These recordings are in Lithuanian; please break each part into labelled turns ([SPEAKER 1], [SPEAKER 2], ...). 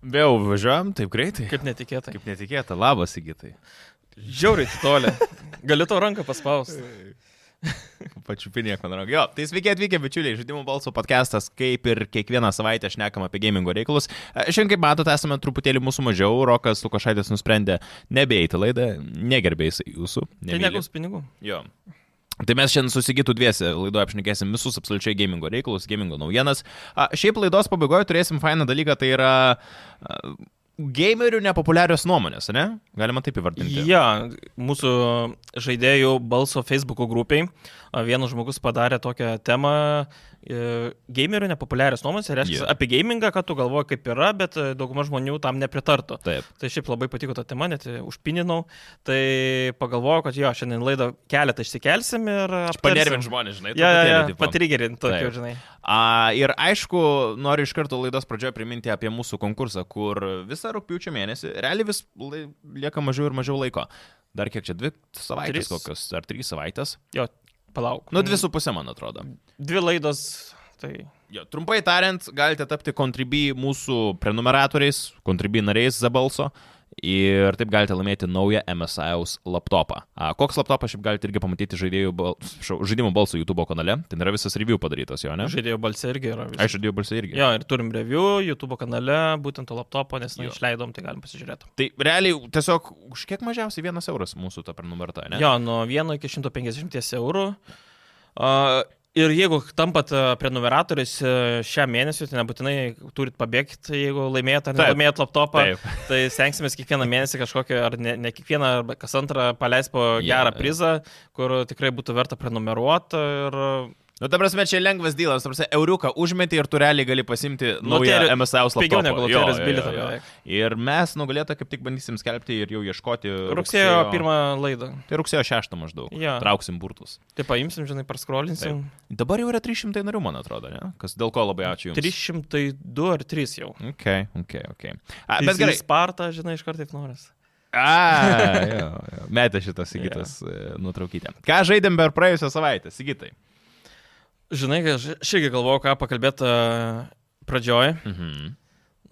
[SPEAKER 1] Vėl važiuojam taip greitai.
[SPEAKER 2] Kaip netikėtai.
[SPEAKER 1] Kaip netikėta, labas įgytai.
[SPEAKER 2] Žiauriai tolė. Gali to ranką paspausti.
[SPEAKER 1] Pačiupinėk man ranką. Jo, tai sveiki atvykę bičiuliai, žaidimų balso podcastas, kaip ir kiekvieną savaitę šnekam apie gamingo reikalus. E, Šiandien, kaip matote, esame truputėlį mūsų mažiau, Rokas Lukošaitis nusprendė nebeiti laidą, negerbėjai jūsų.
[SPEAKER 2] Tai
[SPEAKER 1] nemyli.
[SPEAKER 2] negaus pinigų.
[SPEAKER 1] Jo. Tai mes šiandien susigytų dviesi laidoje apšnekėsim visus absoliučiai gamingo reikalus, gamingo naujienas. A, šiaip laidos pabaigoje turėsim fainą dalyką, tai yra a, gamerių nepopuliarios nuomonės, ne? Galima taip įvardinti.
[SPEAKER 2] Ja, mūsų žaidėjų balso Facebook grupiai a, vienas žmogus padarė tokią temą e, gamerių nepopuliarios nuomonės, tai reiškia
[SPEAKER 1] Jo.
[SPEAKER 2] yeah. apie gamingą, kad tu galvoji kaip yra, bet e, dauguma žmonių tam nepritartų.
[SPEAKER 1] Taip.
[SPEAKER 2] Tai šiaip labai patiko ta tema, net e, užpininau, tai pagalvojau, kad jo, šiandien laidą keletą išsikelsim ir...
[SPEAKER 1] Panervin žmonės, žinai,
[SPEAKER 2] Ja, ja, ja,
[SPEAKER 1] truputėlį, tipo.
[SPEAKER 2] patrigerint tokį,
[SPEAKER 1] Taip.
[SPEAKER 2] žinai.
[SPEAKER 1] A, ir aišku, noriu iš karto laidos pradžioje priminti apie mūsų konkursą, kur visą rūpiučio mėnesį, realiai vis lai, lieka mažiau ir mažiau laiko. Dar kiek čia, dvi savaitės
[SPEAKER 2] Tris.
[SPEAKER 1] kokios, ar trys savaitės?
[SPEAKER 2] Jo, palauk.
[SPEAKER 1] Nu, dvi su pusė, man atrodo.
[SPEAKER 2] Dvi laidos, tai...
[SPEAKER 1] Jo, trumpai tariant, galite tapti Contribui mūsų prenumeratoriais, Contribui nariais Zabalso ir taip galite laimėti naują MSIAus laptopą. A, koks laptopas šiaip galite irgi pamatyti žaidėjų bal... šau- žaidimų balso YouTube kanale, ten yra visas review padarytas jo, ne?
[SPEAKER 2] Žaidėjo balsai irgi yra. vis-
[SPEAKER 1] Aš žaidėjų balsą irgi.
[SPEAKER 2] Jo, ir turim review YouTube kanale, būtent to laptopo, nes nu,
[SPEAKER 1] Jo.
[SPEAKER 2] išleidom, tai galim pasižiūrėti.
[SPEAKER 1] Tai realiai tiesiog už kiek mažiausiai vienas euras mūsų ta prenumerata, ne?
[SPEAKER 2] Jo, nuo 1 iki 150 eurų. Uh, ir jeigu tampat a, prenumeratoriais a, šią mėnesį, tai nebūtinai turit pabėgti, jeigu laimėjot ar
[SPEAKER 1] Taip.
[SPEAKER 2] nelaimėjot laptopą.
[SPEAKER 1] Taip.
[SPEAKER 2] Tai stengsimės kiekvieną mėnesį kažkokią, ar ne, ne kiekvieną, ar kas antrą paleis po
[SPEAKER 1] Jo,
[SPEAKER 2] gerą
[SPEAKER 1] jo.
[SPEAKER 2] prizą, kur tikrai būtų verta prenumeruoti. Ir...
[SPEAKER 1] Nu, ta prasme, čia lengvas dylas, tarsi euriuką užmeti ir tu realiai gali pasimti naują
[SPEAKER 2] Loterijų-
[SPEAKER 1] MSAUS laptopą.
[SPEAKER 2] pigiau
[SPEAKER 1] Jo,
[SPEAKER 2] negu loterijos
[SPEAKER 1] jo, jo,
[SPEAKER 2] bilietą
[SPEAKER 1] jo.
[SPEAKER 2] beveik.
[SPEAKER 1] Ir mes nugalėtą kaip tik bandysim skelbti ir jau ieškoti.
[SPEAKER 2] Rugsėjo pirmą laidą.
[SPEAKER 1] Tai rugsėjo 6 maždaug.
[SPEAKER 2] Jo.
[SPEAKER 1] Trauksim burtus.
[SPEAKER 2] Tai paimsim, žinai, praskrolinsim.
[SPEAKER 1] Dabar jau yra 300 narių, man atrodo, ne? Kas dėl ko labai ačiū jums.
[SPEAKER 2] 302 ar 3 jau.
[SPEAKER 1] Ok, ok, ok. A, bet gerai.
[SPEAKER 2] Sparta, žinai, iš karto taip noras.
[SPEAKER 1] A, jo, jo. Metė šitas Sigitas yeah. nutraukyti. Ką žaidėm per praėjusią savaitę, Sigitai?
[SPEAKER 2] Žinai, kad aš aš irgi galvojau, ką pakalbėti pradžioj.
[SPEAKER 1] Mhm.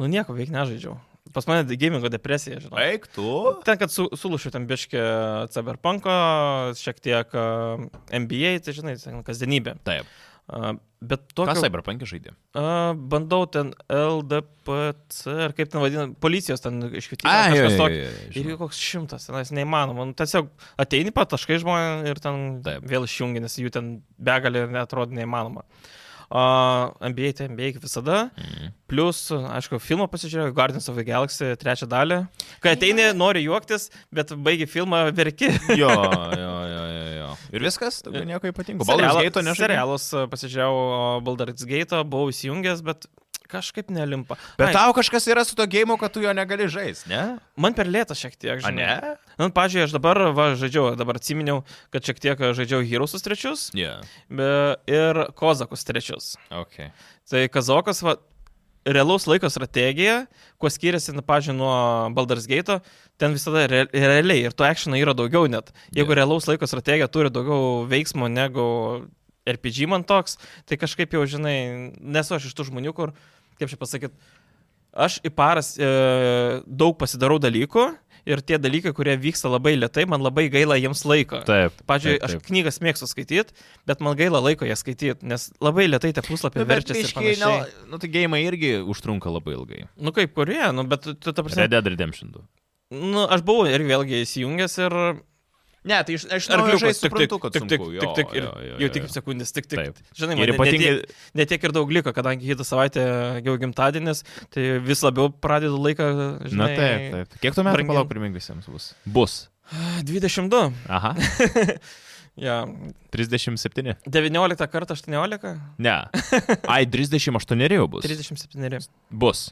[SPEAKER 2] Nu, nieko veik nežaidžiau. Pas mane de- gamingo depresija, žinai.
[SPEAKER 1] Eik tu.
[SPEAKER 2] Ten, kad su, sulušiu ten biškį e, Cyberpunko, šiek tiek a, NBA, tai žinai, ten kasdienybė.
[SPEAKER 1] Taip.
[SPEAKER 2] A, Bet
[SPEAKER 1] Ką
[SPEAKER 2] tokio...
[SPEAKER 1] Cyberpunk žaidė?
[SPEAKER 2] a, Bandau ten LDPC, ar kaip ten vadinam, policijos ten iškvietimas. Ir jau koks šimtas, tenais neįmanoma. Nu, tiesiog ateini pataškai žmonės ir ten
[SPEAKER 1] Taip.
[SPEAKER 2] Taip. vėl išjungi, nes jų ten begalė ir netrodo neįmanoma. Uh, NBA, tai NBA kaip visada.
[SPEAKER 1] Mhm.
[SPEAKER 2] Plus, aišku, filmą pasižiūrėjau, Guardians of the Galaxy trečią dalį. Kai ateini, nori juoktis, bet baigi filmą verki.
[SPEAKER 1] Jo, jo, jo, jo, jo. Ir viskas, daugiau nieko ypatingo.
[SPEAKER 2] Serialą-
[SPEAKER 1] Baldur's Gate nežaidė.
[SPEAKER 2] Serialus a, pasižiūrėjau, Baldur's Gate, buvau įsijungęs, bet kažkaip nelimpa.
[SPEAKER 1] Bet
[SPEAKER 2] Ai,
[SPEAKER 1] tau kažkas yra su to gėjimu, kad tu jo negali žaisti, ne?
[SPEAKER 2] Man per lėta šiek tiek,
[SPEAKER 1] A,
[SPEAKER 2] žinai.
[SPEAKER 1] ne?
[SPEAKER 2] Na, pažiūrėjau, aš dabar, va, žaidžiau, dabar atsiminiau, kad šiek tiek žaidžiau Heroesus trečius
[SPEAKER 1] Ne. Yeah.
[SPEAKER 2] be, ir Kozakus trečius.
[SPEAKER 1] Okay.
[SPEAKER 2] Tai Kazokas, va, realaus laiko strategija, kuo skiriasi, na, pažiūrėjau, nuo Baldur's Gate, ten visada re, realiai ir to actiono yra daugiau net. Jeigu
[SPEAKER 1] Jo.
[SPEAKER 2] yeah. realaus laiko strategija turi daugiau veiksmo negu RPG man toks, tai kažkaip jau, žinai, nesu aš iš tų žmonių, kur, kaip čia pasakyti, aš į paras e, daug pasidarau dalykų. Ir tie dalykai, kurie vyksta labai lietai, man labai gaila jiems laiko.
[SPEAKER 1] Taip.
[SPEAKER 2] Pavyzdžiui,
[SPEAKER 1] taip,
[SPEAKER 2] aš
[SPEAKER 1] taip.
[SPEAKER 2] knygas mėgstu skaityti, bet man gaila laiko ją skaityti, nes labai lietai tie puslapiai
[SPEAKER 1] Nu,
[SPEAKER 2] verčiasi ir panašiai.
[SPEAKER 1] na, nu, tai gėjimai irgi užtrunka labai ilgai.
[SPEAKER 2] Nu kaip kurie, nu bet tu, tu ta prasme.
[SPEAKER 1] Red Dead Redemption 2.
[SPEAKER 2] Nu, aš buvau ir vėlgi įsijungęs ir...
[SPEAKER 1] Ne, tai iš, aš
[SPEAKER 2] Arkliukas,
[SPEAKER 1] tik, tik, tik,
[SPEAKER 2] tik, tik, tik, tik, ir jau tik sekundės, tik, tik.
[SPEAKER 1] Taip.
[SPEAKER 2] Žinai,
[SPEAKER 1] Ir
[SPEAKER 2] man
[SPEAKER 1] ypatingai,
[SPEAKER 2] ne, tiek, ne tiek ir daug liko, kadangi kitą savaitę jau gimtadienis, tai vis labiau pradedu laiką,
[SPEAKER 1] na
[SPEAKER 2] žinai.
[SPEAKER 1] taip, taip. Kiek tu metų
[SPEAKER 2] brangin-
[SPEAKER 1] palauk primink visiems bus? Bus.
[SPEAKER 2] 22.
[SPEAKER 1] Aha.
[SPEAKER 2] Ja.
[SPEAKER 1] 37.
[SPEAKER 2] 19 kartų 18.
[SPEAKER 1] Ne. Ai, 38 jau bus.
[SPEAKER 2] 37.
[SPEAKER 1] Bus.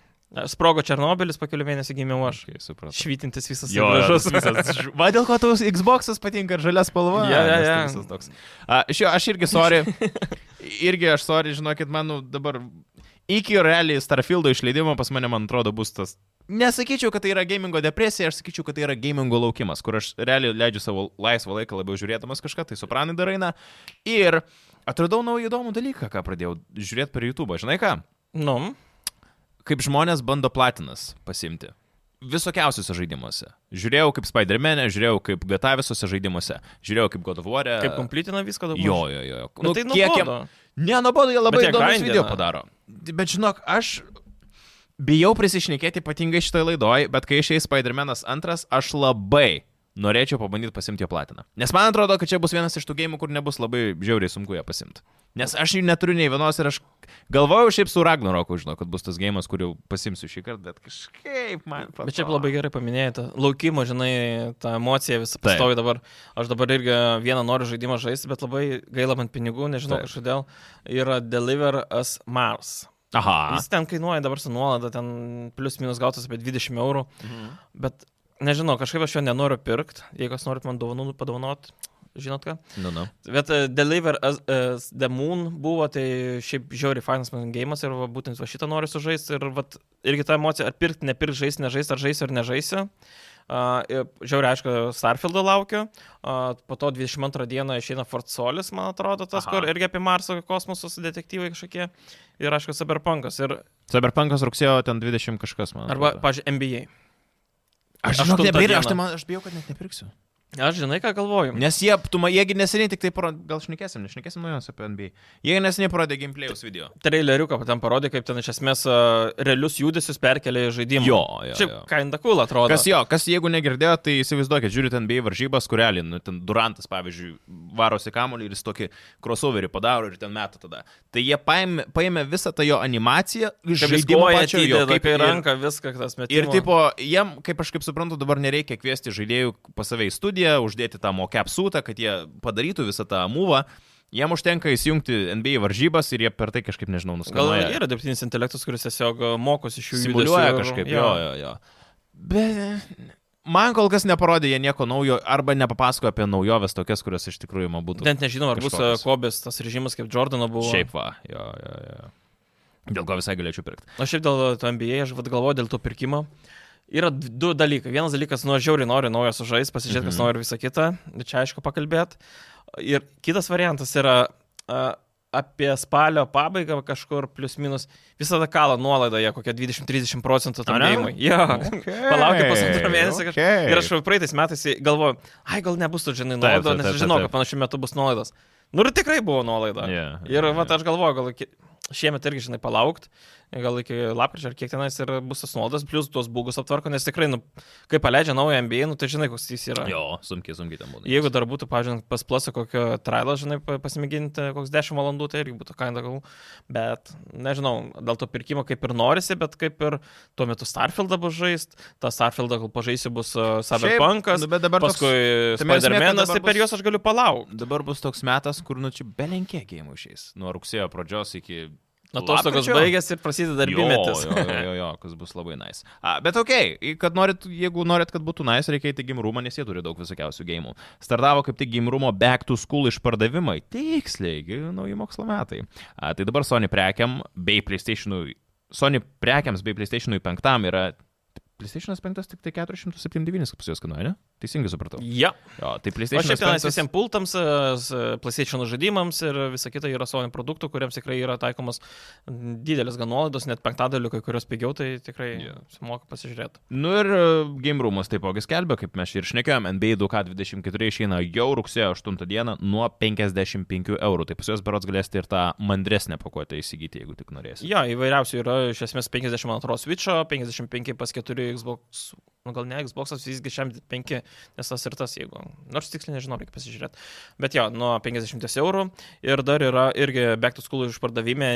[SPEAKER 2] Sprogo Černobilis, po kelių mėnesių gimiau aš.
[SPEAKER 1] Kai supratau.
[SPEAKER 2] Švytintis visas
[SPEAKER 1] Jo, gražus visas. Va dėl ko tavus Xbox'as patinka ir žalia spalva.
[SPEAKER 2] Jo, jo,
[SPEAKER 1] nes tai
[SPEAKER 2] jo.
[SPEAKER 1] visas toks. A, šio, aš irgi sorry. Irgi aš sorry, žinokit, man nu, dabar iki realiai Starfieldo išleidimo pas mane, man atrodo, bus tas. Nesakyčiau, kad tai yra gamingo depresija, aš sakyčiau, kad tai yra gamingo laukimas, kur aš realiai leidžiu savo laisvą laiką labiau žiūrėdamas kažką, tai supranai darai na. Ir atradau naują įdomų dalyką, ką pradėjau žiūrėti per YouTube. Žinai ką?
[SPEAKER 2] Nu,
[SPEAKER 1] kaip žmonės bando platinas pasimti. Visokiausiuose žaidimuose. Žiūrėjau kaip Spider-Man'e, žiūrėjau kaip GTA visose žaidimuose, žiūrėjau kaip God of War'e.
[SPEAKER 2] Kaip komplytina viską dabar.
[SPEAKER 1] Jo, jo, jo.
[SPEAKER 2] E, Nu, tai nuobodu.
[SPEAKER 1] Ne, nuobodu, jie labai
[SPEAKER 2] jie
[SPEAKER 1] įdomus
[SPEAKER 2] grindina.
[SPEAKER 1] video padaro. Bet žinok, aš bijau prisišnekėti ypatingai šitoj laidoj, bet kai išeis Spider-Man'as antras, aš labai norėčiau pabandyti pasimti jo platiną. Nes man atrodo, kad čia bus vienas iš tų gėjimų, kur nebus labai žiauriai sunku ją pasimti. Nes aš jų neturiu nei vienos ir aš galvojau šiaip su Ragnaroku, žinau, kad bus tas gėjimas, kurį pasimsiu šį kartą, bet kažkaip man patinka.
[SPEAKER 2] Bet čia labai gerai paminėjote. Laukimo, žinai, ta emocija visą
[SPEAKER 1] Taip.
[SPEAKER 2] pastovi dabar. Aš dabar irgi vieną noriu žaidimą žaisti, bet labai gaila man pinigų, nežinau
[SPEAKER 1] Taip.
[SPEAKER 2] kažkodėl. Yra Deliver as Mars.
[SPEAKER 1] Aha.
[SPEAKER 2] Jis ten kainuoja dabar su nuolaida, ten plius minus gautas apie 20 eurų.
[SPEAKER 1] Mhm.
[SPEAKER 2] Bet nežinau, kažkaip aš jo nenoriu pirkti. Jeigu kas norit man dovanų padovanot, žinot ką.
[SPEAKER 1] Nu, nu.
[SPEAKER 2] Bet uh, Deliver as, as the Moon buvo, tai šiaip žiauri fainas man gėjimas ir va, būtent va šitą noriu sužaisti. Ir va, irgi ta emocija, ar pirkti, nepirkti, žaisti, nežaisti, ar žaisti, ar nežaisi. Uh, žiauri, aišku, Starfieldą laukiu. Uh, po to 22 dieną išeina Fort Solis, man atrodo, tas,
[SPEAKER 1] Aha.
[SPEAKER 2] Aha. kur irgi apie Marso kosmosus detektyvai kažkokie. Ir aišku, Cyberpunkas. Ir,
[SPEAKER 1] Cyberpunkas rugsėjo ten 20 kažkas, man.
[SPEAKER 2] arba,
[SPEAKER 1] atrodo.
[SPEAKER 2] pažiūrėjau, NBA.
[SPEAKER 1] Aš, žinok,
[SPEAKER 2] aštuntą
[SPEAKER 1] nebėra,
[SPEAKER 2] dieną.
[SPEAKER 1] aš, tai man, aš bijau, kad net nepirksiu.
[SPEAKER 2] Aš žinai, ką galvoju.
[SPEAKER 1] Nes jie, tu, ma- jiegi neseniai tik tai, paro, gal šnekėsim, nešnekėsim naujos apie NBA. Jie neseniai parodė gameplayus video.
[SPEAKER 2] Traileriuką ten parodė, kaip ten iš esmės uh, realius judesius perkelia į žaidimą.
[SPEAKER 1] Jo, jo.
[SPEAKER 2] Šiaip
[SPEAKER 1] jo.
[SPEAKER 2] kinda cool atrodo.
[SPEAKER 1] Kas jo, kas jeigu negirdėjo, tai įsivaizduokit, žiūrite NBA varžybas, kurelį, nu, ten Durantas, pavyzdžiui, varosi kamuolį ir jis tokį crossoverį padaro ir ten meta tada. Tai jie paėmė, paėmė visą tą jo animaciją, iš žaidimo
[SPEAKER 2] Žaidimai
[SPEAKER 1] pačio jo,
[SPEAKER 2] kaip į
[SPEAKER 1] ir-
[SPEAKER 2] ranką viską, tas metimas.
[SPEAKER 1] Ir tipo, jiem, kaip aš kaip suprantu, dabar nereikia kviesti žaidėjų pas save į studiją, uždėti tą mokep sūtą, kad jie padarytų visą tą mūvą. Jiem užtenka įsijungti NBA varžybas ir jie per tai kažkaip, nežinau,
[SPEAKER 2] Gal
[SPEAKER 1] nuskaloja.
[SPEAKER 2] yra dirbtinis intelektas, kuris tiesiog uh, mokosi iš jų judesių
[SPEAKER 1] Simuliuoja
[SPEAKER 2] ir-
[SPEAKER 1] kažkaip. Jo, jo, jo. Bet man kol kas neparodė jie nieko naujo arba nepapasakojo apie naujoves tokias, kurios iš tikrųjų man būtų.
[SPEAKER 2] Net nežinau, ar bus uh,
[SPEAKER 1] Kažkokios.
[SPEAKER 2] Kobės tas režimas kaip Jordano buvo.
[SPEAKER 1] Šiaip va, jo, jo, jo. Dėl ko visai galėčiau pirkti.
[SPEAKER 2] Na šiaip dėl to NBA, aš vad galvoju dėl to pirkimo. Yra d- du dalykai. Vienas dalykas, nu, aš žiauriai noriu naujo sužaisti, pasižiūrėti, mm -hmm. kas
[SPEAKER 1] Mhm.
[SPEAKER 2] nori visą kitą. Čia aišku pakalbėt. Ir kitas variantas yra a, apie spalio pabaigą kažkur plius minus. Visada kalą nuolaidą, jie kokie 20-30 procentų tam
[SPEAKER 1] Ane?
[SPEAKER 2] neimui. Jo. Palaukiu pusantro mėnesio. Okay.
[SPEAKER 1] Okay.
[SPEAKER 2] Ir aš praeitais metais galvoju, ai gal nebus tu žinai nuolaido,
[SPEAKER 1] taip,
[SPEAKER 2] nes
[SPEAKER 1] taip,
[SPEAKER 2] aš žinau,
[SPEAKER 1] taip.
[SPEAKER 2] kad panašiu metu bus nuolaidos. Nu ir tikrai buvo nuolaida.
[SPEAKER 1] Yeah,
[SPEAKER 2] Ir yeah, vat, aš galvoju, gal iki, šiemet irgi, žinai, palaukti, gal iki lapkričio ar kiek tenais ir bus tas nuolaidas, plus tuos būgus aptvarko, nes tikrai, nu, kai paleidžia naują MBA, nu, tai žinai, koks jis yra.
[SPEAKER 1] Jo, sunkiai, sunkiai tam būna.
[SPEAKER 2] Jeigu dar būtų, pavyzdžiui, pas plasą kokio trailą, žinai, pa- pasimėginti koks 10 valandų, tai irgi būtų kaina gal. Bet, nežinau, dėl to pirkimo kaip ir norisi, bet kaip ir tuo metu Starfieldą bus žaist, tą Starfieldą gal pažaisiu bus uh, Cyberpunkas,
[SPEAKER 1] nu, bet dabar toks-
[SPEAKER 2] paskui
[SPEAKER 1] tame esmė, kad dabar
[SPEAKER 2] Spider-Man'as, tai per
[SPEAKER 1] bus-
[SPEAKER 2] juos aš galiu palaukti.
[SPEAKER 1] Dabar bus toks metas, kur nu čia belenkė gėjimų išeis. Nuo rugsėjo pradžios iki...
[SPEAKER 2] Atostogos
[SPEAKER 1] lapkričio.
[SPEAKER 2] baigėsi ir prasideda darbimetis.
[SPEAKER 1] Jo, jo, jo, jo, kas bus labai nice. A, bet okei, okay, kad norit, jeigu norit, kad būtų nice, reikia įti gimrumą, nes jie turi daug visokiausių gėjimų. Startavo kaip tik gimrumo back to school išpardavimai. Tiksliai, gi nauji mokslo metai. A, tai dabar Sony prekiam bei PlayStation'ui... Sony prekiams bei PlayStation'ui penktam yra... PlayStation'as 5 tik tai 479 kaip pas juos kainuoja, ne? Teisingai supratau.
[SPEAKER 2] Ja.
[SPEAKER 1] Jo, tai
[SPEAKER 2] O
[SPEAKER 1] PlayStation'as
[SPEAKER 2] šiaip tenais
[SPEAKER 1] 5
[SPEAKER 2] visiems pultams, e, s- e, PlayStation žaidimams ir visa kita yra Sony produktų, kuriems tikrai yra taikomas m, didelis gan nuolaidos, net penktadalių, kai kurios pigiau, tai tikrai
[SPEAKER 1] Jo.
[SPEAKER 2] yeah. sumoka pasižiūrėti.
[SPEAKER 1] Nu ir e, Game Roomas taipogi skelbia, kaip mes čia ir šnekėjom, NBA 2K24 išeina jau rugsėjo 8 dieną nuo 55 eurų. Tai pas juos berots galėsite ir tą mandresnę pakuotę įsigyti, jeigu tik norėsite.
[SPEAKER 2] Jo, įvairiausių yra iš esmės 52 Switch, 55 pas 4 Xbox, nu gal ne Xbox, visgi 65, nes tas ir tas, jeigu. Nors tiksliai nežinau, reikia pasižiūrėti. Bet jo, nuo 50 eurų. Ir dar yra irgi Back to School išpardavime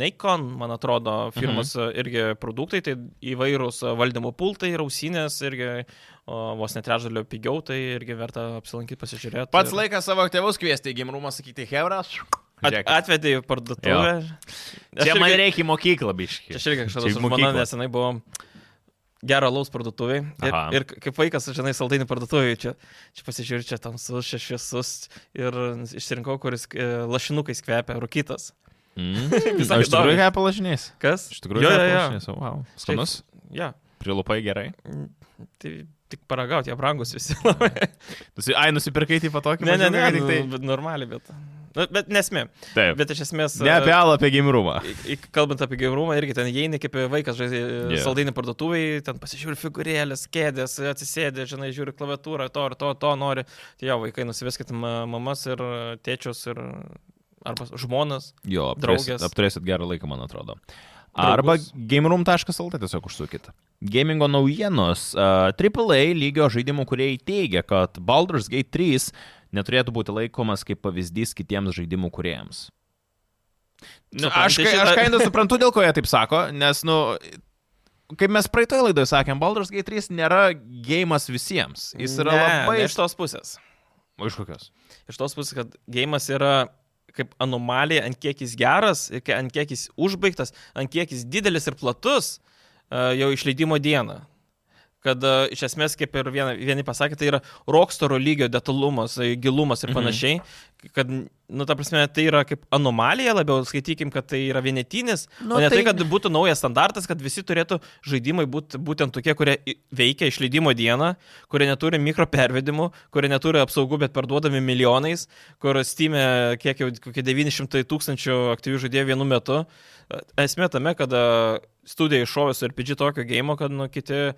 [SPEAKER 2] Nikon, man atrodo, firmas mhm. irgi produktai, tai įvairūs valdymo pultai, rausinės, irgi o, vos netrečdalio pigiau, tai irgi verta apsilankyti, pasižiūrėti.
[SPEAKER 1] Pats
[SPEAKER 2] Ir
[SPEAKER 1] laikas savo tėvus kviesti į Game Roomą, sakyti, Hebras.
[SPEAKER 2] At, atvedė į parduotuvę. Aš
[SPEAKER 1] Čia man
[SPEAKER 2] irgi-
[SPEAKER 1] reikia į mokyklą biškį.
[SPEAKER 2] Čia aš irgi
[SPEAKER 1] Čia
[SPEAKER 2] kažkada
[SPEAKER 1] į
[SPEAKER 2] su žmona
[SPEAKER 1] mokyklą.
[SPEAKER 2] nesenai buvom gero laus parduotuviai. Ir,
[SPEAKER 1] Aha.
[SPEAKER 2] ir kaip vaikas, žinai, saldainių parduotuviai, čia, čia pasižiūrėjau, čia tamsus, čia šviesus ir išsirinkau, kuris e, lašinukais kvepia, rūkytas.
[SPEAKER 1] Mm.
[SPEAKER 2] Visai
[SPEAKER 1] O Iš tikrųjų,
[SPEAKER 2] įdomiai.
[SPEAKER 1] ką palažinės?
[SPEAKER 2] Kas?
[SPEAKER 1] Iš tikrųjų, ką
[SPEAKER 2] jo, jo, jo.
[SPEAKER 1] palažinės? Wow. Skanus,
[SPEAKER 2] Ja.
[SPEAKER 1] prilupai gerai.
[SPEAKER 2] Mm, Tai tik paragauti, jie brangus visi.
[SPEAKER 1] Nusi... Ai, nusipirkai tai patokį,
[SPEAKER 2] ne, ne, ne, tai nu, normaliai, bet. Nu, bet nesmė.
[SPEAKER 1] Taip.
[SPEAKER 2] Bet iš esmės...
[SPEAKER 1] Ne
[SPEAKER 2] e,
[SPEAKER 1] apie alą, apie gimrumą.
[SPEAKER 2] I- i- Kalbant apie gerumą, irgi ten įeini kaip vaikas, žaidži
[SPEAKER 1] Yeah.
[SPEAKER 2] yeah. saldainį parduotuvėje, ten pasižiūri figūrėlės, kėdės, atsisėdė, žinai, žiūri klaviatūrą, to ir to, to nori. Tai jo, vaikai, nusiveskit ma- mamas ir tėčius ir arba žmonas.
[SPEAKER 1] Jo, apturėsit,
[SPEAKER 2] Draugės.
[SPEAKER 1] apturėsit gerą laiką, man atrodo. Arba gameroom.lt tiesiog užsukit. Gamingo naujienos. Uh, AAA lygio žaidimų, kurie teigia, kad Baldur's Gate 3 neturėtų būti laikomas kaip pavyzdys kitiems žaidimų kuriems. Nu,
[SPEAKER 2] Supranti
[SPEAKER 1] aš kai-
[SPEAKER 2] Tai šitą?
[SPEAKER 1] aš kainą suprantu, dėl ko jie taip sako, nes, nu, kaip mes praeitoje laidoje sakėm, Baldur's Gate 3 nėra gėjimas visiems. Jis yra
[SPEAKER 2] ne,
[SPEAKER 1] labai...
[SPEAKER 2] Ne iš tos pusės.
[SPEAKER 1] O Iš kokios?
[SPEAKER 2] Iš tos pusės, kad gėjimas yra kaip anomalija, ant kiek jis geras, ir kai- ant kiek jis užbaigtas, ant kiek jis didelis ir platus e, jau išleidimo dieną. Kad e, iš esmės, kaip ir viena, vieni pasakė, tai yra rockstoro lygio detalumas, e, gilumas ir
[SPEAKER 1] Mhm.
[SPEAKER 2] panašiai. Kad, nu, ta prasme, tai yra kaip anomalija, labiau skaitykim, kad tai yra vienetinis.
[SPEAKER 1] Nu,
[SPEAKER 2] Nu, o ne tai,
[SPEAKER 1] tai-
[SPEAKER 2] tai, kad būtų naujas standartas, kad visi turėtų žaidimai būti būtent tokie, kurie i- veikia išleidimo dieną, kurie neturi mikropervedimų, kurie neturi apsaugų, bet parduodami milijonais, kur Steam'e kiek jau kokie 900 tūkstančių aktyvių žaidėjų vienu metu. Esmė tame, kad a, studija iššovė su RPG tokio gėjimo, kad nu, kiti,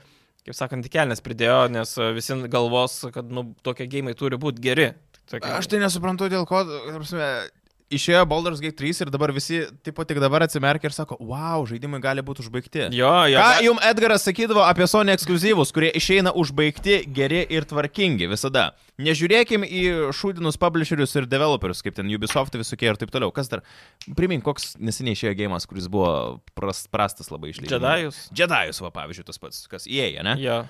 [SPEAKER 2] kaip sakant, į kelnes pridėjo, nes a, visi galvos, kad nu, tokie gėjimai turi būti geri. Tokie,
[SPEAKER 1] Aš tai nesuprantu, dėl ko, ta prasme, išėjo Baldur's Gate 3 ir dabar visi, tipo, tik dabar atsimerkia ir sako, wow, žaidimai gali būti užbaigti.
[SPEAKER 2] Jo, jo.
[SPEAKER 1] Ką
[SPEAKER 2] ga-
[SPEAKER 1] jums Edgaras sakydavo apie Sony ekskluzyvus, kurie išeina užbaigti, geri ir tvarkingi visada. Nežiūrėkim į šūdinus publisherius ir developerius, kaip ten Ubisoft visokie ir taip toliau. Kas dar? Primink, koks neseniai išėjo gėjimas, kuris buvo pras, prastas labai išleidžiamas.
[SPEAKER 2] Jedajus.
[SPEAKER 1] Jedajus, va, pavyzdžiui, tas pats, kas įėjo, ne?
[SPEAKER 2] Jo.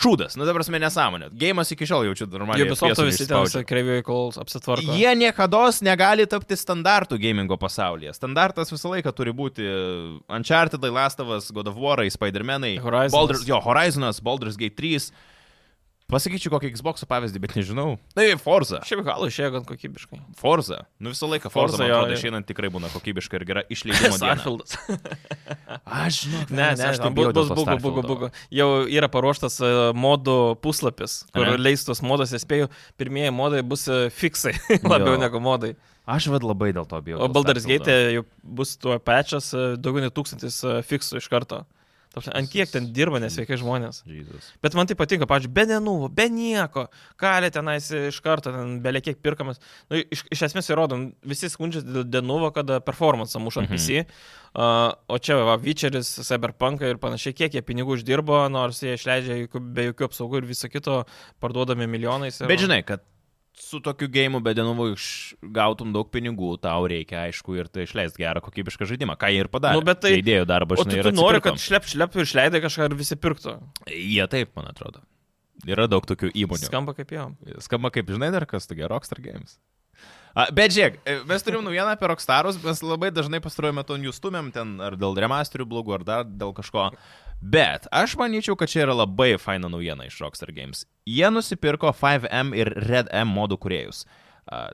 [SPEAKER 1] Šūdas, nu dabar mes nesąmonė. Gėjimas iki šiol jaučiu normaliai.
[SPEAKER 2] Ubisofto
[SPEAKER 1] FPS
[SPEAKER 2] visi
[SPEAKER 1] išspaudžia.
[SPEAKER 2] ten kreivėjo, kol apsitvarko.
[SPEAKER 1] Jie niekada negali tapti standartų gamingo pasaulyje. Standartas visą laiką turi būti Uncharted, Lastovas, God of War, Spider-Man'ai,
[SPEAKER 2] Horizonas.
[SPEAKER 1] Baldur's- jo, Horizonas, Baldur's Gate 3. Pasakyčiau kokį Xbox pavyzdį, bet nežinau. Tai Forza.
[SPEAKER 2] Šiaip galų išėjo gan kokybiškai.
[SPEAKER 1] Forza. Nu visą laiką Forza,
[SPEAKER 2] Forza,
[SPEAKER 1] Forza man
[SPEAKER 2] jo,
[SPEAKER 1] atrodo,
[SPEAKER 2] jo.
[SPEAKER 1] išeinant tikrai būna kokybiška ir gera išleidimo diena.
[SPEAKER 2] Starfieldas.
[SPEAKER 1] Aš žinau,
[SPEAKER 2] Ne, ne, ne, bu- bus bugu, bugu, bugu. Jau yra paruoštas e, modų puslapis, kur
[SPEAKER 1] Ane?
[SPEAKER 2] leistos modos, spėjau, pirmieji modai bus e, fiksai, labiau
[SPEAKER 1] Jo.
[SPEAKER 2] negu modai.
[SPEAKER 1] Aš vad labai dėl to bijau.
[SPEAKER 2] O
[SPEAKER 1] dėl
[SPEAKER 2] Baldur's
[SPEAKER 1] Starfieldo.
[SPEAKER 2] Gate jau bus tuo pačias daugiau nei tūkstantis e, fiksų iš karto. Ta prasme, Ant kiek ten dirba nesveikai žmonės.
[SPEAKER 1] Jesus.
[SPEAKER 2] Bet man tai patinka, pavyzdžiui, be nenuvų, be nieko, kalė tenais iš karto, ten belie kiek pirkamas. Nu, iš, iš esmės įrodom, visi skundžiasi dėl denuvo, kad performance muša ant
[SPEAKER 1] Mhm.
[SPEAKER 2] PC, uh, o čia va, Vyčeris, Cyberpunk ir panašiai, kiek jie pinigų uždirbo, nors jie išleidžia jokių, be jokių apsaugų ir viso kito, parduodami milijonais. Ir...
[SPEAKER 1] Bet žinai, kad su tokiu gėjimu be dienų gautum daug pinigų, tau reikia, aišku, ir tai išleist gerą kokybišką žaidimą, ką jie ir padarė.
[SPEAKER 2] Nu, bet tai-
[SPEAKER 1] Idėjų darbą,
[SPEAKER 2] O tu,
[SPEAKER 1] žinai,
[SPEAKER 2] tu
[SPEAKER 1] ir
[SPEAKER 2] nori,
[SPEAKER 1] atsipirkom.
[SPEAKER 2] kad šlep šlep ir išleidai kažką ir visi pirktų.
[SPEAKER 1] Jie taip, man atrodo. Yra daug tokių įmonių. Skamba,
[SPEAKER 2] Skamba kaip jau.
[SPEAKER 1] Skamba kaip, žinai, dar kas tokie Rockstar Games. A, bet žiūrėk, e, mes turim naujieną apie Rockstarus, mes labai dažnai pastaruoju metu jų stumėm ten ar dėl remasterių blogų, ar dar dėl kažko. Bet aš manyčiau, kad čia yra labai faina naujiena iš Rockstar Games. Jie nusipirko 5M ir RedM modų kuriejus. A,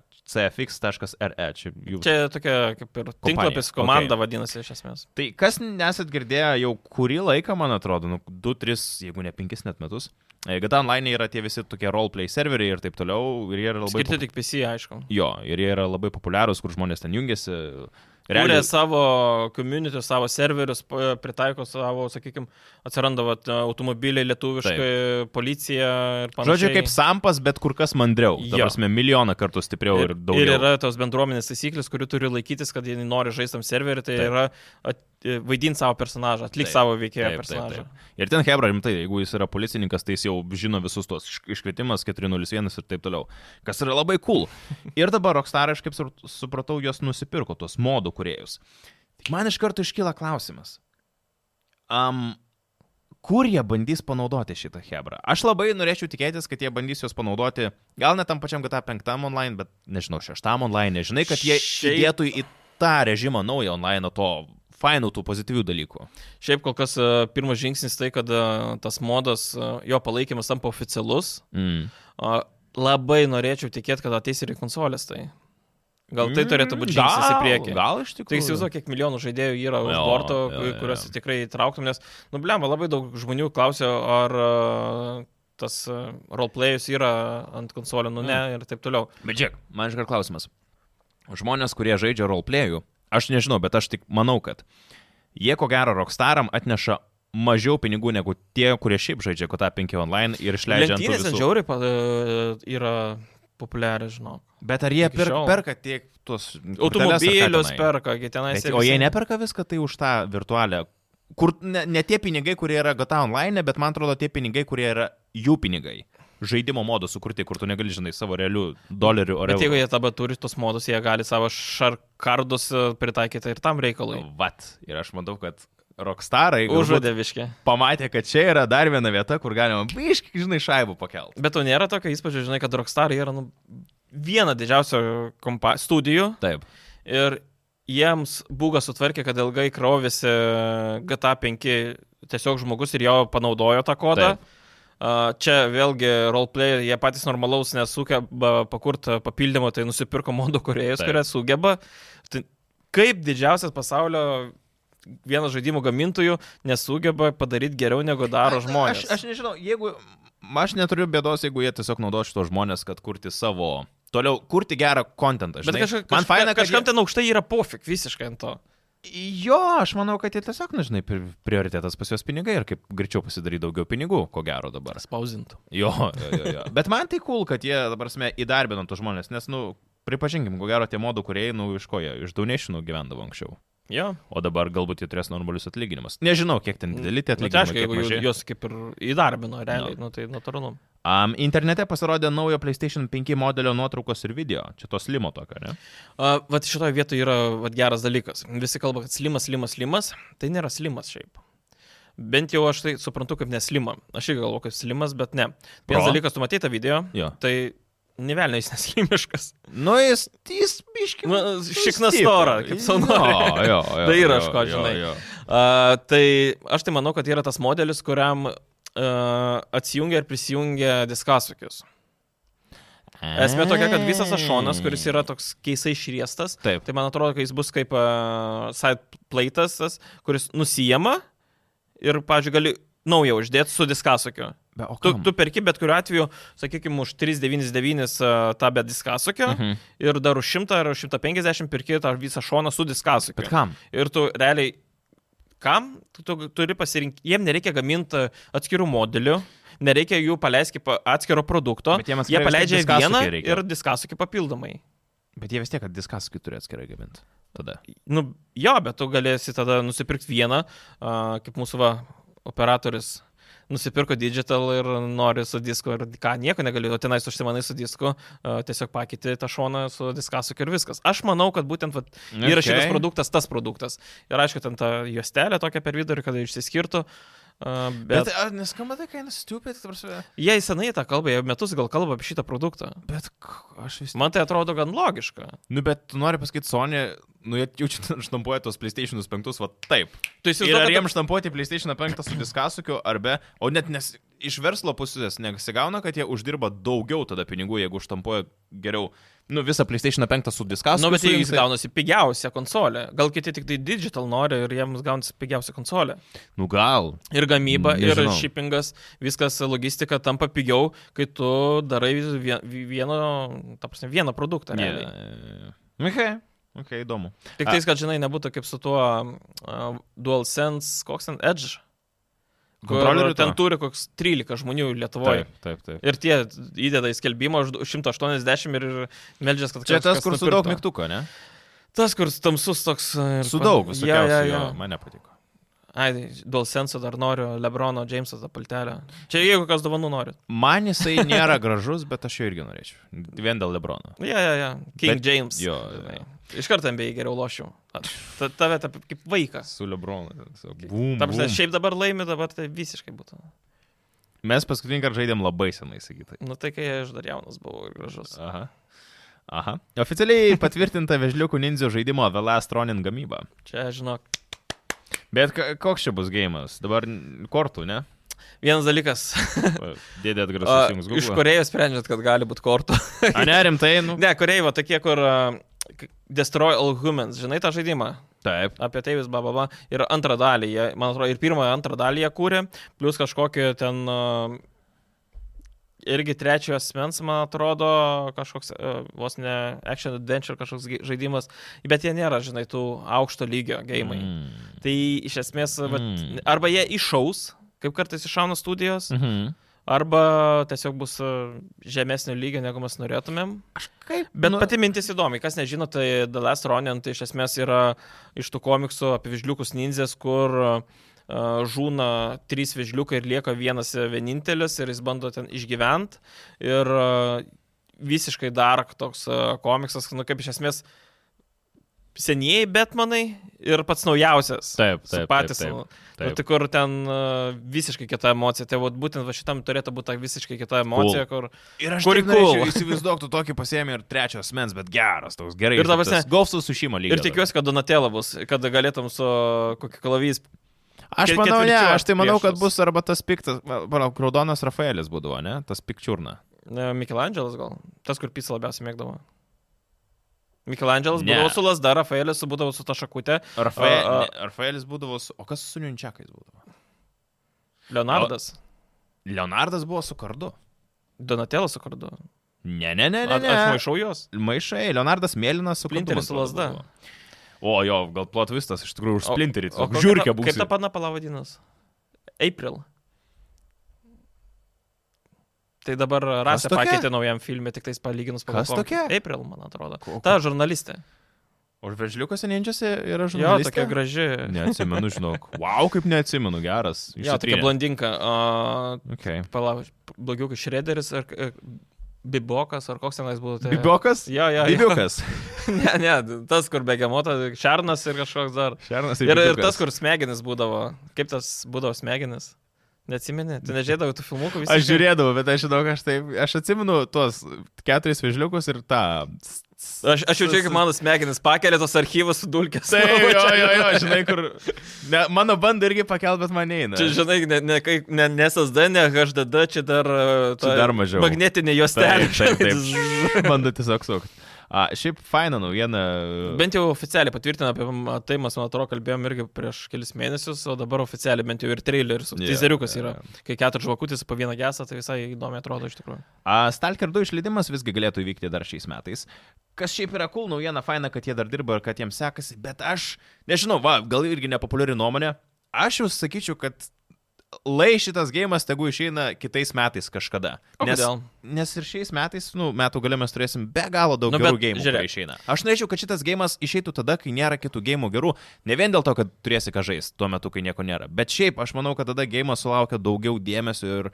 [SPEAKER 1] CFX.RE. Čia jų
[SPEAKER 2] Čia tokia kaip ir tinklapis, komanda okay. vadinasi iš esmės.
[SPEAKER 1] Tai kas nesat girdėję jau kurį laiką, man atrodo, nu, 2-3, jeigu ne 5 net metus, e, GTA Online yra tie visi tokie roleplay serveriai ir taip toliau, ir jie yra labai...
[SPEAKER 2] Skirti tik PC, aišku.
[SPEAKER 1] popu- Jo, ir jie yra labai populiarūs, kur žmonės ten jungiasi.
[SPEAKER 2] Realiai savo community, savo serverius, p- pritaiko savo, sakykime, atsiranda vat, automobiliai lietuviškai, policija ir panašiai.
[SPEAKER 1] Žodžiu, kaip sampas, bet kur kas mandriau.
[SPEAKER 2] Jo.
[SPEAKER 1] Jausime milijoną kartų stipriau ir, ir
[SPEAKER 2] Ir
[SPEAKER 1] daugiau.
[SPEAKER 2] yra tos bendruomenės taisyklės, kurių turi laikytis, kad jie nori žaistam serverį, tai
[SPEAKER 1] Taip.
[SPEAKER 2] taip. yra at, vaidinti savo personažą, atlikti
[SPEAKER 1] Taip,
[SPEAKER 2] savo veikėjo
[SPEAKER 1] Taip, taip,
[SPEAKER 2] personažą.
[SPEAKER 1] taip. Ir ten Hebra, rimtai, jeigu jis yra policininkas, tai jis jau žino visus tuos iš- iškvietimas 401 ir taip toliau. Kas yra labai cool. Ir dabar Rockstar, aš kaip sur- supratau, jos nusipirko tuos modų kuriejus. Tik man iš karto iškyla klausimas. Um, kur jie bandys panaudoti šitą Hebrą? Aš labai norėčiau tikėtis, kad jie bandys juos panaudoti gal net tam pačiam GTA 5 online, bet nežinau, 6 online, nežinai, kad jie
[SPEAKER 2] Šiaip-
[SPEAKER 1] įdėtų į tą režimą naują online to fainų tų pozityvių dalykų.
[SPEAKER 2] Šiaip kol kas e, pirmas žingsnis tai, kad e, tas modas, e, jo palaikymas tampa oficialus.
[SPEAKER 1] Mm.
[SPEAKER 2] O, Labai norėčiau tikėti, kad ateis ir į konsolės tai. Gal tai turėtų būti
[SPEAKER 1] Mm,
[SPEAKER 2] žingsnis į
[SPEAKER 1] gal,
[SPEAKER 2] priekį.
[SPEAKER 1] Gal iš
[SPEAKER 2] Tai
[SPEAKER 1] tikrųjų.
[SPEAKER 2] įsivaizduoju, kiek milijonų žaidėjų yra už
[SPEAKER 1] Jo,
[SPEAKER 2] borto,
[SPEAKER 1] jo, jo,
[SPEAKER 2] kuriuos
[SPEAKER 1] jo.
[SPEAKER 2] tikrai įtrauktum, nes, nu, blema, labai daug žmonių klausia, ar a, tas e, a,
[SPEAKER 1] Mm.
[SPEAKER 2] roleplayus yra ant konsolių, nu ne, ir taip toliau.
[SPEAKER 1] Bet džek, man iškart klausimas. žmonės, kurie žaidžia roleplayų, aš nežinau, bet aš tik manau, kad jie ko gero Rockstaram atneša mažiau pinigų negu tie, kurie šiaip žaidžia Kota 5 online ir išleidžia ant tų
[SPEAKER 2] Lenktynės ant
[SPEAKER 1] visų.
[SPEAKER 2] žiauriai pa- e, yra populiariai, žinau.
[SPEAKER 1] Bet ar jie
[SPEAKER 2] Iki
[SPEAKER 1] per,
[SPEAKER 2] šiol.
[SPEAKER 1] perka tiek tuos korteles ar ką
[SPEAKER 2] Automobilius
[SPEAKER 1] tenai?
[SPEAKER 2] perka, gi tenai.
[SPEAKER 1] Bet, o jie neperka viską tai už tą virtualią. Kur ne, ne tie pinigai, kurie yra gata online, bet man atrodo tie pinigai, kurie yra jų pinigai. Žaidimo modų sukurti, kur tu negali, žinai, savo realių dolerių ar
[SPEAKER 2] Bet jeigu jie dabar turi tos modus, jie gali savo šarkardus e, pritaikyti ir tam reikalui.
[SPEAKER 1] Vat. Ir aš manau, kad rockstarai Nu, tai galbūt
[SPEAKER 2] Užuodė viškė.
[SPEAKER 1] pamatė, kad čia yra dar viena vieta, kur galima, biškai, žinai, šaibų pakelt.
[SPEAKER 2] Bet to nėra tokio įspūdžio, žinai, kad Rockstar yra nu, viena didžiausių kompa- studijų
[SPEAKER 1] Taip.
[SPEAKER 2] ir jiems būga sutvarkė, kad ilgai krovėsi GTA 5 tiesiog žmogus ir jo panaudojo tą kodą.
[SPEAKER 1] Taip.
[SPEAKER 2] A, Čia vėlgi roleplay, jie patys normalaus nesugeba pakurti papildymo, tai nusipirko modų kuriejus,
[SPEAKER 1] Taip.
[SPEAKER 2] kurie sugeba. Tai kaip didžiausias pasaulio vienas žaidimų gamintojų nesugeba padaryti geriau negu daro žmonės.
[SPEAKER 1] Aš, aš nežinau, jeigu... Aš neturiu bėdos, jeigu jie tiesiog naudos šito žmonės, kad kurti savo... Toliau, kurti gerą kontentą.
[SPEAKER 2] Bet
[SPEAKER 1] žinai.
[SPEAKER 2] kažkaip,
[SPEAKER 1] Man faina, kad...
[SPEAKER 2] kažkam tai- jie... ten aukštai yra pofik visiškai ant to.
[SPEAKER 1] Jo, aš manau, kad jie tiesiog, na, žinai, pri- prioritetas pas juos pinigai ir kaip greičiau pasidaryti daugiau pinigų, ko gero dabar.
[SPEAKER 2] Spausdintų.
[SPEAKER 1] Jo, jo, jo, jo. Bet man tai cool, kad jie, dabar, mes įdarbino tos žmonės, nes, nu, pripažinkim, ko gero tie modų, kurie, nu, iš ko jie, iš daunešinų gyvendavo anksčiau.
[SPEAKER 2] Jo.
[SPEAKER 1] O dabar galbūt jie turės normalius atlyginimus. Nežinau, kiek ten dideli tie
[SPEAKER 2] Nu, tai aišku,
[SPEAKER 1] atlyginimai.
[SPEAKER 2] jeigu
[SPEAKER 1] Nu,
[SPEAKER 2] ju-
[SPEAKER 1] tai
[SPEAKER 2] juos kaip ir įdarbino realiai, nu, tai natūralu.
[SPEAKER 1] um, internete pasirodė naujo PlayStation 5 modelio nuotraukos ir video. Čia tos limo tokio, ne?
[SPEAKER 2] Uh, vat šitoje vietoje yra vat, geras dalykas. Visi kalba, kad slimas, slimas, slimas. Tai nėra slimas šiaip. Bent jau aš tai suprantu kaip neslima. Aš irgi galvoju kaip slimas, bet ne. Vienas
[SPEAKER 1] Pro.
[SPEAKER 2] dalykas, tu matei tą video,
[SPEAKER 1] Jo.
[SPEAKER 2] tai nevelnai jis neslimiškas.
[SPEAKER 1] Nu, jis, jis, biškiai.
[SPEAKER 2] Nu, šikna stora, kaip sau nori.
[SPEAKER 1] Jo, jo, jo.
[SPEAKER 2] Tai yra, aš
[SPEAKER 1] jo,
[SPEAKER 2] ko,
[SPEAKER 1] jo,
[SPEAKER 2] žinai.
[SPEAKER 1] jo.
[SPEAKER 2] A, tai aš tai manau, kad yra tas modelis, kuriam a, atsijungia ir prisijungia diskasukius. Esmė tokia, kad visas tas šonas, kuris yra toks keisai išriestas,
[SPEAKER 1] Taip.
[SPEAKER 2] tai man atrodo, kad jis bus kaip uh, side plaitas, tas, kuris nusijama ir, pažiūrėjau, gali naują uždėti su diskasukiu.
[SPEAKER 1] Be, o
[SPEAKER 2] Tu,
[SPEAKER 1] kam?
[SPEAKER 2] tu perki bet kuriu atveju, sakykime, už 399 uh, tą be diskasukio uh -huh.
[SPEAKER 1] Mhm.
[SPEAKER 2] ir dar už 100 ar už 150 perki tą visą šoną su diskasukiu.
[SPEAKER 1] Bet kam?
[SPEAKER 2] Ir tu realiai, kam tu, tu turi pasirinkti, jiem nereikia gaminti atskirų modelių, nereikia jų paleisti kaip atskiro produkto,
[SPEAKER 1] Bet jiem atskirai
[SPEAKER 2] jie
[SPEAKER 1] vis tiek
[SPEAKER 2] paleidžia
[SPEAKER 1] diskasukį
[SPEAKER 2] vieną
[SPEAKER 1] reikia.
[SPEAKER 2] ir diskasukį papildomai.
[SPEAKER 1] Bet jie vis tiek, kad diskaskį turi atskirai gaminti. Tada.
[SPEAKER 2] Nu, jo, bet tu galėsi tada nusipirkti vieną, a, kaip mūsų va, operatorius. Nusipirko digital ir nori su disku ir ką, nieko negaliu, o tenais užsimanai su disku, a, tiesiog pakeitė tą šoną su diskasukiu ir viskas. Aš manau, kad būtent vat, Okay. Yra šitas produktas, tas produktas. Ir aišku, ten ta juostelė tokia per vidurį, kad išsiskirtų. a, Bet,
[SPEAKER 1] Bet, bet ar neskamba tai, kai nestupit, tarsi.
[SPEAKER 2] bet jie senai tą kalbą, jie metus gal kalba apie šitą produktą.
[SPEAKER 1] Bet k- aš vis.
[SPEAKER 2] Man tai atrodo gan logiška.
[SPEAKER 1] Nu, bet tu nori pasakyti, Sony, nu, jie jau čia štampuoja tos PlayStation 5, va taip.
[SPEAKER 2] Tu
[SPEAKER 1] Ir ar
[SPEAKER 2] įsivaizduoji,
[SPEAKER 1] jiems štampuoti PlayStation 5 su diskasukiu, ar be, o net nes iš verslo pusės nesigauna, kad jie uždirba daugiau tada pinigų, jeigu štampuoja geriau, nu, visą PlayStation 5 su
[SPEAKER 2] kad...
[SPEAKER 1] diskasukiu.
[SPEAKER 2] Nu, bet jie jums
[SPEAKER 1] sujungti.
[SPEAKER 2] gaunasi pigiausia konsolė. Gal kiti tik tai digital nori ir jiems gaunasi pigiausia konsolė.
[SPEAKER 1] Nu, gal.
[SPEAKER 2] Ir gamyba, ir
[SPEAKER 1] Mm, Nežinau.
[SPEAKER 2] shippingas, viskas logistika tampa pigiau, kai tu darai vie- vieno, ta prasme, vieną produktą. realiai.
[SPEAKER 1] Ne. Okay. Ok, įdomu.
[SPEAKER 2] Tik tais, kad žinai, nebūtų kaip su tuo uh, DualSense, koks ten Edge. kur
[SPEAKER 1] Kontrolerių
[SPEAKER 2] ten
[SPEAKER 1] to?
[SPEAKER 2] turi koks 13 žmonių Lietuvoje.
[SPEAKER 1] Taip, taip, taip.
[SPEAKER 2] Ir tie įdeda į skelbimą už du- 180 ir ir meldžias, kad
[SPEAKER 1] Čia tas,
[SPEAKER 2] kažkas
[SPEAKER 1] kur su
[SPEAKER 2] nupirktų.
[SPEAKER 1] daug mygtuko, ne?
[SPEAKER 2] Tas, kur tamsus toks. ir
[SPEAKER 1] Su
[SPEAKER 2] pan-
[SPEAKER 1] daug
[SPEAKER 2] Jo,
[SPEAKER 1] visokiausių.
[SPEAKER 2] jo,
[SPEAKER 1] Ja,
[SPEAKER 2] jo.
[SPEAKER 1] ja, ja. Man nepatiko.
[SPEAKER 2] Ai, tai dėl senso dar noriu Lebrono Jameso tą paltelę. Čia jeigu kas dovanų nori.
[SPEAKER 1] Man jisai nėra gražus, bet aš jo irgi norėčiau. Vien dėl Lebrono.
[SPEAKER 2] Ja, ja, ja. King
[SPEAKER 1] Bet-
[SPEAKER 2] James.
[SPEAKER 1] jo,
[SPEAKER 2] Žinai.
[SPEAKER 1] jo.
[SPEAKER 2] Iš karto MBA geriau lošiu. Ta- Tave ta, kaip vaikas.
[SPEAKER 1] Su Lebronu. Bum,
[SPEAKER 2] Tam,
[SPEAKER 1] bum.
[SPEAKER 2] šiaip dabar laimi, dabar tai visiškai būtų.
[SPEAKER 1] Mes paskutinį kartą žaidėm labai senai, sakytai.
[SPEAKER 2] Nu tai kai aš dar jaunas buvau ir gražus.
[SPEAKER 1] Aha. Aha. Oficialiai patvirtinta Vežliukų ninzio žaidimo The Last Ronin gamyba.
[SPEAKER 2] Čia, žinok,
[SPEAKER 1] Bet ka- koks čia bus gėjimas? Dabar n- kortų, ne?
[SPEAKER 2] vienas dalykas.
[SPEAKER 1] Dėdė atgrasus jums
[SPEAKER 2] Iš
[SPEAKER 1] gūsiu.
[SPEAKER 2] Korejos sprendžiat, kad gali būti kortų.
[SPEAKER 1] A ne, rimtai, nu.
[SPEAKER 2] Ne, Korejai, va tokie, kur a, k- Destroy All Humans, žinai tą žaidimą
[SPEAKER 1] Taip.
[SPEAKER 2] apie tai Teivis Bababa. Ir antrą dalį, jie, man atrodo, ir pirmąją, antrą dalį jie kūrė, plus kažkokį ten... a, irgi trečiojo asmens, man atrodo, kažkoks e, vos ne action adventure kažkoks gi- žaidimas, bet jie nėra, žinai, tų aukšto lygio gėjimai. Mm.
[SPEAKER 1] Mm.
[SPEAKER 2] Tai iš esmės,
[SPEAKER 1] Mm.
[SPEAKER 2] mm. vat, arba jie iššaus, kaip kartais iššauna studijos, mm.
[SPEAKER 1] Mhm.
[SPEAKER 2] arba tiesiog bus e, žemesnio lygio, negu mes norėtumėm.
[SPEAKER 1] Aš kaip.
[SPEAKER 2] Bet nu, pati mintis įdomi, kas nežino, tai The Last Ronin tai iš esmės yra iš tų komiksų apie vižliukus ninzės, kur uh, žūna trys vižliukai ir lieka vienas e, vienintelis ir jis bando ten išgyvent. Ir uh, visiškai dark toks uh, komiksas, nu kaip iš esmės senieji Betmanai ir pats naujausias.
[SPEAKER 1] Taip,
[SPEAKER 2] Su
[SPEAKER 1] taip.
[SPEAKER 2] patys,
[SPEAKER 1] taip,
[SPEAKER 2] nu,
[SPEAKER 1] taip,
[SPEAKER 2] Nu,
[SPEAKER 1] taip.
[SPEAKER 2] tai kur ten uh, visiškai kita emocija, tai vat, būtent va šitam turėtų būti ta visiškai kita emocija, cool. kur...
[SPEAKER 1] Ir aš
[SPEAKER 2] Kuri
[SPEAKER 1] tik norėčiau,
[SPEAKER 2] cool.
[SPEAKER 1] įsivaizduok, tu tokį pasiemi ir trečias mens, bet geras, toks gerai.
[SPEAKER 2] Ir ta prasme-
[SPEAKER 1] Golfsų sušymo lygis.
[SPEAKER 2] Ir tikiuosi, kad Donatėla bus, kad galėtum su kokiu kalavys
[SPEAKER 1] Aš
[SPEAKER 2] Ket-
[SPEAKER 1] manau, ne,
[SPEAKER 2] ketvirčiu
[SPEAKER 1] aš tai manau, kad
[SPEAKER 2] priešas.
[SPEAKER 1] bus arba tas piktas, palauk, raudonas Rafaelis būdavo, ne, tas pikčiurna.
[SPEAKER 2] Ne, Mikelandželas gal. Tas, kur pisa labiausiai mėgdavo. Mikelandželas
[SPEAKER 1] Ne.
[SPEAKER 2] būdavo su lasda, Rafaelis su- būdavo su ta šakutė,
[SPEAKER 1] Rafae,
[SPEAKER 2] A, a.
[SPEAKER 1] ne, Rafaelis būdavo, su, o kas su Niunčiakais būdavo?
[SPEAKER 2] Leonardas,
[SPEAKER 1] Leonardas buvo su kardu.
[SPEAKER 2] Donatelas su kardu.
[SPEAKER 1] Ne, ne, ne, ne.
[SPEAKER 2] Aš
[SPEAKER 1] ne.
[SPEAKER 2] maišau juos.
[SPEAKER 1] Maišai, Leonardas Mėlynas su kardu.
[SPEAKER 2] Splinteris
[SPEAKER 1] man
[SPEAKER 2] su
[SPEAKER 1] atrodo,
[SPEAKER 2] lazda.
[SPEAKER 1] buvo. O jo, gal plotvistas, iš tikrųjų, už
[SPEAKER 2] O-
[SPEAKER 1] splinterį.
[SPEAKER 2] o kokia ta-
[SPEAKER 1] Žiūrkė
[SPEAKER 2] Kaip
[SPEAKER 1] būtų.
[SPEAKER 2] ta pana palavadinas? April. Tai dabar rasę
[SPEAKER 1] tokia?
[SPEAKER 2] pakeitė naujam filmė, tik tais palyginus pagal
[SPEAKER 1] Kas
[SPEAKER 2] komik-
[SPEAKER 1] tokia?
[SPEAKER 2] April, man atrodo.
[SPEAKER 1] Ko-
[SPEAKER 2] Ta žurnalistė.
[SPEAKER 1] O vežliukose ninčiasi yra
[SPEAKER 2] Jo,
[SPEAKER 1] žurnalistė.
[SPEAKER 2] tokia graži.
[SPEAKER 1] Neatsimenu, žinok. Wow, kaip neatsimenu, geras.
[SPEAKER 2] Jo, tokia
[SPEAKER 1] Išsitrynė.
[SPEAKER 2] blondinka. A,
[SPEAKER 1] Okay.
[SPEAKER 2] Palauk, blogiukas Šrederis ar e, Bibokas ar koks tenais būtų. Tai...
[SPEAKER 1] Bibokas?
[SPEAKER 2] Jo, jo, jo.
[SPEAKER 1] Bibiukas.
[SPEAKER 2] ne, ne, tas, kur begemota, Šarnas ir kažkoks dar.
[SPEAKER 1] Šernas
[SPEAKER 2] Ir, ir
[SPEAKER 1] Tai bibiukas.
[SPEAKER 2] tas, kur smegenis būdavo. Kaip tas būdavo smegenis? Neatsimeni, tu nežiūrėdavai tų filmukų visų.
[SPEAKER 1] Aš žiūrėdavau, bet aš žinau, aš taip, aš atsimenu tuos keturis vežliukus ir tą.
[SPEAKER 2] Aš, aš jaučiu, kaip mano smegenis pakelia tos archyvus su dulkės.
[SPEAKER 1] Tai, jo,
[SPEAKER 2] Nu, čia-
[SPEAKER 1] jo, jo, žinai, kur. Ne, mano bando irgi pakelt, bet man neina.
[SPEAKER 2] Čia, žinai, ne, ne, kaip- ne, ne SSD, ne HDD, čia dar... e, ta
[SPEAKER 1] Čia dar mažiau.
[SPEAKER 2] Magnetinė juostelė.
[SPEAKER 1] Taip, taip, taip. Bando tiesiog sukti. A, šiaip fainą naujieną.
[SPEAKER 2] Bent jau oficialiai patvirtina apie m- tai, mes, man atrodo, kalbėjom irgi prieš kelis mėnesius, o dabar oficialiai bent jau ir traileris,
[SPEAKER 1] Jo,
[SPEAKER 2] yeah, teaseriukas
[SPEAKER 1] jo,
[SPEAKER 2] yeah, yra. Kai keturios žvakutės po vieną gesą, tai visai įdomi atrodo iš tikrųjų.
[SPEAKER 1] A, Stalker 2 išleidimas visgi galėtų įvykti dar šiais metais. Kas šiaip yra cool naujiena, faina, kad jie dar dirba ir kad jiems sekasi, bet aš, nežinau, va, gal irgi nepopuliari nuomonė, aš jau sakyčiau, kad lai šitas gėjimas tegu išeina kitais metais kažkada.
[SPEAKER 2] O kodėl?
[SPEAKER 1] Nes ir šiais metais, nu, metų gale mes turėsim be galo daug
[SPEAKER 2] Nu,
[SPEAKER 1] nu, gerų
[SPEAKER 2] bet
[SPEAKER 1] gėjimų,
[SPEAKER 2] žiūrėk.
[SPEAKER 1] kurie išeina. Aš norėčiau, kad šitas gėjimas išeitų tada, kai nėra kitų gėjimų gerų. Ne vien dėl to, kad turėsi ką žaisti tuo metu, kai nieko nėra. Bet šiaip aš manau, kad tada gėjimas sulaukia daugiau dėmesio ir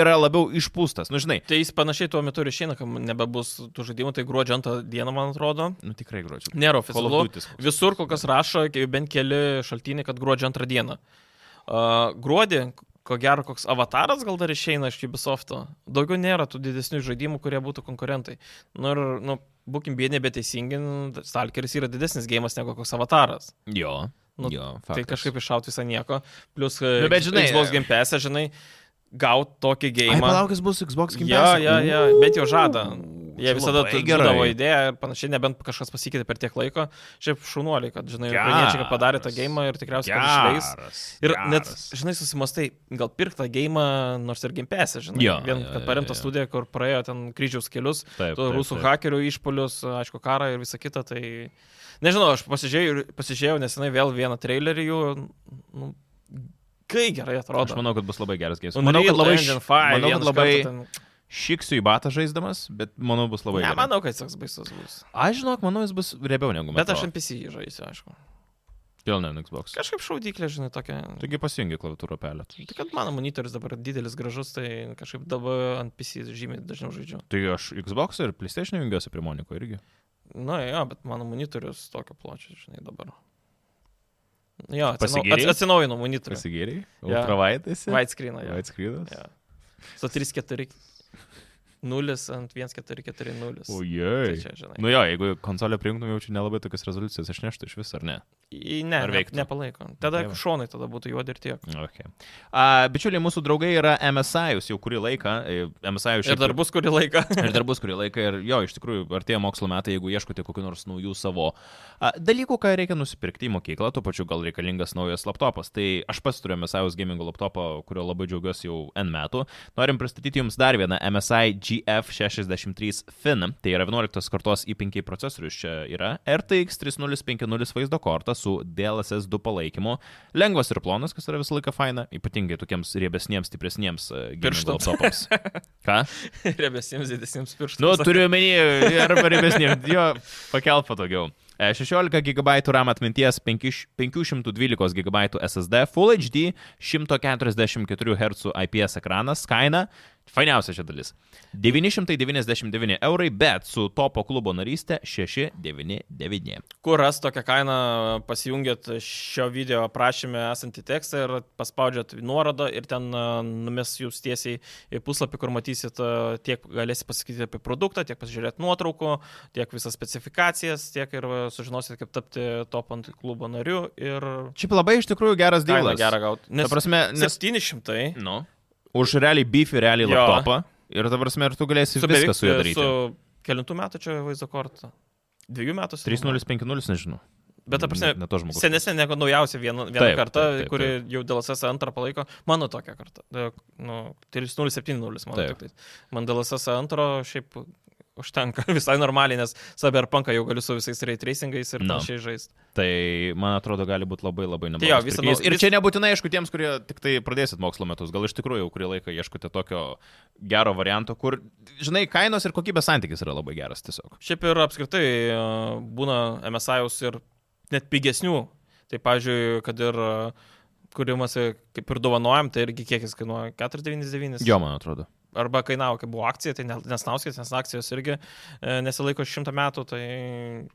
[SPEAKER 1] yra labiau išpūstas. Nu, žinai,
[SPEAKER 2] Tai jis panašiai tuo metu ir išeina, kad nebebus tų žaidimų, tai gruodžio antrą dieną, man atrodo.
[SPEAKER 1] nu, tikrai gruodžio.
[SPEAKER 2] Nėra
[SPEAKER 1] Call of
[SPEAKER 2] oficialu.
[SPEAKER 1] Duty koks.
[SPEAKER 2] Visur kol kas rašo, ke- bent keli šaltiniai, kad gruodžio antrą dieną. Uh, gruodį, ko gero, koks avataras gal dar išeina iš Ubisofto. Daugiau nėra tų didesnių žaidimų, kurie būtų konkurentai. Nu ir, nu, būkim bėdė, bet teisingi, nu, Stalkeris yra didesnis gėjimas negu koks avataras.
[SPEAKER 1] Jo.
[SPEAKER 2] Nu,
[SPEAKER 1] jo,
[SPEAKER 2] Faktas. Tai kažkaip iššaut visą nieko. Plus,
[SPEAKER 1] Nu, bet žinai,
[SPEAKER 2] Xbox Game Pass, e, žinai, gaut tokį
[SPEAKER 1] Ai,
[SPEAKER 2] gėjimą.
[SPEAKER 1] palaukis bus Xbox Game
[SPEAKER 2] Ja,
[SPEAKER 1] Pass.
[SPEAKER 2] ja, ja, bent jau žada. Jie
[SPEAKER 1] čia
[SPEAKER 2] visada
[SPEAKER 1] labai
[SPEAKER 2] turi
[SPEAKER 1] gerai.
[SPEAKER 2] gerą idėją ir panašiai, nebent kažkas pasikeitė per tiek laiko. Šiaip šunuoliai, kad, žinai,
[SPEAKER 1] Geras.
[SPEAKER 2] ukrainiečiai kad padarė tą gėjimą ir tikriausiai kad išleis.
[SPEAKER 1] Geras,
[SPEAKER 2] Ir net,
[SPEAKER 1] geras.
[SPEAKER 2] žinai, susimastai, gal pirk tą gėjimą, nors ir gimpėsi, žinai.
[SPEAKER 1] Jo,
[SPEAKER 2] Vien,
[SPEAKER 1] jo,
[SPEAKER 2] kad
[SPEAKER 1] jo, jo.
[SPEAKER 2] paremta studija, kur praėjo ten kryžiaus kelius,
[SPEAKER 1] Taip,
[SPEAKER 2] tų
[SPEAKER 1] taip,
[SPEAKER 2] rusų
[SPEAKER 1] taip.
[SPEAKER 2] hakerių išpolius, aišku, karą ir visą kitą, tai... Nežinau, aš pasižiūrėjau, pasižiūrėjau nesenai vėl vieną trailerį jų. Nu, kai gerai atrodo. Nu,
[SPEAKER 1] Aš manau, kad bus labai geras gėjimas. Manau, kad labai, š- manau, kad labai šiksiu į batą žaisdamas, bet manau bus labai
[SPEAKER 2] Ne,
[SPEAKER 1] gerai.
[SPEAKER 2] manau, kad jis toks baisus bus.
[SPEAKER 1] Aš žinok, manau, jis bus riebiau negu
[SPEAKER 2] Bet
[SPEAKER 1] Metro.
[SPEAKER 2] aš NPC jį žaisiu, aišku.
[SPEAKER 1] Dėl ne ant Xbox.
[SPEAKER 2] Kažkaip šaudyklė, žinai, tokia.
[SPEAKER 1] Taigi pasijungi klaviatūrą pelę.
[SPEAKER 2] Tai kad mano monitorius dabar didelis, gražus, tai kažkaip dabar NPC žymiai dažniau žaidžiu.
[SPEAKER 1] Tai aš Xbox ir PlayStation jungiuosi prie Moniko irgi.
[SPEAKER 2] Na, jo, bet mano monitorius tokio pločio, žinai, dabar. Jo,
[SPEAKER 1] Pasigyrei?
[SPEAKER 2] atsinaujino monitorius.
[SPEAKER 1] Pasigėriai?
[SPEAKER 2] Jo.
[SPEAKER 1] Ultravaitas?
[SPEAKER 2] White screen, jo.
[SPEAKER 1] White screenas?
[SPEAKER 2] jo. Su 3-4. 0 ant 1440. Tai
[SPEAKER 1] Ojei.
[SPEAKER 2] čia, žinai.
[SPEAKER 1] Nu jo, jeigu konsolę prijungtum, jaučiu nelabai tokias rezoliucijas išneštų iš vis, ar ne?
[SPEAKER 2] Į- Ne,
[SPEAKER 1] Ar
[SPEAKER 2] ne,
[SPEAKER 1] veiktų?
[SPEAKER 2] nepalaiko. Tada
[SPEAKER 1] Dieve.
[SPEAKER 2] šonai tada būtų juodi ir tiek.
[SPEAKER 1] Okay. A, bičiuliai, mūsų draugai yra MSI, jūs jau kurį laiką, e, MSI
[SPEAKER 2] Ir dar bus kurį laiką.
[SPEAKER 1] Ir dar bus kurį laiką, ir jo, iš tikrųjų, artėja mokslo metai, jeigu ieškote kokių nors naujų savo a, dalykų, ką reikia nusipirkti į mokyklą, tuo pačiu gal reikalingas naujas laptopas. Tai aš pats turiu MSI gamingo laptopą, kurio labai džiaugiuosi jau N metų. Norim pristatyti jums dar vieną MSI GF63 Fin. Tai yra 11 kartos i5 procesorius čia yra. RTX 3050 vaizdo kortą su DLSS 2 palaikymu. Lengvas ir plonas, kas yra visą laiką faina, ypatingai tokiems riebesniems, stipresniems a, gamingo
[SPEAKER 2] Pirštams.
[SPEAKER 1] laptopams. Ką?
[SPEAKER 2] Rebesiems didesniems pirštams.
[SPEAKER 1] Nu, turiu menį, arba ribesnė, jo, pakelt patogiau. E, 16 GB RAM atminties, 5 512 GB SSD, Full HD, 144 Hz IPS ekranas, kaina, fainiausia čia dalis. 999 eurai, bet su topo klubo narystė 699.
[SPEAKER 2] Kur ras tokią kainą, pasijungiat šio video aprašymę esantį tekstą ir paspaudžiat nuorodą ir ten a, numes jūs tiesiai į puslapį, kur matysit a, tiek galėsit pasakyti apie produktą, tiek pasižiūrėt nuotraukų, tiek visas specifikacijas, tiek ir a, sužinosit, kaip tapti top ant klubo nariu ir
[SPEAKER 1] Čia labai iš tikrųjų geras
[SPEAKER 2] kainą
[SPEAKER 1] dėlas.
[SPEAKER 2] gerą gauti.
[SPEAKER 1] Ta
[SPEAKER 2] Nes,
[SPEAKER 1] prasme, nes...
[SPEAKER 2] 700
[SPEAKER 1] Nu, už realiai beefį, realiai
[SPEAKER 2] Jo.
[SPEAKER 1] laptopą. Ir ta prasme, ir tu galėsi
[SPEAKER 2] su
[SPEAKER 1] viską
[SPEAKER 2] beveik
[SPEAKER 1] su juo daryti.
[SPEAKER 2] e, Su kelintų metų čia vaizdo kortą. Dviejų metų. senumo.
[SPEAKER 1] 3050, nežinau.
[SPEAKER 2] Bet, ta prasme,
[SPEAKER 1] Ne- ne to žmogaus.
[SPEAKER 2] Senesnė negu naujausia viena, viena
[SPEAKER 1] Taip,
[SPEAKER 2] taip, karta,
[SPEAKER 1] taip, taip,
[SPEAKER 2] kuri jau dėl SS antrą palaiko. Mano tokia karta. E, Nu, 3070, man
[SPEAKER 1] Taip.
[SPEAKER 2] tik tai. Man dėl SS antro šiaip užtenka visai normaliai, nes Cyberpunką jau galiu su visais ray tracingais ir
[SPEAKER 1] Na.
[SPEAKER 2] panašiai žaisti.
[SPEAKER 1] Tai, man atrodo, gali būti labai labai neblogas.
[SPEAKER 2] Tai jo, visą
[SPEAKER 1] pirkinys.
[SPEAKER 2] nau-
[SPEAKER 1] Ir
[SPEAKER 2] vis-
[SPEAKER 1] čia nebūtinai, aišku, tiems, kurie tik tai pradėsit mokslo metus, gal iš tikrųjų jau kurį laiką ieškote tokio gero varianto, kur, žinai, kainos ir kokybės santykis yra labai geras tiesiog.
[SPEAKER 2] Šiaip ir apskritai e, būna MSI'us ir net pigesnių. Tai, pavyzdžiui, kad ir e, kūrimas, e, kaip ir dovanojam, tai irgi kiekis kainuoja 4,99.
[SPEAKER 1] Jo, man atrodo.
[SPEAKER 2] arba kainavo, kai buvo akcija, tai ne- nesnauskit, nes akcijos irgi e, nesilaiko šimtą metų, tai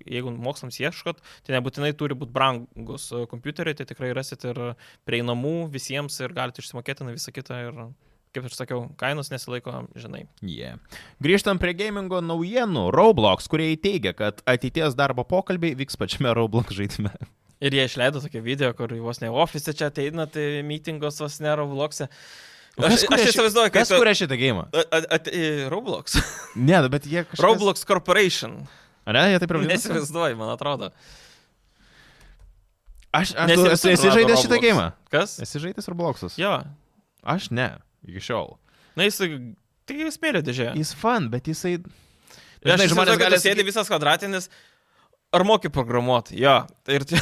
[SPEAKER 2] jeigu mokslams ieškot, tai nebūtinai turi būti brangus e, kompiuteriai, tai tikrai rasit ir prieinamų visiems ir galite išsimokėti na visą kitą ir, kaip ir sakiau, kainos nesilaiko, žinai.
[SPEAKER 1] Yeah. Grįžtam prie gamingo naujienų. Roblox, kurie įteigia, kad ateities darbo pokalbiai vyks pačiame Roblox žaidime.
[SPEAKER 2] Ir jie išleido tokį video, kur vos ne ofise čia ateina, tai mitingos vos nėra vlogse. Aš, aš įsivaizduoju,
[SPEAKER 1] kas
[SPEAKER 2] kas
[SPEAKER 1] kuria šitą gėjimą.
[SPEAKER 2] Roblox.
[SPEAKER 1] Ne, nu, bet jie kažkas.
[SPEAKER 2] Roblox Corporation.
[SPEAKER 1] Ar ne, jie taip ir vadinasi?
[SPEAKER 2] Nesivaizduoju, man atrodo.
[SPEAKER 1] Aš, aš,
[SPEAKER 2] Nes
[SPEAKER 1] tu,
[SPEAKER 2] ir
[SPEAKER 1] esi,
[SPEAKER 2] visur
[SPEAKER 1] esi
[SPEAKER 2] rado
[SPEAKER 1] žaidęs šitą
[SPEAKER 2] Roblox.
[SPEAKER 1] gėjimą.
[SPEAKER 2] Kas?
[SPEAKER 1] Esi žaidęs Robloxus?
[SPEAKER 2] Jo,
[SPEAKER 1] Aš ne, iki šiol.
[SPEAKER 2] Na, jis tik į smėlio dėžę.
[SPEAKER 1] Jis fan, bet jisai...
[SPEAKER 2] Ir
[SPEAKER 1] Žinai,
[SPEAKER 2] aš
[SPEAKER 1] žmonės
[SPEAKER 2] žmonės gali
[SPEAKER 1] gali
[SPEAKER 2] sėdėti visas kvadratinis. Ar moki programuoti? Jo. Tai Ir čia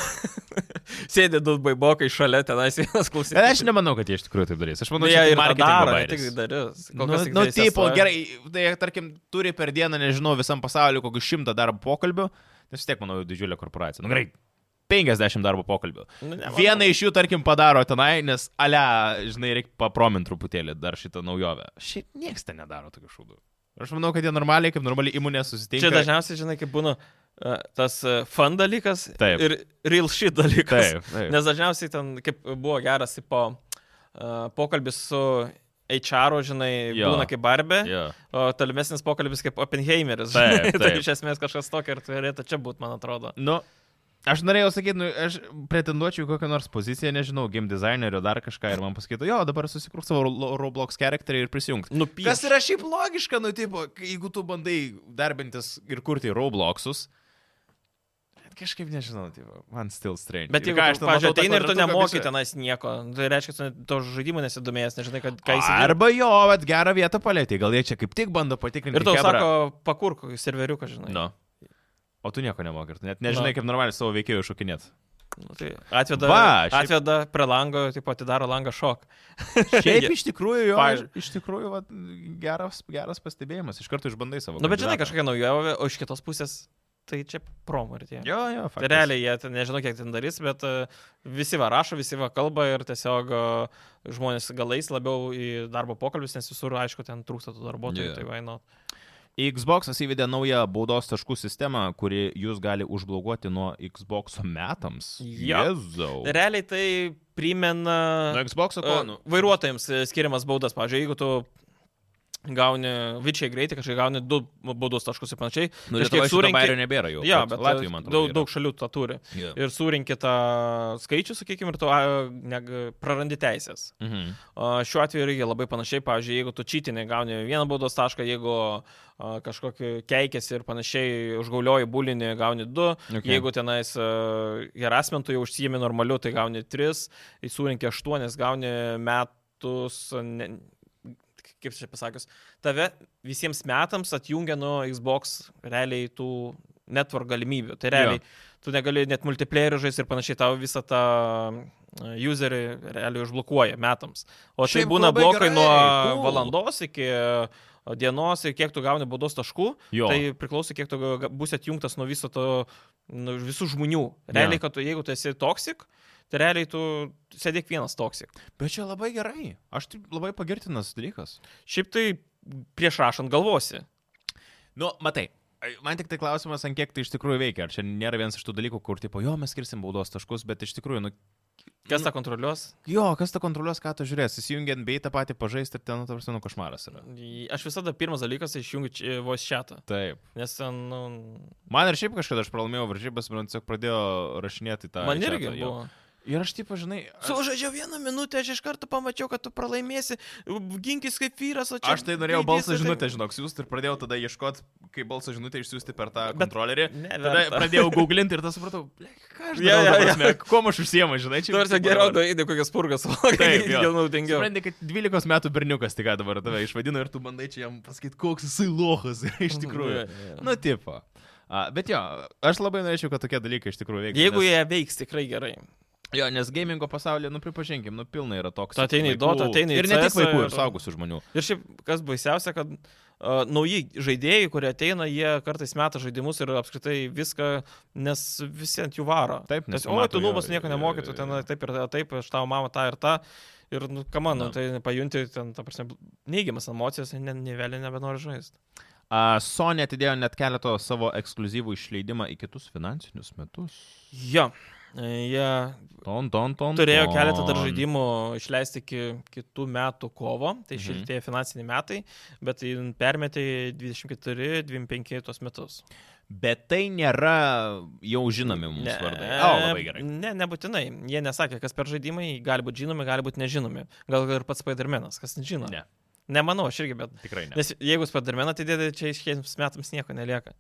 [SPEAKER 2] sėdė du baibokai šalia tenais vienas klausimas.
[SPEAKER 1] Aš nemanau, kad jie iš tikrųjų taip darys. Aš manau,
[SPEAKER 2] Nu,
[SPEAKER 1] čia tai
[SPEAKER 2] jie ir tą
[SPEAKER 1] marketingo
[SPEAKER 2] daro, jie
[SPEAKER 1] bajeris.
[SPEAKER 2] tik darys. Kol
[SPEAKER 1] Nu,
[SPEAKER 2] kas tik
[SPEAKER 1] nu
[SPEAKER 2] darys
[SPEAKER 1] taip,
[SPEAKER 2] SE.
[SPEAKER 1] gerai, tai jie, tarkim, turi per dieną, nežinau, visam pasauliu kokius šimtą darbo pokalbių, nes vis tiek, manau, didžiulė korporacija. Nu gerai, 50 darbo pokalbių.
[SPEAKER 2] Nu, nemanau.
[SPEAKER 1] Vieną iš jų, tarkim, padaro tenai, nes, ale, žinai, reikia paprominti truputėlį dar šitą naujovę. Šiaip niekas ten nedaro tokių šūdų. Aš manau, kad jie normaliai, kaip normaliai įmonė
[SPEAKER 2] Čia
[SPEAKER 1] susitikia.
[SPEAKER 2] dažniausiai, žinai, kaip būna e, tas e, fun dalykas
[SPEAKER 1] Taip.
[SPEAKER 2] ir real shit dalykas.
[SPEAKER 1] Taip, taip.
[SPEAKER 2] Nes dažniausiai ten, kaip buvo geras, tipo, e, pokalbis su HR, žinai,
[SPEAKER 1] Jo.
[SPEAKER 2] būna kaip barbė.
[SPEAKER 1] Jo.
[SPEAKER 2] O tolimesnis pokalbis kaip Oppenheimeris.
[SPEAKER 1] Taip,
[SPEAKER 2] žinai, tai
[SPEAKER 1] taip.
[SPEAKER 2] iš esmės kažkas tokio ir turėtų čia būti, man atrodo.
[SPEAKER 1] Nu, aš norėjau sakyti, nu, aš pretenduočiau į kokią nors poziciją, nežinau, game dizainerio dar kažką ir man pasakytų, jo, dabar susikurk savo Ro- Roblox charakterį ir prisijungti.
[SPEAKER 2] Nupiešti.
[SPEAKER 1] Kas yra šiaip logiška, nu, tipo, kai- jeigu tu bandai darbintis ir kurti Robloxus. bet Kažkaip nežinau, tipo, man still strange.
[SPEAKER 2] Bet
[SPEAKER 1] Ir
[SPEAKER 2] jeigu,
[SPEAKER 1] ką,
[SPEAKER 2] aš,
[SPEAKER 1] aš ten
[SPEAKER 2] pažiūrėjau,
[SPEAKER 1] matau tą
[SPEAKER 2] ateini ir tu
[SPEAKER 1] kvadratą,
[SPEAKER 2] nemoki
[SPEAKER 1] visą-
[SPEAKER 2] tenais nieko, tai reiškia, tu net to žaidimo nesidomėjęs, nežinai, kad ką jis yra.
[SPEAKER 1] Arba jo, bet gerą vietą palėtė, gal jie čia kaip tik bando patikrinti.
[SPEAKER 2] Ir tau
[SPEAKER 1] chebrą.
[SPEAKER 2] sako, pakurk serveriuką, žinai.
[SPEAKER 1] Nu. O tu nieko nemoki, ir tu net nežinai,
[SPEAKER 2] Nu.
[SPEAKER 1] kaip normaliai savo veikėjų šokinėt.
[SPEAKER 2] Nu, tai atveda,
[SPEAKER 1] Va, šiaip-
[SPEAKER 2] atveda prie lango, tipo, atidaro langą šok.
[SPEAKER 1] Šiaip iš tikrųjų, jo,
[SPEAKER 2] Pavyzdžiui.
[SPEAKER 1] iš tikrųjų va, geras, geras pastebėjimas, iš karto išbandai savo.
[SPEAKER 2] Nu, bet žinai,
[SPEAKER 1] kandidatą.
[SPEAKER 2] kažkokia naujovė, o iš kitos pusės, tai čia promartė.
[SPEAKER 1] Jo, jo,
[SPEAKER 2] Tai
[SPEAKER 1] faktas.
[SPEAKER 2] realiai jie, ten, nežinau, kiek ten darys, bet e, visi va rašo, visi va kalba ir tiesiog e, žmonės galais labiau į darbo pokalbius, nes visur, aišku, ten trūksta tų darbuotojų.
[SPEAKER 1] Jo.
[SPEAKER 2] Yeah. Tai vaino.
[SPEAKER 1] Xbox įvedė naują baudos taškų sistemą, kuri jūs gali užbloguoti nuo Xbox metams.
[SPEAKER 2] Jo.
[SPEAKER 1] Jezau.
[SPEAKER 2] Realiai tai primena
[SPEAKER 1] Nuo Xbox
[SPEAKER 2] e, nu,
[SPEAKER 1] konų. nu.
[SPEAKER 2] vairuotojams e, skiriamas baudas. Pavyzdžiui, jeigu tu gauni, vičiai greitai, kažkaip gauni du baudos taškus ir panašiai.
[SPEAKER 1] Nu,
[SPEAKER 2] Kažkiek
[SPEAKER 1] Lietuvoje surinkę...
[SPEAKER 2] surenki-
[SPEAKER 1] Bairio nebėra jau.
[SPEAKER 2] Ja, bet e,
[SPEAKER 1] Latvijų, man atrodo.
[SPEAKER 2] daug, daug šalių tą turi.
[SPEAKER 1] Yeah.
[SPEAKER 2] Ir surinkit tą skaičių, sakykime, ir tu a, neg- prarandi teisės.
[SPEAKER 1] Mhm.
[SPEAKER 2] A, Šiuo atveju irgi labai panašiai, pavyzdžiui, jeigu tu čytinį gauni vieną baudos tašką, jeigu a, kažkokį keikėsi ir panašiai užgaulioji bulinį, gauni du,
[SPEAKER 1] Okay.
[SPEAKER 2] okay. jeigu tenais gerasmentų jau užsijėmė normaliu, tai gauni tris, įsūrinkė aštuonis, gauni metus, ne, kaip čia pasakius, tave visiems metams atjungia nuo Xbox realiai tų network galimybių. Tai realiai tu negali net multiplayerių žaisti ir panašiai tau visą tą e, userį realiai užblokuoja metams. O tai
[SPEAKER 1] Šiaip
[SPEAKER 2] būna
[SPEAKER 1] labai
[SPEAKER 2] blokai
[SPEAKER 1] gerai,
[SPEAKER 2] nuo
[SPEAKER 1] cool.
[SPEAKER 2] valandos iki e, dienos ir kiek tu gauni baudos taškų,
[SPEAKER 1] Jo.
[SPEAKER 2] tai priklauso, kiek tu ga- būsi atjungtas nuo viso to, nuo visų žmonių. Realiai,
[SPEAKER 1] Jo.
[SPEAKER 2] kad tu, jeigu tu esi toksik, tai realiai tu sėdėk vienas toksik.
[SPEAKER 1] Bet čia labai gerai. Aš tai labai pagirtinas dalykas.
[SPEAKER 2] Šiaip tai prieš rašant galvosi.
[SPEAKER 1] Nu, matai. ai, Man tik tai klausimas, ant kiek tai iš tikrųjų veikia. Ar čia nėra vienas iš tų dalykų, kur, tipo, jo, mes skirsim baudos taškus, bet iš tikrųjų, nu,
[SPEAKER 2] Kas tą kontroliuos?
[SPEAKER 1] jo, kas tą kontroliuos, ką tu žiūrės, įsijungiant bei tą patį pažaisti ir ten, nu, tarsi, nu, košmaras yra.
[SPEAKER 2] Aš visada pirmas dalykas tai išjungiu či- voice chatą,
[SPEAKER 1] Taip.
[SPEAKER 2] nes ten, nu,
[SPEAKER 1] Man ir šiaip kažkada aš pralaimėjau varžybas, man tiesiog pradėjo rašinėti tą.
[SPEAKER 2] man
[SPEAKER 1] į
[SPEAKER 2] irgi
[SPEAKER 1] chatą, jo.
[SPEAKER 2] buvo.
[SPEAKER 1] Ir aš, tipo, žinai, aš,
[SPEAKER 2] Sužaidžiau vieną minutę, aš iš karto pamačiau, kad tu pralaimėsi, ginkis kaip vyras, o čia...
[SPEAKER 1] aš tai norėjau
[SPEAKER 2] gaidys,
[SPEAKER 1] balsą
[SPEAKER 2] tai-
[SPEAKER 1] žinutę, žinok, siūsti ir pradėjau tada ieškoti, kaip balsą žinutę išsiųsti per tą
[SPEAKER 2] Bet-
[SPEAKER 1] kontrolerį.
[SPEAKER 2] Ne,
[SPEAKER 1] Tada
[SPEAKER 2] verta.
[SPEAKER 1] pradėjau googlinti ir tas supratau, ble, ką aš
[SPEAKER 2] Jo,
[SPEAKER 1] darau,
[SPEAKER 2] jo,
[SPEAKER 1] ta
[SPEAKER 2] jo.
[SPEAKER 1] prasme, kuom aš užsiemu, žinai, čia.
[SPEAKER 2] Nors
[SPEAKER 1] viskas
[SPEAKER 2] geriau
[SPEAKER 1] dabar.
[SPEAKER 2] daryti kokias purgas, o
[SPEAKER 1] Taip,
[SPEAKER 2] kaip
[SPEAKER 1] jo.
[SPEAKER 2] jau naudingiau.
[SPEAKER 1] Supranti, kad 12 metų berniukas tik ką dabar tave išvadino ir tu bandai čia jam pasakyti, koks jisai lohas yra iš tikrųjų.
[SPEAKER 2] Nu,
[SPEAKER 1] Nu, tipo. A, bet jo, aš labai norėčiau, kad tokie dalykai iš tikrųjų veiktų.
[SPEAKER 2] Jeigu
[SPEAKER 1] nes,
[SPEAKER 2] jie veiks tikrai gerai.
[SPEAKER 1] jo, nes gamingo pasaulyje, nu pripažinkim, nu pilna yra toks.
[SPEAKER 2] Tu ateini į Dotą, ateini į
[SPEAKER 1] Ir ne tik
[SPEAKER 2] CS
[SPEAKER 1] vaikų,
[SPEAKER 2] ir-
[SPEAKER 1] ir saugusių žmonių.
[SPEAKER 2] Ir šiaip, kas baisiausia, kad uh, nauji žaidėjai, kurie ateina, jie kartais meta žaidimus ir apskritai viską, nes visi ant jų varo.
[SPEAKER 1] Taip, nes
[SPEAKER 2] nes. O,
[SPEAKER 1] pamato
[SPEAKER 2] tu
[SPEAKER 1] jo,
[SPEAKER 2] nubas nieko
[SPEAKER 1] jo, jo,
[SPEAKER 2] nemokytų,
[SPEAKER 1] jo,
[SPEAKER 2] ten
[SPEAKER 1] jo.
[SPEAKER 2] taip ir taip, aš tavo mamą tą ir tą. Ir, nu, ką man,
[SPEAKER 1] Na.
[SPEAKER 2] nu, tai pajunti, ten, ta prasme, neigiamas emocijas, ne, ne vėliau nebenori žaisti.
[SPEAKER 1] A, Sony atidėjo net keleto savo ekskluzyvų išleidimą į kitus finansinius metus.
[SPEAKER 2] Jo, E, jie
[SPEAKER 1] Ton, ton, ton.
[SPEAKER 2] turėjo
[SPEAKER 1] ton.
[SPEAKER 2] keletą dar žaidimų išleisti iki kitų metų kovo, tai
[SPEAKER 1] Mhm.
[SPEAKER 2] šiltieji finansiniai metai, bet tai permetė į 24-25 tuos metus.
[SPEAKER 1] Bet tai nėra jau žinomi mums vardai. O, labai gerai.
[SPEAKER 2] e, Ne, nebūtinai. Jie nesakė, kas per žaidimai, gali būti žinomi, gali būti nežinomi. Gal ir pats Spidermanas, kas žino.
[SPEAKER 1] Ne,
[SPEAKER 2] Nemanau, aš irgi, bet.
[SPEAKER 1] tikrai ne.
[SPEAKER 2] Nes jeigu Spidermaną atidėdė, čia iškėsiams metams nieko nelieka.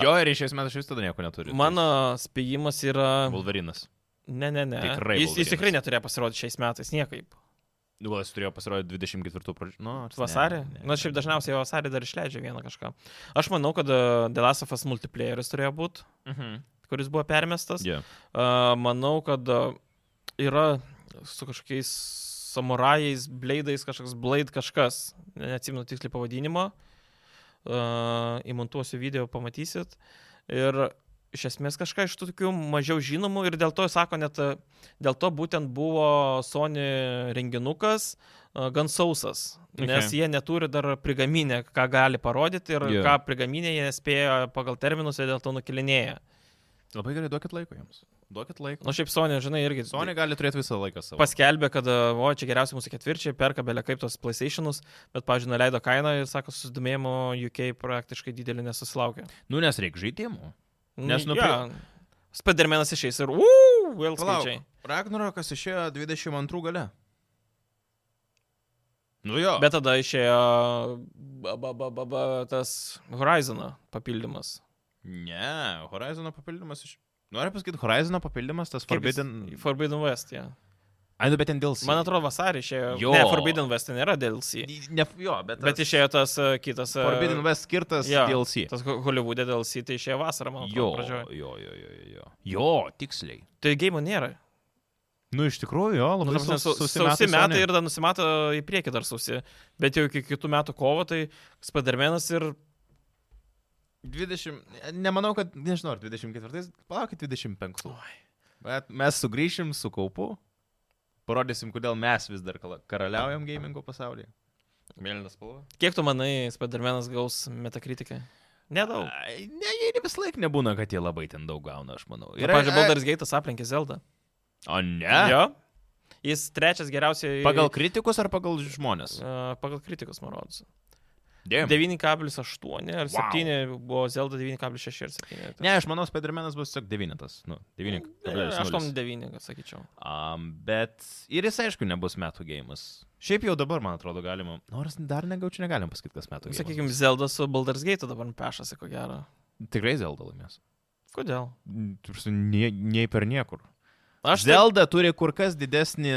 [SPEAKER 1] Jo ir iš esmės aš vis tada nieko neturiu.
[SPEAKER 2] Mano spėjimas yra...
[SPEAKER 1] Vulvarinas.
[SPEAKER 2] Ne, ne, ne.
[SPEAKER 1] Tikrai
[SPEAKER 2] jis, jis
[SPEAKER 1] Wolverinas.
[SPEAKER 2] tikrai neturėjo pasirodyti šiais metais, niekaip.
[SPEAKER 1] Dulas Nu, turėjo pasirodyti 24 pradžio. Nu, aš-
[SPEAKER 2] Vasarį?
[SPEAKER 1] ne, ne,
[SPEAKER 2] Na, šiaip
[SPEAKER 1] ne.
[SPEAKER 2] dažniausiai vasarį dar išleidžia vieną kažką. Aš manau, kad e, The Last of Us multiplayeris turėjo būti,
[SPEAKER 1] Mhm.
[SPEAKER 2] kuris buvo permestas.
[SPEAKER 1] Jo.
[SPEAKER 2] A, Manau, kad a, yra su kažkokiais samurajais, blaidais, kažkoks blaid kažkas, neatsimenu tiksliai pavadinimo, A, įmontuosiu video, pamatysit. Ir iš esmės kažką iš tų tokių mažiau žinomų ir dėl to, sako, net a, dėl to būtent buvo Sony renginukas a, gan sausas, nes
[SPEAKER 1] Okay.
[SPEAKER 2] jie neturi dar prigaminę, ką gali parodyti ir
[SPEAKER 1] Jo.
[SPEAKER 2] ką prigaminę jie nespėjo pagal terminus ir dėl to nukilinėja.
[SPEAKER 1] Labai gerai, duokit laiko jiems. Duokit laiko.
[SPEAKER 2] Na, šiaip Sony, žinai, irgi
[SPEAKER 1] Sony gali turėti visą laiką savo.
[SPEAKER 2] paskelbė, kad, e, o, čia geriausi mūsų ketvirčiai, perka belė kaip tos PlayStation'us, bet, pažiūrėjau, nuleido kainą ir, sako, susidomėjimo UK praktiškai didelį nesusilaukė.
[SPEAKER 1] Nu, nes reikia žaidimų. Nes, nu,
[SPEAKER 2] Spadermenas išeis ir, uuu, vėl skaičiai.
[SPEAKER 1] Ragnarokas išėjo 22 gale. Nu jo.
[SPEAKER 2] Bet tada išėjo ba, ba, ba, ba, ba, tas Horizon papildymas.
[SPEAKER 1] Ne, Horizon papildymas iš... Noriu pasakyti, Horizon papildymas, tas
[SPEAKER 2] Kaip jis-
[SPEAKER 1] Forbidden...
[SPEAKER 2] Forbidden West, jie. Yeah.
[SPEAKER 1] Ai, nu, bet ten dėl...
[SPEAKER 2] Man atrodo, vasarį išėjo.
[SPEAKER 1] Jo.
[SPEAKER 2] Ne, Forbidden West ten nėra DLC.
[SPEAKER 1] Ne, jo, bet...
[SPEAKER 2] Bet
[SPEAKER 1] tas
[SPEAKER 2] išėjo tas e, kitas. e,
[SPEAKER 1] Forbidden West skirtas
[SPEAKER 2] jo,
[SPEAKER 1] yeah. DLC.
[SPEAKER 2] Tas Ho- Hollywood'e DLC tai išėjo vasarą, man
[SPEAKER 1] Jo,
[SPEAKER 2] atrodo.
[SPEAKER 1] jo,
[SPEAKER 2] pradžioj.
[SPEAKER 1] jo, jo, jo, jo. Jo, tiksliai.
[SPEAKER 2] Tai game nėra.
[SPEAKER 1] Nu, iš tikrųjų, jo,
[SPEAKER 2] Nu,
[SPEAKER 1] labai
[SPEAKER 2] ta prasme,
[SPEAKER 1] sau-
[SPEAKER 2] sau- Sausi metai ir dar nusimato į priekį dar sausi. Bet jau iki kitų metų kovo, tai Spadermenas ir...
[SPEAKER 1] 20... Nemanau, kad... Nežinau, ar 24... Palaukit 25. Bet mes sugrįšim su kaupu. Parodysim, kodėl mes vis dar kala- karaliaujam gamingo pasaulyje. Mėlynas spalva.
[SPEAKER 2] Kiek tu manai, Spadermenas gaus metakritiką? Nedaug.
[SPEAKER 1] Ai, Ne, jie ne vis laik nebūna, kad jie labai ten daug gauna, aš manau.
[SPEAKER 2] Ir, pavyzdžiui, Baldur's Gate'as aplenkė Zeldą.
[SPEAKER 1] O ne?
[SPEAKER 2] Jo. Jis trečias geriausiai...
[SPEAKER 1] Pagal kritikus ar pagal žmonės?
[SPEAKER 2] Uh, pagal kritikus, man rodos.
[SPEAKER 1] Damn.
[SPEAKER 2] 9,8 ar
[SPEAKER 1] Wow.
[SPEAKER 2] 7 buvo Zelda 9,6 ar 7.
[SPEAKER 1] Ne, aš manau, Spidermanas bus tiesiog 9. Nu, 9.
[SPEAKER 2] Tai
[SPEAKER 1] kablelis nulis.
[SPEAKER 2] 8,9, gal sakyčiau.
[SPEAKER 1] Um, bet ir jis, aišku, nebus metų gėjimas. Šiaip jau dabar, man atrodo, galima. Nors dar negaučiu, negalim pasakyti, kas metų gėjimas.
[SPEAKER 2] Sakykime, Nu, Zelda su Baldur's Gate dabar pešasi, ko gero.
[SPEAKER 1] Tikrai Zelda laimės.
[SPEAKER 2] Kodėl?
[SPEAKER 1] Mm, ta prasme, Nei, nei per niekur. Aš
[SPEAKER 2] Aš tai-
[SPEAKER 1] Zelda turi kur kas didesnį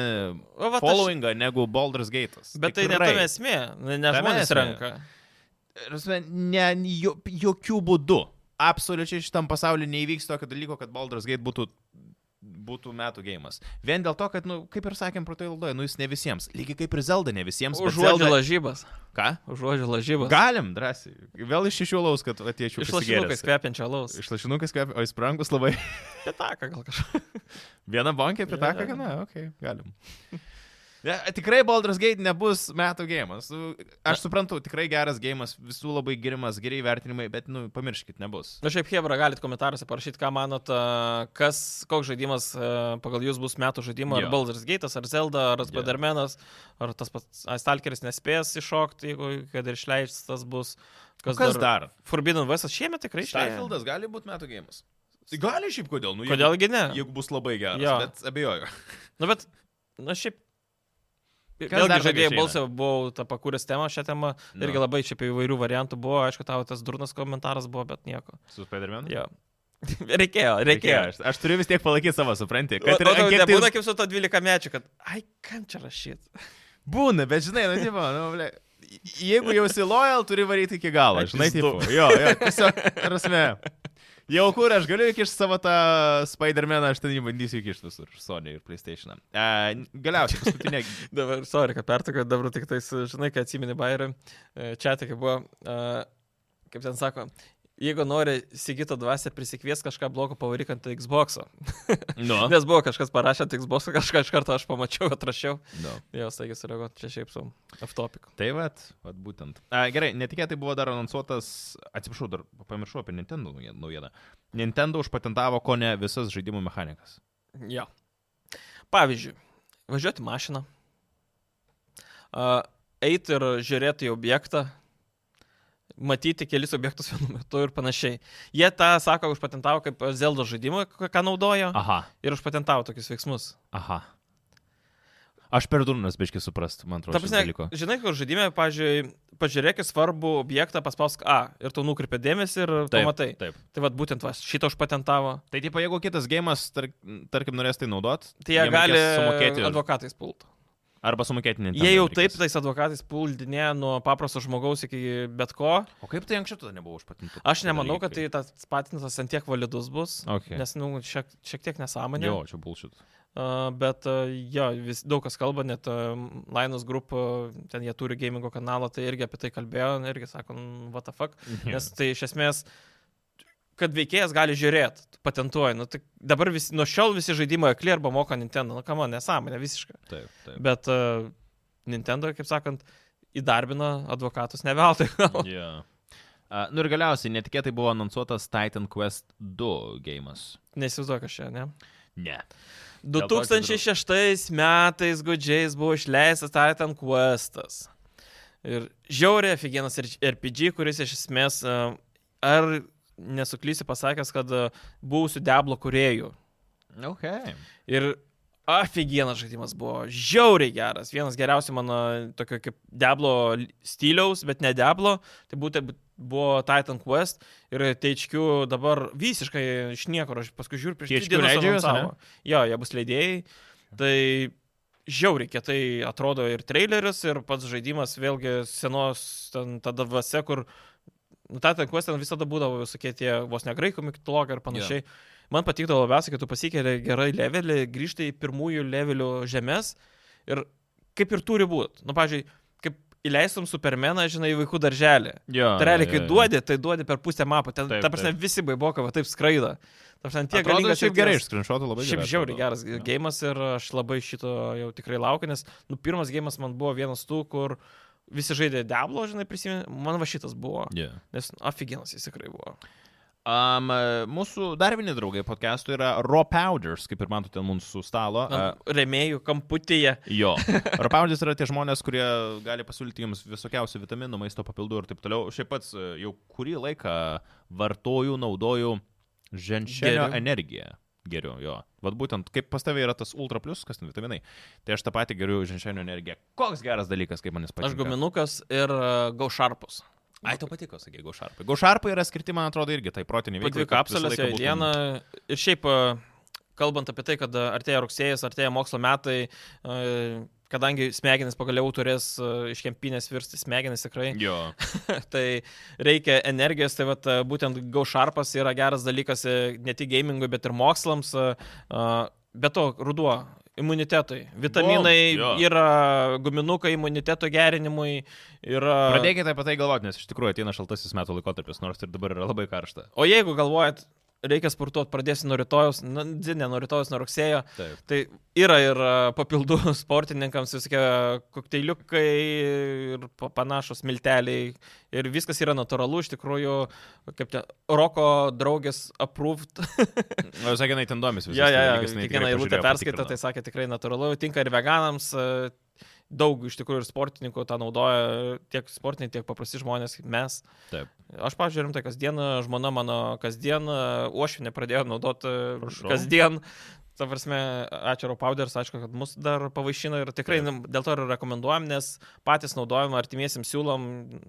[SPEAKER 2] O, vat aš-
[SPEAKER 1] followingą aš... negu Baldur's Gate'as.
[SPEAKER 2] Bet tai ne
[SPEAKER 1] Tikrai.
[SPEAKER 2] tam esmė, ne, ne
[SPEAKER 1] Tame
[SPEAKER 2] žmonės
[SPEAKER 1] esmė.
[SPEAKER 2] renka.
[SPEAKER 1] Ta prasme, Ne, jo, jokių būdų. Absoliučiai šitam pasauliu neįvyks tokio dalyko, kad Baldur's Gate būtų, būtų metų gėjimas. Vien dėl to, kad, nu, kaip ir sakėm, protai laidoje, nu jis ne visiems. Lygiai kaip ir Zelda ne visiems. bet
[SPEAKER 2] Užuodžiu
[SPEAKER 1] Zelda...
[SPEAKER 2] lažybas.
[SPEAKER 1] Ką?
[SPEAKER 2] Užuodžiu lažybas.
[SPEAKER 1] Galim drąsiai. Vėl iš šešių laus, kad atiečiau.
[SPEAKER 2] Iš lašinukais kvepiančio alaus.
[SPEAKER 1] Iš lašinukas kvepia, o jis brangus labai.
[SPEAKER 2] Pietaka gal kažkas.
[SPEAKER 1] Vieną bankę
[SPEAKER 2] Jo,
[SPEAKER 1] pritaka,
[SPEAKER 2] jo.
[SPEAKER 1] kad, na, okei, okay, galim. Ne, tikrai Baldur's Gate nebus metų gėjimas. Nu, Aš suprantu, tikrai geras gėjimas, visų labai girimas, geriai vertinimai, bet, nu, pamirškit, nebus.
[SPEAKER 2] Na šiaip Hebra, galit komentaruose parašyti, ką manot, a, kas, koks žaidimas a, pagal jūs bus metų žaidimo, ar
[SPEAKER 1] Jo.
[SPEAKER 2] Baldur's Gate'as, ar Zelda, ar
[SPEAKER 1] Jo.
[SPEAKER 2] Spadarmenas, ar tas pats ai, Stalkeris nespės iššokti, jeigu kad ir išleistas bus.
[SPEAKER 1] Kas, kas dar?
[SPEAKER 2] Forbidden Westas šiemet tikrai išleistas.
[SPEAKER 1] Starfieldas gali būti metų gėjimas. Gali šiaip kodėl, nu, jeigu,
[SPEAKER 2] Kodėlgi ne?
[SPEAKER 1] jeigu bus labai geras,
[SPEAKER 2] Jo.
[SPEAKER 1] ja. bet abejoju.
[SPEAKER 2] Nu, bet, na šiaip.
[SPEAKER 1] Kas
[SPEAKER 2] Vėlgi
[SPEAKER 1] dar tokio
[SPEAKER 2] žaidėjai
[SPEAKER 1] išeina?
[SPEAKER 2] balsą buvau tą pakūręs temą, šią temą.
[SPEAKER 1] Nu.
[SPEAKER 2] Irgi labai čia apie įvairių variantų buvo, aišku, tavo tas durnas komentaras buvo, bet nieko.
[SPEAKER 1] Su Spider-Man?
[SPEAKER 2] Jo. Reikėjo, reikėjo.
[SPEAKER 1] Aš, aš turiu vis tiek palaikyti savo, supranti.
[SPEAKER 2] Kad
[SPEAKER 1] Kad
[SPEAKER 2] ir
[SPEAKER 1] ir
[SPEAKER 2] anketai...
[SPEAKER 1] anketai...
[SPEAKER 2] Nebūna kaip su to 12 mečiu, kad, ai, kam čia rašyti?
[SPEAKER 1] Būna, bet žinai, nu, tipo, nu, ble, jeigu jau esi loyal, turi varyti iki galo,
[SPEAKER 2] Aš
[SPEAKER 1] žinai,
[SPEAKER 2] įsivaizduoju.
[SPEAKER 1] tipo, jo, jo, tiesiog, prasme, jau kur aš galiu įkišti savo tą Spider-Maną, aš ten jį bandysiu įkišti visur, ir Sony ir PlayStation. Uh, galiausiai, paskutinė.
[SPEAKER 2] Dabar, sorry, kad pertiko, dabar tik tais, žinai, kai atsimeni bairį, čia tik buvo, e, kaip ten sako, jeigu nori Sigito dvasę prisikvies kažką blogo, pavaryk ant Xbox. O.
[SPEAKER 1] Nu,
[SPEAKER 2] Nes buvo kažkas parašęs ant Xbox, kažką iš karto aš pamačiau, atrašiau.
[SPEAKER 1] nu.
[SPEAKER 2] Jo, taigi sureaguot, čia šiaip su aftopiku.
[SPEAKER 1] Tai vat, vat būtent. A, gerai, netikėtai buvo dar anonsuotas, atsiprašau, dar pamiršau apie Nintendo nauji- naujieną. Nintendo užpatentavo ko ne visas žaidimų mechanikas.
[SPEAKER 2] Jo. Pavyzdžiui, važiuoti mašiną, a, eiti ir žiūrėti į objektą, matyti kelis objektus vienu metu ir panašiai. Jie tą, sako, užpatentavo kaip Zelda žaidimą, k- ką naudojo
[SPEAKER 1] Aha,
[SPEAKER 2] ir užpatentavo tokius veiksmus.
[SPEAKER 1] aha. Aš per durnas biškai suprast, man atrodo,
[SPEAKER 2] Ta
[SPEAKER 1] šis
[SPEAKER 2] prasme,
[SPEAKER 1] dalyko.
[SPEAKER 2] žinai, kur žaidime, pavyzdžiui, pažiūrėk į svarbų objektą, paspausk A ir tu nukreipi dėmesį ir taip, pamatai. Taip.
[SPEAKER 1] Taip.
[SPEAKER 2] Tai vad būtent va, šitą užpatentavo.
[SPEAKER 1] Tai tipo, jeigu kitas gėjimas, tar, tarkim, norės tai naudot,
[SPEAKER 2] Tai jie
[SPEAKER 1] jiem
[SPEAKER 2] gali
[SPEAKER 1] reikės sumokėti.
[SPEAKER 2] advokatais pult.
[SPEAKER 1] Arba sumokėti Nintendo.
[SPEAKER 2] Jie jau taip
[SPEAKER 1] reikės.
[SPEAKER 2] tais advokatais puldinė nuo paprasto žmogaus iki bet ko.
[SPEAKER 1] O kaip tai anksčiau tada nebuvo užpatinta?
[SPEAKER 2] Aš nemanau, kad tai tas patintas ant tiek validus bus.
[SPEAKER 1] Okay.
[SPEAKER 2] Nes, nu, šiek, šiek tiek nesąmonė.
[SPEAKER 1] Jo, čia bullshit.
[SPEAKER 2] Uh, bet, uh, jo, vis, daug kas kalba, net uh, Linus Group, uh, ten jie turi gamingo kanalą, tai irgi apie tai kalbėjo, irgi sako, "Nu, what the fuck. Nes tai iš esmės, kad veikėjas gali žiūrėti, patentuoja. Nu, tai dabar vis, nuo šiol visi žaidimai akli arba moka Nintendo. Nu, kam, nesąmonė visiškai.
[SPEAKER 1] Taip, taip.
[SPEAKER 2] Bet uh, Nintendo, kaip sakant, įdarbina advokatus ne veltui. gal.
[SPEAKER 1] Yeah. Uh, nu ir galiausiai netikėtai buvo anonsuotas Titan Quest 2 gėjimas.
[SPEAKER 2] Neįsivaizduoju, kas čia, ne?
[SPEAKER 1] Ne. Dėl to, kad
[SPEAKER 2] 2006 metais gudžiais buvo išleistas Titan Questas. Ir žiauriai aфиgenas RPG, kuris iš esmės, uh, ar nesuklysi pasakęs, kad uh, buvusių Diablo kuriejų.
[SPEAKER 1] Ok.
[SPEAKER 2] Ir aфиgenas žaidimas buvo, žiauriai geras. Vienas geriausių mano tokio kaip Diablo stiliaus, bet ne Diablo. Tai būtent buvo Titan Quest ir teičkiu dabar visiškai iš niekur, aš paskui žiūriu prieš
[SPEAKER 1] THQ leidžia juos,
[SPEAKER 2] anonsavo. Jo, jie bus leidėjai. Tai žiauriai kietai atrodo ir traileris, ir pats žaidimas vėlgi senos ten tada vase, kur nu, Titan Quest ten visada būdavo visokie tie vos ne graikų mitologai ir panašiai. Yeah. Man patikdavo labiausiai, kad tu pasikeli gerai levelį, grįžti į pirmųjų levelių žemės ir kaip ir turi būti. Nu, pavyzdžiui, kaip įleistum Supermeną, žinai, į vaikų darželį.
[SPEAKER 1] Jo.
[SPEAKER 2] Tai realiai, kai
[SPEAKER 1] jo, jo.
[SPEAKER 2] duodi, tai duodi per pusę mapo. Ten,
[SPEAKER 1] Taip,
[SPEAKER 2] ta prasme, visi baiboka, va taip skraido. Ta prasme, tiek
[SPEAKER 1] Atrodo,
[SPEAKER 2] galingas
[SPEAKER 1] šiaip
[SPEAKER 2] ir
[SPEAKER 1] gerai,
[SPEAKER 2] tas-
[SPEAKER 1] iš skrinšotų labai
[SPEAKER 2] Šiaip
[SPEAKER 1] gerai
[SPEAKER 2] žiauriai
[SPEAKER 1] atrodo.
[SPEAKER 2] geras gėjimas ir aš labai šito jau tikrai laukiu, nes, nu, pirmas gėjimas man buvo vienas tų, kur visi žaidė Diablo, žinai, prisimenu, man va šitas buvo,
[SPEAKER 1] Yeah.
[SPEAKER 2] nes aфиgenas jis tikrai buvo.
[SPEAKER 1] Um, mūsų dar vieni draugai podcastų yra Raw Powders, kaip ir matote ant mūsų stalo.
[SPEAKER 2] Na,
[SPEAKER 1] Uh,
[SPEAKER 2] Remėjų kamputyje.
[SPEAKER 1] Jo. Rapaudis yra tie žmonės, kurie gali pasiūlyti jums visokiausių vitaminų, maisto papildų ir taip toliau. Šiaip pats e, jau kurį laiką vartoju, naudoju ženšelio
[SPEAKER 2] Geriu.
[SPEAKER 1] energiją. Geriau, jo. Vat būtent, kaip pas tavai yra tas ultra plus, kas ten vitaminai, tai aš tą patį geriu ženšelio energiją. Koks geras dalykas, kaip manis patinka.
[SPEAKER 2] Aš guminukas ir uh, gaušarpus.
[SPEAKER 1] Ai, tau patiko, sakė, gaušarpai. Gaušarpai yra skirti, man atrodo, irgi tai protiniai
[SPEAKER 2] Po dvi kapsulės į dieną. Ir šiaip, e, kalbant apie tai, kad e, artėja rugsėjas, artėja mokslo metai, e, kadangi smegenis pagaliau turės e, iš kempinės virsti smegenis tikrai,
[SPEAKER 1] Jo.
[SPEAKER 2] tai reikia energijos, tai vat, e, būtent gaušarpas yra geras dalykas e, ne tik gamingui, bet ir mokslams. e, e, Be to, ruduo. Imunitetui. Vitaminai
[SPEAKER 1] Bom, jo.
[SPEAKER 2] yra guminukai imuniteto gerinimui. Yra...
[SPEAKER 1] Pradėkite apie tai galvoti, nes iš tikrųjų ateina šaltasis metų laikotarpis, nors ir dabar yra labai karšta.
[SPEAKER 2] O jeigu galvojat, reikia sportuoti, pradėsiu nuo rytojus, na, dzi- ne nuo rytojus, nuo rugsėjo,
[SPEAKER 1] Taip.
[SPEAKER 2] tai yra ir a, papildų sportininkams visokie kokteiliukai ir pa- panašus milteliai. Ir viskas yra natūralu, iš tikrųjų, kaip ten, roko draugės approved.
[SPEAKER 1] O jūs sakėte, jinai ten domisi visais
[SPEAKER 2] Ja, ja,
[SPEAKER 1] dalykais, jinai
[SPEAKER 2] kiekvieną
[SPEAKER 1] nu, tikrai
[SPEAKER 2] eilutę
[SPEAKER 1] pažiūrėjo,
[SPEAKER 2] perskaito,
[SPEAKER 1] patikrino.
[SPEAKER 2] tai sakė tikrai natūralu, tinka ir veganams. a, Daug iš tikrųjų ir sportininkų tą naudoja, tiek sportiniai, tiek paprasti žmonės, kaip mes.
[SPEAKER 1] Taip.
[SPEAKER 2] Aš, pažiūrėjau, rimtai kasdien, e, žmona mano kasdien, uošvinė pradėjo naudoti
[SPEAKER 1] Prašau.
[SPEAKER 2] kasdien. Ta prasme, ačiū Raupowders, aišku, kad mus dar pavaišino ir tikrai dėl to ir rekomenduojam, nes patys naudojam, artimiesiam siūlom,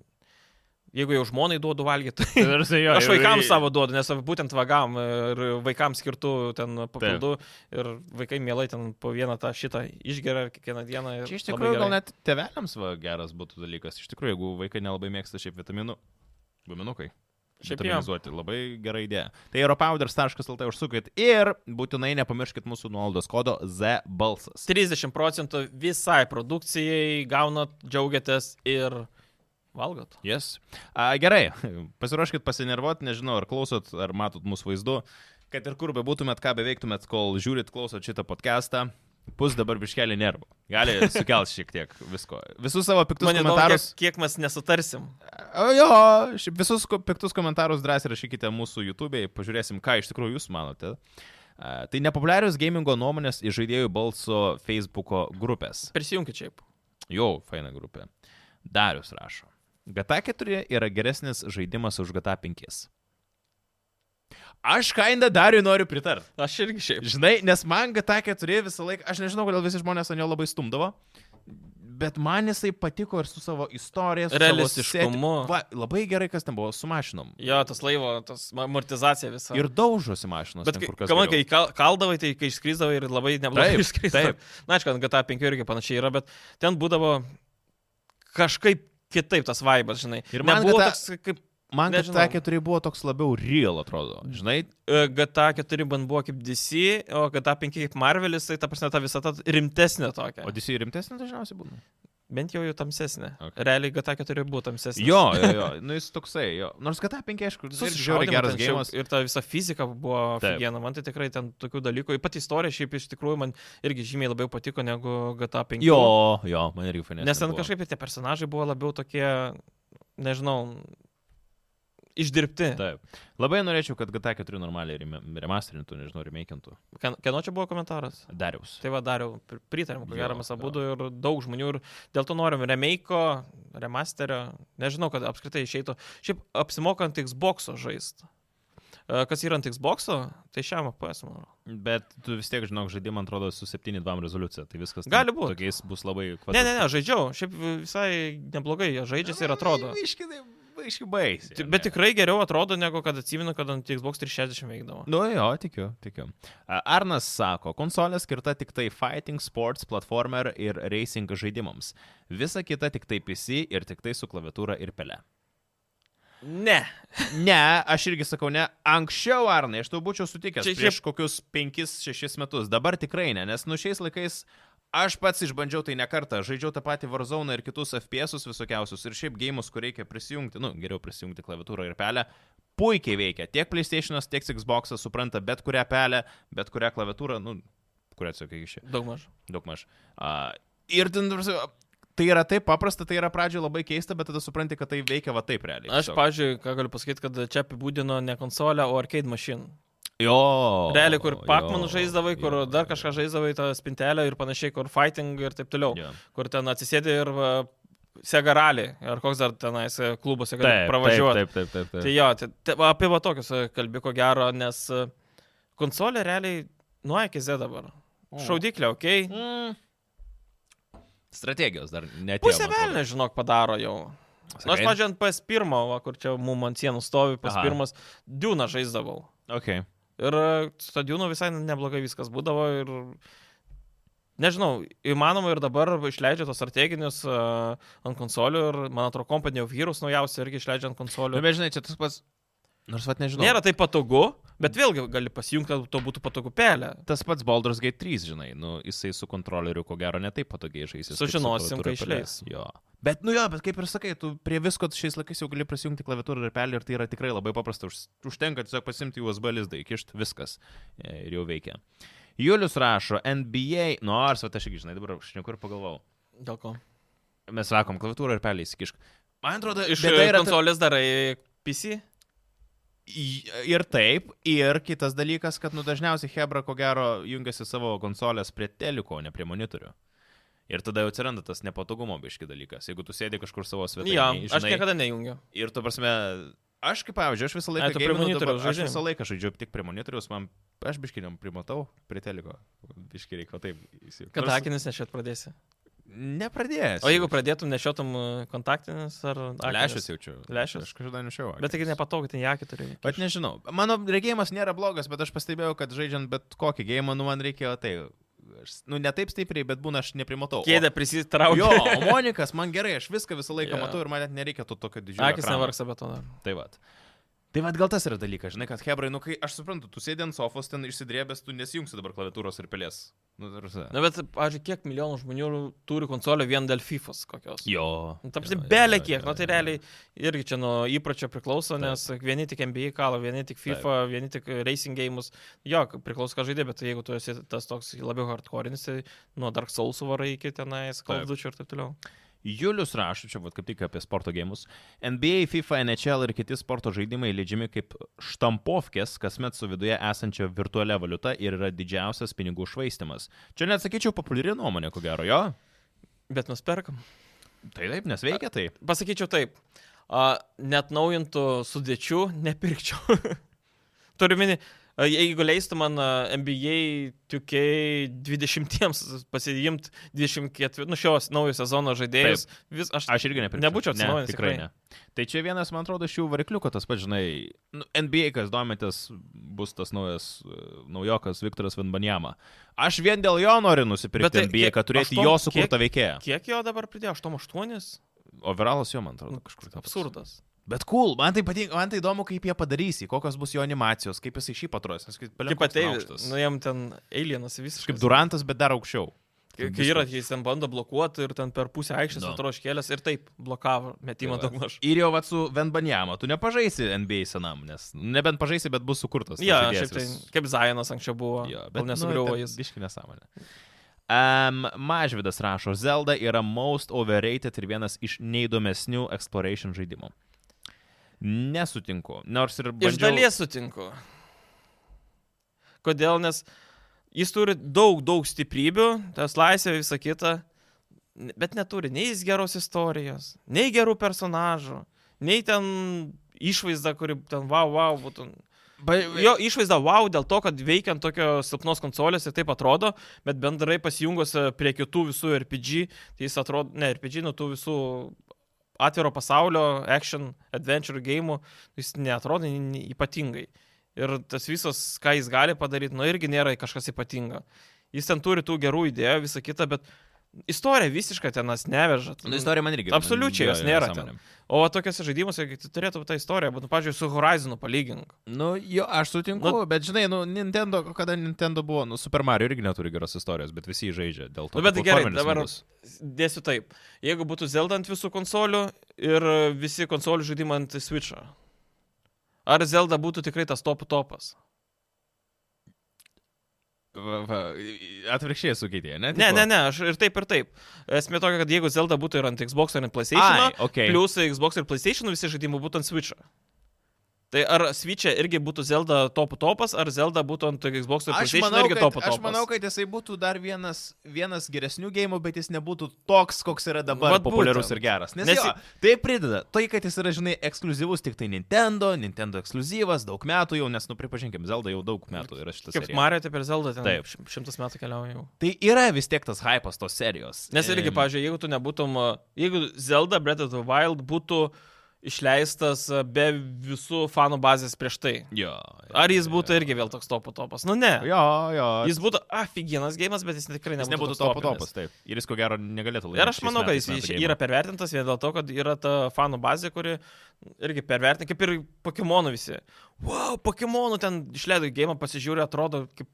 [SPEAKER 2] jeigu jau žmonai duodu valgyti.
[SPEAKER 1] Ir jisai, jo,
[SPEAKER 2] tai- Aš
[SPEAKER 1] ir-
[SPEAKER 2] vaikams savo duodu, nes būtent vagam ir vaikams skirtų ten papildų ir vaikai mielai ten po vieną tą šitą išgeria kiekvieną dieną. ir
[SPEAKER 1] Čia iš
[SPEAKER 2] labai
[SPEAKER 1] tikrųjų gal
[SPEAKER 2] gerai.
[SPEAKER 1] net tevelėms va, geras būtų dalykas. Iš tikrųjų, jeigu vaikai nelabai mėgsta šiaip vitaminų, guminukai.
[SPEAKER 2] Šiaip jo.
[SPEAKER 1] Vitaminizuoti. Labai gera idėja. Tai europowders.lt užsukit ir būtinai nepamirškit mūsų nuolaidos kodo Z balsas.
[SPEAKER 2] 30 procentų visai produkcijai gaunat, džiaugiatės ir valgot.
[SPEAKER 1] Yes. A, gerai, pasiruoškit pasinervuoti, nežinau, ar klausot, ar matot mūsų vaizdu, kad ir kur bebūtumėt, ką beveiktumėt, kol žiūrit, klausot šitą podcastą, pus dabar biškelį nervų. Gali sukelti šiek tiek visko. Visus savo piktus
[SPEAKER 2] Mane įdomu, kiek,
[SPEAKER 1] komentarus.
[SPEAKER 2] kiek mes nesutarsim.
[SPEAKER 1] O, Jo, šiaip visus ko- piktus komentarus drąsiai rašykite mūsų YouTube'e, pažiūrėsim, ką iš tikrųjų jūs manote. A, Tai nepopuliarius gamingo nuomonės iš žaidėjų balso Facebook'o grupės.
[SPEAKER 2] Prisijunkit šiaip.
[SPEAKER 1] Jau, faina grupė. Darius rašo. GTA 4 yra geresnis žaidimas už GTA 5. Aš kainą Dariu noriu pritart.
[SPEAKER 2] Aš irgi šiaip.
[SPEAKER 1] Žinai, nes man GTA 4 visą laiką, aš nežinau, kodėl visi žmonės ant jo labai stumdavo, bet man jisai patiko ir su savo istorija, su
[SPEAKER 2] Realistiškumu.
[SPEAKER 1] Savo seti- Va, labai gerai, kas ten buvo su mašinom.
[SPEAKER 2] Jo, tas laivo, tas ma- amortizacija visa.
[SPEAKER 1] Ir daužosi mašinos.
[SPEAKER 2] Bet
[SPEAKER 1] ten
[SPEAKER 2] kai,
[SPEAKER 1] kur kas
[SPEAKER 2] kai,
[SPEAKER 1] geriau.
[SPEAKER 2] kai kal- kaldavai, tai kai išskrisdavai ir labai neblogai
[SPEAKER 1] Taip,
[SPEAKER 2] išskrisdavai.
[SPEAKER 1] taip.
[SPEAKER 2] Na, aišku, ant GTA 5 irgi panašiai yra, bet ten būdavo kažkaip kitaip tas vaibas, žinai.
[SPEAKER 1] Ir
[SPEAKER 2] Ir
[SPEAKER 1] man
[SPEAKER 2] man buvo
[SPEAKER 1] GTA
[SPEAKER 2] toks kaip
[SPEAKER 1] Man
[SPEAKER 2] nežinau.
[SPEAKER 1] GTA 4 buvo toks labiau real, atrodo. Žinai,
[SPEAKER 2] e, GTA 4 man buvo kaip DC, o GTA 5 kaip Marvelis, tai ta prasme ta visata rimtesnė tokia.
[SPEAKER 1] o DC rimtesnė dažniausiai būna.
[SPEAKER 2] Bent jau jų tamsesnė.
[SPEAKER 1] Okay.
[SPEAKER 2] Okay. Realiai GTA 4 buvo tamsesnė.
[SPEAKER 1] Jo, jo, jo, nu jis toksai, jo. Nors GTA 5, aišku, jis irgi žiauriai geras gėjimas.
[SPEAKER 2] Ir ta visa fizika buvo
[SPEAKER 1] Taip.
[SPEAKER 2] figiena, man tai tikrai ten tokių dalykų. Ir pati istorija šiaip iš tikrųjų man irgi žymiai labiau patiko negu GTA 5.
[SPEAKER 1] Jo, jo, man irgi fainai.
[SPEAKER 2] Nes ten kažkaip ir tie personažai buvo labiau tokie, nežinau, išdirbti.
[SPEAKER 1] Taip. Labai norėčiau, kad GTA 4 normaliai rem- remasterintų, nežinau, remakintų.
[SPEAKER 2] Ken- Kieno čia buvo komentaras?
[SPEAKER 1] Dariaus.
[SPEAKER 2] Tai va dariau, pritariam,
[SPEAKER 1] Jo,
[SPEAKER 2] ko gero mes
[SPEAKER 1] jo.
[SPEAKER 2] abu ir daug žmonių ir dėl to norim remake'o, remasterio, nežinau, kad apskritai išeitų. Šiaip apsimokant Xbox'o žaisti. Kas yra ant Xbox'o, tai šiam APS, manau.
[SPEAKER 1] Bet tu vis tiek, žinok, žaidimą atrodo su 7.2 rezoliucija, tai viskas. ten
[SPEAKER 2] Gali būt.
[SPEAKER 1] Tokiais bus labai
[SPEAKER 2] Ne, ne, ne, žaidžiau, šiaip visai neblogai jie žaidžiasi ir atrodo.
[SPEAKER 1] Iškiai, iškiai baisiai.
[SPEAKER 2] Ti- Bet tikrai geriau atrodo, negu kad atsimenu, kad ant Xbox 360 veikdavo.
[SPEAKER 1] Nu jo, tikiu, tikiu. A, Arnas sako, konsolė skirta tik tai fighting, sports, platformer ir racing žaidimams. Visa kita tik tai PC ir tik tai su klaviatūra ir pele.
[SPEAKER 2] Ne.
[SPEAKER 1] Ne, aš irgi sakau ne. Anksčiau, Arnai, aš tau būčiau sutikęs
[SPEAKER 2] Čia-
[SPEAKER 1] čia,
[SPEAKER 2] čia-
[SPEAKER 1] prieš kokius 5-6 metus. Dabar tikrai ne, nes nu šiais laikais aš pats išbandžiau tai ne kartą. Žaidžiau tą patį Warzone ir kitus FPS visokiausius ir šiaip gėjimus, kur reikia prisijungti, nu geriau prisijungti klaviatūrą ir pelę. Puikiai veikia. Tiek PlayStation'as, tiek Xbox'as supranta bet kurią pelę, bet kurią klaviatūrą, nu, kurią atsakai iš čia
[SPEAKER 2] Daugmaž.
[SPEAKER 1] daugmaž. A, ir ten, ta prasme, tai yra taip paprasta, tai yra pradžioje labai keista, bet tada supranti, kad tai veikia va taip realiai.
[SPEAKER 2] Aš,
[SPEAKER 1] tiesiog.
[SPEAKER 2] pavyzdžiui, ką galiu pasakyti, kad čia apibūdino ne konsolę, o arcade mašiną.
[SPEAKER 1] Jo.
[SPEAKER 2] Realiai, kur Pakmanų
[SPEAKER 1] jo,
[SPEAKER 2] žaisdavai, kur
[SPEAKER 1] jo,
[SPEAKER 2] dar kažką žaisdavai, tą spintelę ir panašiai, kur fighting ir taip toliau.
[SPEAKER 1] jo.
[SPEAKER 2] Kur ten atsisėdė ir va, sega rally, ar koks dar tenais e, klubas, jeigu
[SPEAKER 1] Taip,
[SPEAKER 2] pravažiuoti.
[SPEAKER 1] Taip, taip, taip. taip,
[SPEAKER 2] Tai
[SPEAKER 1] taip.
[SPEAKER 2] jo, tai, tai, va, apie va tokius e, kalbi ko gero, nes e, konsolė realiai nuo A iki Z dabar. Šaudiklė, okei. Okay.
[SPEAKER 1] Mm. Strategijos dar net.
[SPEAKER 2] Pusę velnio, žinok, padaro jau. Na, aš, pažiūrėjau, ant PS1, va, kur čia mum ant sienų stovi,
[SPEAKER 1] Aha.
[SPEAKER 2] PS1, Dūną žaisdavau.
[SPEAKER 1] Okay.
[SPEAKER 2] Ir stadionų visai neblogai viskas būdavo ir nežinau, įmanoma ir dabar išleidžia tos strateginius uh, ant konsolių ir, man atrodo, Company of Heroes naujausi irgi išleidžia ant
[SPEAKER 1] Nu,
[SPEAKER 2] konsolių.
[SPEAKER 1] bet žinai, čia tas pats. Nors vat nežinau.
[SPEAKER 2] Nėra tai patogu, bet vėlgi gali pasijungti, kad to būtų patogu pelė.
[SPEAKER 1] Tas pats Baldur's Gate 3, žinai, nu, jisai su kontroleriu ko gero netaip patogiai žaisys. kaip su
[SPEAKER 2] Sužinosim, kai
[SPEAKER 1] klaviatūra
[SPEAKER 2] išleis.
[SPEAKER 1] pelės. Jo. Bet, nu jo, bet kaip ir sakai, tu prie visko šiais laikais jau gali prisijungti klaviatūrą ir pelį ir tai yra tikrai labai paprasta. Už, užtenka tiesiog pasimti USB lizdą, įkišti viskas E, ir jau veikia. Julius rašo, NBA, nors, nu, va, aš irgi, žinai, dabar aš niekur pagalvojau.
[SPEAKER 2] Dėl ko?
[SPEAKER 1] Mes sakom, klaviatūrą ir pelį įsikišk. Man atrodo,
[SPEAKER 2] Iš
[SPEAKER 1] bėda
[SPEAKER 2] tai
[SPEAKER 1] yra ta-
[SPEAKER 2] konsolės darai PC?
[SPEAKER 1] I- Ir taip, ir kitas dalykas, kad nu dažniausiai Hebra ko gero jungiasi savo konsolės prie teliko, o ne prie monitorių. Ir tada jau atsiranda tas nepatogumo biški dalykas, jeigu tu tai sėdi kažkur savo svetainėje.
[SPEAKER 2] Nu Jo,
[SPEAKER 1] žinai,
[SPEAKER 2] aš niekada nejungiu.
[SPEAKER 1] Ir tu prasme, aš kaip pavyzdžiui, aš visą laiką,
[SPEAKER 2] Ai, tu prie
[SPEAKER 1] gaminu
[SPEAKER 2] monitoriaus
[SPEAKER 1] dabar- aš
[SPEAKER 2] žaidi?
[SPEAKER 1] visą laiką žaidžiu tik prie monitoriaus, man aš biškiniam primatau prie teliko. Biški reikia taip įsijungti.
[SPEAKER 2] Kada akinius nešiot pradėsi?
[SPEAKER 1] Nepradėjęs.
[SPEAKER 2] O jeigu pradėtum nešiotum e, kontaktinius ar... akinius?
[SPEAKER 1] Lešas jaučiu.
[SPEAKER 2] Lęšius?
[SPEAKER 1] Aš kažkada nešiau.
[SPEAKER 2] Bet tai taigi nepatogu, ten jakį turi.
[SPEAKER 1] Bet nežinau. Mano regėjimas nėra blogas, bet aš pastebėjau, kad žaidžiant bet kokį gėjimą, nu man reikėjo tai. Aš, nu, ne taip stipriai, bet būna aš neprimatau. O-
[SPEAKER 2] Kėdę prisitraukiu.
[SPEAKER 1] Jo, o Monikas, man gerai, aš viską visą laiką
[SPEAKER 2] Jo.
[SPEAKER 1] yeah. matau ir man net nereikia to tokio didžiulio.
[SPEAKER 2] Akis
[SPEAKER 1] ekrano.
[SPEAKER 2] nevargsta betoną.
[SPEAKER 1] Tai va. Tai va, gal tas yra dalykas, žinai, kad Hebrai, nu kai aš suprantu, tu sėdi ant sofos, ten išsidrėbęs, tu nesijungsi dabar klaviatūros ir pelės. Nu, ta prasme.
[SPEAKER 2] Na bet, pažiūrėk, kiek milijonų žmonių turi konsolę vien dėl FIFA kokios.
[SPEAKER 1] jo.
[SPEAKER 2] Nu, Tapsi
[SPEAKER 1] Jo, jo,
[SPEAKER 2] belė
[SPEAKER 1] jo,
[SPEAKER 2] kiek,
[SPEAKER 1] jo,
[SPEAKER 2] nu tai
[SPEAKER 1] jo.
[SPEAKER 2] realiai irgi čia nuo įpročio priklauso, nes vieni tik NBA kalo, vieni tik FIFA, vieni tik racing gėjimus. Jo, k- priklauso ką žaidė, bet tai jeigu tu esi tas toks labiau hardcore'is, tai nuo Dark Souls varai iki tenais,
[SPEAKER 1] Taip.
[SPEAKER 2] kaldučių ir taip toliau.
[SPEAKER 1] Julius rašo, čia vat, kaip tik apie sporto gėjimus. NBA, FIFA, NHL ir kiti sporto žaidimai leidžiami kaip štampovkės, kasmet su viduje esančia virtualia valiuta ir yra didžiausias pinigų švaistimas. Čia net sakyčiau populiari nuomonė, ko gero, jo.
[SPEAKER 2] Bet mes perkam.
[SPEAKER 1] Tai taip, nes veikia tai.
[SPEAKER 2] Pasakyčiau taip, a, net naujintų sudėčių nepirkčiau. Turiu mini, a, jeigu leistų man a, NBA 2K20 pasiimti 24, nu šios naujo sezono žaidėjus, vis, aš,
[SPEAKER 1] Aš irgi nepirkčiau.
[SPEAKER 2] Nebūčiau
[SPEAKER 1] ne,
[SPEAKER 2] atsinaujinęs,
[SPEAKER 1] tikrai
[SPEAKER 2] tikrai.
[SPEAKER 1] ne. Tai čia vienas, man atrodo, šių variklių, kad tas pats, žinai, nu, NBA, kas domitės, bus tas naujas, e, naujokas Viktoras Vanbanjama. Aš vien dėl jo noriu nusipirkti
[SPEAKER 2] Bet tai
[SPEAKER 1] tai, NBA,
[SPEAKER 2] kiek-
[SPEAKER 1] kad turėti
[SPEAKER 2] aštuom-
[SPEAKER 1] jo sukurtą veikėją.
[SPEAKER 2] kiek jo dabar pridėjo, 8-8?
[SPEAKER 1] Overalas jo, man atrodo,
[SPEAKER 2] Nu,
[SPEAKER 1] kažkur ten toks.
[SPEAKER 2] Absurdas.
[SPEAKER 1] Bet cool, man tai, patinka, man tai įdomu, kaip jie padarys, jį, kokios bus jo animacijos, kaip jisai šį patruos.
[SPEAKER 2] Kaip
[SPEAKER 1] Kaip
[SPEAKER 2] ateivis, nu jam ten alienas visiškai.
[SPEAKER 1] Kaip Durantas, bet dar aukščiau.
[SPEAKER 2] Kai kai yra, jis ten bando blokuoti ir ten per pusę aikštės
[SPEAKER 1] No.
[SPEAKER 2] no. atroškėlės ir taip blokavo metimą
[SPEAKER 1] Tai va.
[SPEAKER 2] daugmaž.
[SPEAKER 1] Ir jau vat su Venbanjama, tu nepažaisi NBA senam, nes nebent pažaisi, bet bus sukurtas. tas
[SPEAKER 2] Ja,
[SPEAKER 1] žaidėjas
[SPEAKER 2] šiaip tai,
[SPEAKER 1] vis.
[SPEAKER 2] kaip Zajonas anksčiau buvo,
[SPEAKER 1] Jo,
[SPEAKER 2] ja,
[SPEAKER 1] bet nu,
[SPEAKER 2] bet nesugriuvo
[SPEAKER 1] ten
[SPEAKER 2] jis.
[SPEAKER 1] Biški nesąmonė. Um, Mažvidas rašo, Zelda yra most overrated ir vienas iš neįdomesnių exploration žaidimų. Nesutinku, nors ir bandžiau...
[SPEAKER 2] Iš dalies sutinku. Kodėl? Nes jis turi daug, daug stiprybių, tas laisvė, visa kita, n- bet neturi nei jis geros istorijos, nei gerų personažų, nei ten išvaizda, kuri ten wow, wow būtų.
[SPEAKER 1] Ba...
[SPEAKER 2] Jo išvaizda wow dėl to, kad veikiant tokio silpnos konsolės ir taip atrodo, bet bendrai pasijungus e, prie kitų visų RPG, tai jis atrodo, ne RPG, nu tų visų atviro pasaulio, action, adventure gėjimų, jis neatrodo nei- nei ypatingai. Ir tas visas, ką jis gali padaryti, nu irgi nėra kažkas ypatinga. Jis ten turi tų gerų idėjų, visą kitą, bet istorija visiškai tenas neveža.
[SPEAKER 1] Nu, istorija man irgi.
[SPEAKER 2] Absoliučiai
[SPEAKER 1] Jo,
[SPEAKER 2] jos
[SPEAKER 1] jo,
[SPEAKER 2] nėra
[SPEAKER 1] nesąmonė.
[SPEAKER 2] O va tokiuose žaidimuose gi tu turėtų būt ta istorija, bet, nu, pažiūrėjau, su Horizonu palygink.
[SPEAKER 1] Nu, jo, aš sutinku, nu,
[SPEAKER 2] Nu-
[SPEAKER 1] bet žinai, nu, Nintendo, kada Nintendo buvo, nu, Super Mario irgi neturi geros istorijos, bet visi jį žaidžia dėl to.
[SPEAKER 2] Nu, bet
[SPEAKER 1] kad
[SPEAKER 2] gerai,
[SPEAKER 1] platformeris
[SPEAKER 2] dabar-
[SPEAKER 1] nebus.
[SPEAKER 2] Dėsiu taip. Jeigu būtų Zelda ant visų konsolių ir e, visi konsolių žaidimai ant Switch'o. Ar Zelda būtų tikrai tas top topas?
[SPEAKER 1] va, va, atvirkščiai sukeitė, ne?
[SPEAKER 2] Ne, ne, ne, aš ir taip, ir taip. Esmė tokia, kad jeigu Zelda būtų ir ant Xbox, ir ant
[SPEAKER 1] Ai,
[SPEAKER 2] PlayStation,
[SPEAKER 1] okay.
[SPEAKER 2] plus Xbox ir PlayStation visi žaidimai būtų ant Switch'o. Tai ar Switch'e irgi būtų Zelda topų topas, ar Zelda būtų ant Xbox ir
[SPEAKER 1] Aš
[SPEAKER 2] PlayStation
[SPEAKER 1] manau,
[SPEAKER 2] irgi
[SPEAKER 1] kad,
[SPEAKER 2] topų topas?
[SPEAKER 1] aš manau, kad jisai būtų dar vienas, vienas geresnių gėjimų, bet jis nebūtų toks, koks yra dabar
[SPEAKER 2] Vat
[SPEAKER 1] Vat populiarus
[SPEAKER 2] būtent.
[SPEAKER 1] būtent. ir geras. Nes,
[SPEAKER 2] Nes
[SPEAKER 1] Nes jo, tai prideda. Tai, kad jis yra, žinai, ekskluzyvus tik tai Nintendo, Nintendo ekskluzyvas, daug metų jau, nes, nu, pripažinkim, Zelda jau daug metų yra šitas.
[SPEAKER 2] Kaip Mario, taip ir Zelda, ten
[SPEAKER 1] Taip.
[SPEAKER 2] taip. šimtas metų keliauja jau.
[SPEAKER 1] Tai yra vis tiek tas hypas tos serijos.
[SPEAKER 2] Nes irgi,
[SPEAKER 1] Em,
[SPEAKER 2] pavyzdžiui, jeigu tu nebūtum, a, jeigu Zelda Breath of the Wild būtų išleistas a, be visų fanų bazės prieš tai,
[SPEAKER 1] Jo.
[SPEAKER 2] ar jis būtų irgi vėl toks topo topas? Nu ne.
[SPEAKER 1] Jo, jo.
[SPEAKER 2] Jis būtų afigienas gėjimas, bet jis tikrai
[SPEAKER 1] Jis
[SPEAKER 2] nebūtų,
[SPEAKER 1] nebūtų
[SPEAKER 2] toks
[SPEAKER 1] topo
[SPEAKER 2] topinis.
[SPEAKER 1] topas, taip. Ir jis ko gero negalėtų laimėti.
[SPEAKER 2] Ir aš manau, kad jis, jis yra pervertintas vien dėl to, kad yra ta fanų bazė, kuri irgi pervertina, kaip ir Pokemonų visi. Wow, Pokemonų ten išleido gėjimą, pasižiūrė, atrodo kaip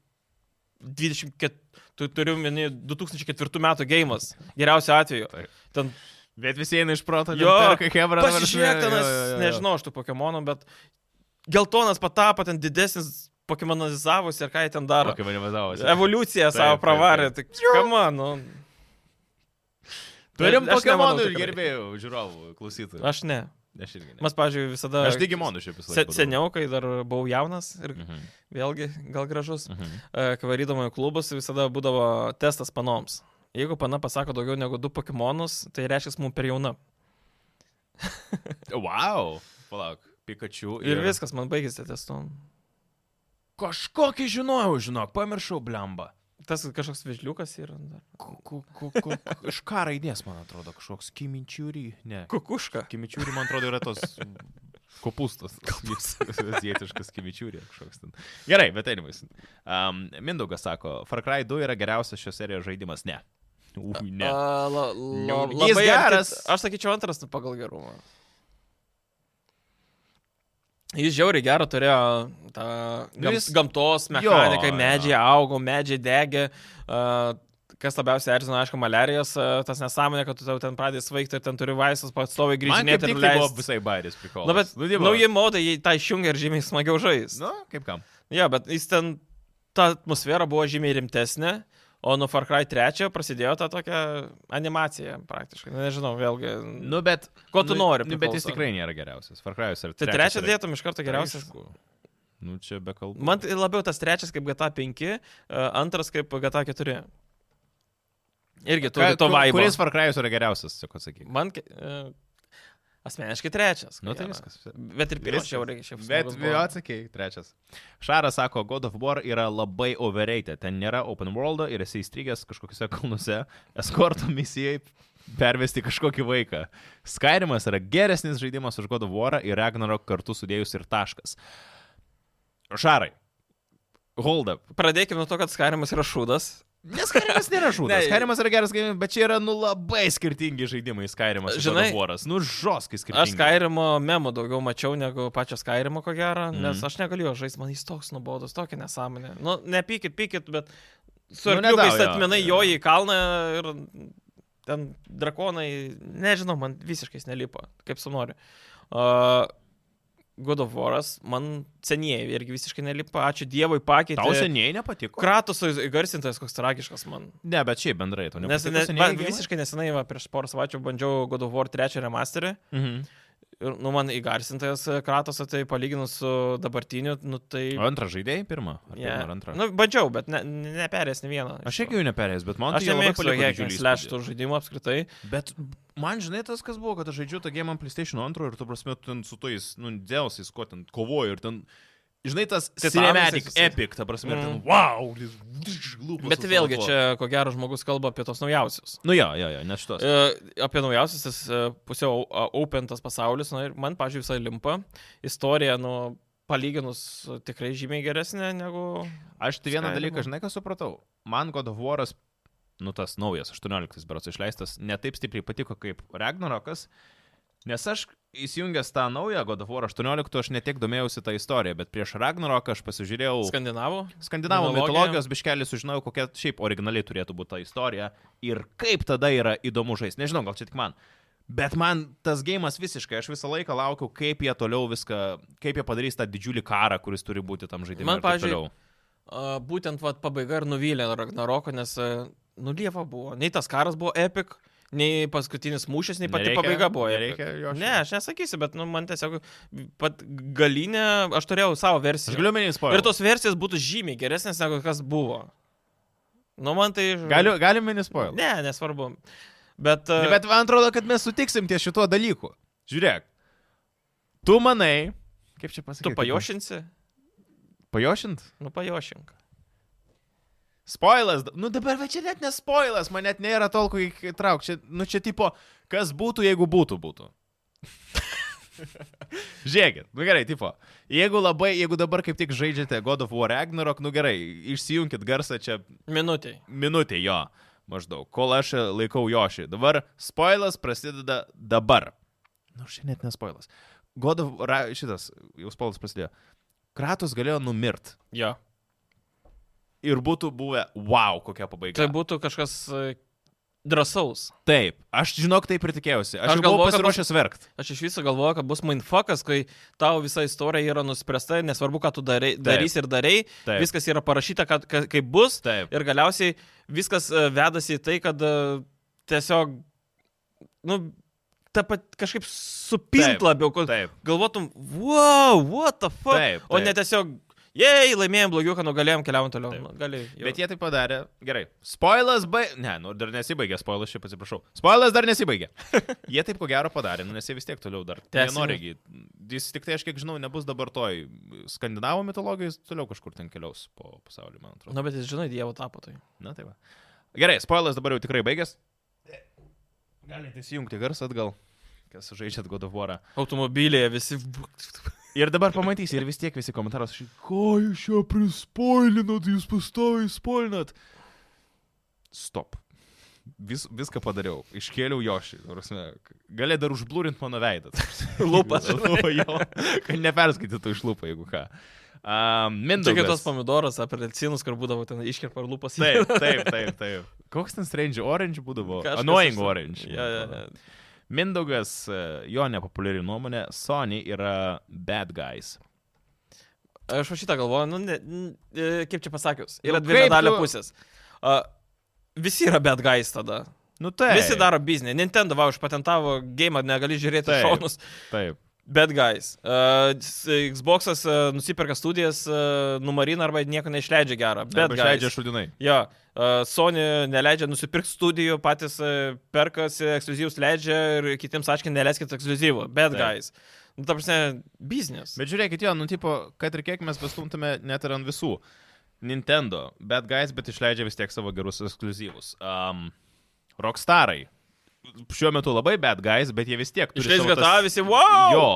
[SPEAKER 2] 24, tu turiu minį 2004 metų gėjimas, geriausiu atveju.
[SPEAKER 1] Taip.
[SPEAKER 2] Ten
[SPEAKER 1] Bet visi eina iš proto,
[SPEAKER 2] Jo,
[SPEAKER 1] kaip Hebra.
[SPEAKER 2] pasižiūrėk, tenas, nežinau, aš tų Pokemonų, bet geltonas patapo, ten didesnis Pokemonizavosi ir ką jie ten daro.
[SPEAKER 1] Kaip mane vadavosi.
[SPEAKER 2] Evoliucija
[SPEAKER 1] Taip,
[SPEAKER 2] savo
[SPEAKER 1] taip,
[SPEAKER 2] pravarė, tai kama, nu.
[SPEAKER 1] Turim
[SPEAKER 2] Aš nemanau,
[SPEAKER 1] Pokemonų ir
[SPEAKER 2] tikrai.
[SPEAKER 1] gerbėjų, žiūrovų, klausytojų.
[SPEAKER 2] Aš ne.
[SPEAKER 1] Aš irgi. Ne.
[SPEAKER 2] Mes, pažiūrėjau, visada...
[SPEAKER 1] Aš Digimonų šiaip visą
[SPEAKER 2] Se, seniau, kai dar buvau jaunas ir
[SPEAKER 1] Mhm.
[SPEAKER 2] vėlgi gal gražus,
[SPEAKER 1] Mhm.
[SPEAKER 2] e, kai varydavome į klubus, visada būdavo testas panoms. Jeigu pana pasako daugiau negu du Pokemonus, tai reiškia, mums per jauna.
[SPEAKER 1] Wow. Palauk. Pikachu.
[SPEAKER 2] Ir viskas, man baigėsi testu.
[SPEAKER 1] Kažkokį žinojau, žinok, pamiršau blamba.
[SPEAKER 2] Tas kažkoks vežliukas yra. dar.
[SPEAKER 1] Iš ką raidės, man atrodo, kažkoks kimičiūry. Ne.
[SPEAKER 2] Kukuška.
[SPEAKER 1] Kimičiūry, man atrodo, yra tos kopūstas. Azietiškas kimičiūry kažkoks ten. Gerai, bet anyways. Um, Mindaugas sako, Far Cry 2 yra geriausias šios serijos žaidimas. Ne. Ui, ne. Nu,
[SPEAKER 2] A, la, la,
[SPEAKER 1] Jis
[SPEAKER 2] labai
[SPEAKER 1] geras.
[SPEAKER 2] arti- Aš sakyčiau antras pagal gerumą. Jis žiauriai gerą turėjo tą
[SPEAKER 1] Nu,
[SPEAKER 2] gam,
[SPEAKER 1] jis-
[SPEAKER 2] jis... gamtos
[SPEAKER 1] Jo,
[SPEAKER 2] mechaniką,
[SPEAKER 1] jo.
[SPEAKER 2] medžiai augo, medžiai degė. Uh, kas labiausiai erzino, aišku, malerijos, uh, tas nesąmonė, kad tu tau ten pradėjai svaigti ir ten turi vaistus, pastovi
[SPEAKER 1] Man kaip
[SPEAKER 2] grįžinėti
[SPEAKER 1] tik tai buvo Nu,
[SPEAKER 2] ir
[SPEAKER 1] tai
[SPEAKER 2] leisti.
[SPEAKER 1] visai bairės prikolas.
[SPEAKER 2] Na, bet
[SPEAKER 1] tipo,
[SPEAKER 2] nauji modai, jie tą išjungia ir žymiai smagiau žais.
[SPEAKER 1] Nu, kaip kam?
[SPEAKER 2] Jo, bet jis ten, ta atmosfera buvo žymiai rimtesnė, o nuo Far Cry 3 prasidėjo ta tokia animacija praktiškai. Na, Nežinau, vėlgi.
[SPEAKER 1] Nu, bet.
[SPEAKER 2] Ko tu
[SPEAKER 1] nu,
[SPEAKER 2] nori,
[SPEAKER 1] Nu, bet jis
[SPEAKER 2] priklauso.
[SPEAKER 1] tikrai nėra geriausias. Far Cry'us ar
[SPEAKER 2] tai trečią dėtum iš karto geriausias.
[SPEAKER 1] Aišku. Nu, čia be kalbų.
[SPEAKER 2] Man tai labiau tas trečias kaip GTA 5, e, antras kaip GTA 4. Irgi turi
[SPEAKER 1] Ką-
[SPEAKER 2] to
[SPEAKER 1] ku-
[SPEAKER 2] vaibo.
[SPEAKER 1] Kuris Far Cry'us yra geriausias, tiesiog atsakyk.
[SPEAKER 2] Man ke- e, asmeniškai trečias. ko
[SPEAKER 1] Nu, tai
[SPEAKER 2] gero.
[SPEAKER 1] viskas.
[SPEAKER 2] Bet ir pirmas
[SPEAKER 1] Viskas.
[SPEAKER 2] jau reikia šiaip.
[SPEAKER 1] Bet
[SPEAKER 2] smagus buvo.
[SPEAKER 1] vėl atsakyk, trečias. Šaras sako, God of War yra labai overrated. Ten nėra open world ir esi įstrigęs kažkokiuose kalnuose, eskorto misijai pervesti kažkokį vaiką. Skyrimas yra geresnis žaidimas už God of War ir Ragnarok kartu sudėjus ir taškas. Šarai. Hold up.
[SPEAKER 2] Pradėkime nuo to, kad Skarimas yra šūdas.
[SPEAKER 1] Nes Skyrimas nėra žūdas.
[SPEAKER 2] Ne,
[SPEAKER 1] Skyrimas yra geras žaidimas, bet čia yra nu labai skirtingi žaidimai Skyrimas. Žinai,
[SPEAKER 2] Žinai,
[SPEAKER 1] Voras. Nu, žoskai skirtingi.
[SPEAKER 2] Aš Skyrimo memo daugiau mačiau negu pačio Skyrimo, ko gero, nes
[SPEAKER 1] Mhm.
[SPEAKER 2] aš negalėjau žaisti, man jis toks nuobodus, tokia nesąmonė. Nu, nepykit, pykit, bet su
[SPEAKER 1] Nu, nedau,
[SPEAKER 2] arkliukais
[SPEAKER 1] jo,
[SPEAKER 2] atminai
[SPEAKER 1] jo.
[SPEAKER 2] joji į kalną ir ten drakonai, nežinau, man visiškai jis nelipa, kaip su nori. Uh, God of Waras, man senieji irgi visiškai nelipa, ačiū Dievui pakeitė.
[SPEAKER 1] Tau seniai nepatiko.
[SPEAKER 2] Kratoso įgarsintas koks tragiškas man.
[SPEAKER 1] Ne, bet šiaip bendrai to
[SPEAKER 2] Nes,
[SPEAKER 1] nepatiko.
[SPEAKER 2] nes
[SPEAKER 1] seniai
[SPEAKER 2] man
[SPEAKER 1] gėjimai?
[SPEAKER 2] visiškai nesenai, va, prieš porą savaičių bandžiau God of War 3 remasterį.
[SPEAKER 1] Mhm.
[SPEAKER 2] Ir, nu, man įgarsintas kratos, tai palyginus su dabartiniu, nu, tai...
[SPEAKER 1] O antrą žaidėjai, pirmą? Ar
[SPEAKER 2] ne.
[SPEAKER 1] yeah. pirmą, ar antrą?
[SPEAKER 2] Nu, bandžiau, bet ne, ne- neperės ne vieną.
[SPEAKER 1] Aš irgi jų neperėjęs, bet man
[SPEAKER 2] Man
[SPEAKER 1] tai
[SPEAKER 2] aš
[SPEAKER 1] jie labai
[SPEAKER 2] nemėgstu
[SPEAKER 1] paliko
[SPEAKER 2] hekinių
[SPEAKER 1] didžiulį
[SPEAKER 2] slash
[SPEAKER 1] įspūdį.
[SPEAKER 2] tų žaidimų apskritai.
[SPEAKER 1] Bet man, žinai, tas kas buvo, kad aš žaidžiu tą gėjimą PlayStation 2 ir tu prasme tu ten su tais, nu, dėlsiais, ko ten kovoju ir ten... Žinai, tas
[SPEAKER 2] Titanais
[SPEAKER 1] cinematic
[SPEAKER 2] visais.
[SPEAKER 1] epic, ta prasme, mm. ten
[SPEAKER 2] Tai Mm.
[SPEAKER 1] wow, jis lūpas.
[SPEAKER 2] Bet vėlgi, čia ko gero žmogus kalba apie tos naujausius.
[SPEAKER 1] Nu jo, jo, jo, ne šitos.
[SPEAKER 2] E, apie naujausius, tas e, pusiau a, opentas pasaulis, na ir man, pažiūrėjau, visai limpa. Istorija, nu, palyginus e, tikrai žymiai geresnė negu...
[SPEAKER 1] Aš tai vieną
[SPEAKER 2] Skyrim'o.
[SPEAKER 1] dalyką, žinai, ką supratau. Man God of War'as, nu tas naujas, 18 berots išleistas, netaip stipriai patiko kaip Ragnarokas, nes aš įsijungęs tą naują God of War 18, aš netiek domėjausi tą istoriją, bet prieš Ragnaroką aš pasižiūrėjau
[SPEAKER 2] Skandinavų.
[SPEAKER 1] skandinavų
[SPEAKER 2] Mitologiją.
[SPEAKER 1] mitologijos biškelį, sužinojau, kokia šiaip originaliai turėtų būti ta istorija ir kaip tada yra įdomu žaisti. Nežinau, gal čia tik man. Bet man tas gėjimas visiškai, aš visą laiką laukiu, kaip jie toliau viską, kaip jie padarys tą didžiulį karą, kuris turi būti tam žaidimui.
[SPEAKER 2] Man,
[SPEAKER 1] ir taip
[SPEAKER 2] pavyzdžiui,
[SPEAKER 1] toliau.
[SPEAKER 2] a, būtent vat, pabaiga ir nuvylė Ragnaroko, nes a, nu lieva buvo. Nei tas karas buvo epik, nei paskutinis mūšis, nei pati
[SPEAKER 1] Nereikia-
[SPEAKER 2] pabaiga buvo. epic.
[SPEAKER 1] Nereikia jo.
[SPEAKER 2] Ne, aš nesakysiu, bet nu, man tiesiog pat galinė, aš turėjau savo versiją.
[SPEAKER 1] Aš galiu minėjus spoilerį.
[SPEAKER 2] Ir tos versijos būtų žymiai geresnės negu kas buvo. Nu, man tai...
[SPEAKER 1] Galiu, galim minėjus spoilerį.
[SPEAKER 2] Ne, nesvarbu. Bet... e,
[SPEAKER 1] Ne, bet man atrodo, kad mes sutiksim ties šituo dalyku. Žiūrėk. Tu manai. Kaip čia pasakyti?
[SPEAKER 2] tu pajošinsi?
[SPEAKER 1] Pajošint?
[SPEAKER 2] Nu, pajošink.
[SPEAKER 1] Spoilas. Nu dabar va čia net ne spoilas, man net nėra tolku įtraukti. Čia, nu čia tipo, kas būtų, jeigu būtų būtų. Žiūrėkit, nu gerai, tipo, jeigu labai, jeigu dabar kaip tik žaidžiate God of War Ragnarok, nu gerai, išsijunkit garsą čia
[SPEAKER 2] Minutiai.
[SPEAKER 1] minutė jo, maždaug, kol aš e, laikau Jošį. Dabar spoilas prasideda dabar. Na, nu, šiandien net nespoilas. Godov, ra, šitas, jau spoilas prasidėjo. Kratos galėjo numirt.
[SPEAKER 2] Jo.
[SPEAKER 1] Ir būtų buvę, wow, kokia pabaiga.
[SPEAKER 2] Tai būtų kažkas e, drąsaus.
[SPEAKER 1] Taip, aš žinok, taip ir tikėjausi. Aš,
[SPEAKER 2] Aš
[SPEAKER 1] aš galvoju,
[SPEAKER 2] galvojau, kad
[SPEAKER 1] pasiruošęs verkt.
[SPEAKER 2] Aš iš viso galvoju, kad bus mindfuckas, kai tau visa istorija yra nuspręsta, nesvarbu, ką tu darei, darys ir darei,
[SPEAKER 1] Taip.
[SPEAKER 2] viskas yra parašyta, kad, kad, kaip bus.
[SPEAKER 1] Taip.
[SPEAKER 2] Ir galiausiai viskas e, vedasi į tai, kad e, tiesiog, nu, ta pat kažkaip supint
[SPEAKER 1] Taip,
[SPEAKER 2] labiau, kad
[SPEAKER 1] taip.
[SPEAKER 2] galvotum, wow, what the fuck.
[SPEAKER 1] Taip,
[SPEAKER 2] O
[SPEAKER 1] taip.
[SPEAKER 2] ne tiesiog, jei laimėjom blogiuką, nugalėjom, keliavom toliau.
[SPEAKER 1] Taip.
[SPEAKER 2] Nu, Gali, jau.
[SPEAKER 1] Bet jie tai padarė. Gerai. Spoilas baigė. Ne, nu dar nesibaigė. Spoilas šiaip atsiprašau. Spoilas dar nesibaigė. jie taip ko gero padarė, nu, nes jie vis tiek toliau dar. Jie
[SPEAKER 2] Tęsime.
[SPEAKER 1] nori. gi- Jis tik tai, aš kiek žinau, nebus dabar toj skandinavo mitologijos, toliau kažkur ten keliaus po pasaulį, man atrodo.
[SPEAKER 2] Na, Nu, bet jis, žinai, dievo tapo tai.
[SPEAKER 1] Na tai va. Gerai, spoilas dabar jau tikrai baigęs. Galite įsijungti garsą atgal, kas žaidžiat God of War.
[SPEAKER 2] Automobilėje visi.
[SPEAKER 1] Ir dabar pamatysi, ir vis tiek visi komentaruos, ši- ko jūs čia prispoilinot, jūs pastoviai spoilinot. Stop. Vis, viską padariau, iškėliau jošį. ta prasme, Gali dar užblūrint mano veidą. ta prasme.
[SPEAKER 2] Lūpas,
[SPEAKER 1] O, jo, kad neperskaitytų iš lūpą, jeigu ką. Um,
[SPEAKER 2] Čia kaip tos
[SPEAKER 1] Mindaugas.
[SPEAKER 2] pomidoras, apelsinus, kur būdavo ten iškirpa ar lūpas.
[SPEAKER 1] Taip, taip, taip, taip. Koks ten Strange Orange būdavo?
[SPEAKER 2] Kažkas
[SPEAKER 1] Annoying
[SPEAKER 2] iš-
[SPEAKER 1] Orange.
[SPEAKER 2] Ja, ja, ja.
[SPEAKER 1] Mindaugas, e, jo nepopuliari nuomonė, Sony yra bad guys.
[SPEAKER 2] Aš va šitą galvoju, nu, ne, n- e, kaip čia pasakius, yra
[SPEAKER 1] Nu,
[SPEAKER 2] dvi
[SPEAKER 1] kaip
[SPEAKER 2] medalio
[SPEAKER 1] tu-
[SPEAKER 2] pusės. A, visi yra bad guys tada.
[SPEAKER 1] Nu
[SPEAKER 2] Taip.
[SPEAKER 1] taip.
[SPEAKER 2] Visi daro biznį. Nintendo, va, užpatentavo game, negali
[SPEAKER 1] Taip.
[SPEAKER 2] žiūrėti taip. šonus.
[SPEAKER 1] Taip.
[SPEAKER 2] Bad guys. Uh, Xbox'as uh, nusiperka studijas, uh, numarina arba nieko neišleidžia gerą.
[SPEAKER 1] Bet
[SPEAKER 2] Bet
[SPEAKER 1] leidžia šudinai.
[SPEAKER 2] Jo, uh, Sony neleidžia nusipirkti studijų, patys uh, perkasi ekskluzyvus leidžia ir kitiems aiškiai neleiskit ekskluzyvų. Bad
[SPEAKER 1] Taip.
[SPEAKER 2] guys. Nu, ta prasme, biznis.
[SPEAKER 1] Bet žiūrėkit, jo, nu tipo, kad ir kiek mes pastumtume net ir ant visų. Nintendo, bad guys, bet išleidžia vis tiek savo gerus ekskluzyvus. Um, Rockstarai. Šiuo metu labai bad guys, bet jie vis tiek turi.
[SPEAKER 2] Išleis
[SPEAKER 1] savo tas-
[SPEAKER 2] GTA visi, wow!
[SPEAKER 1] Jo.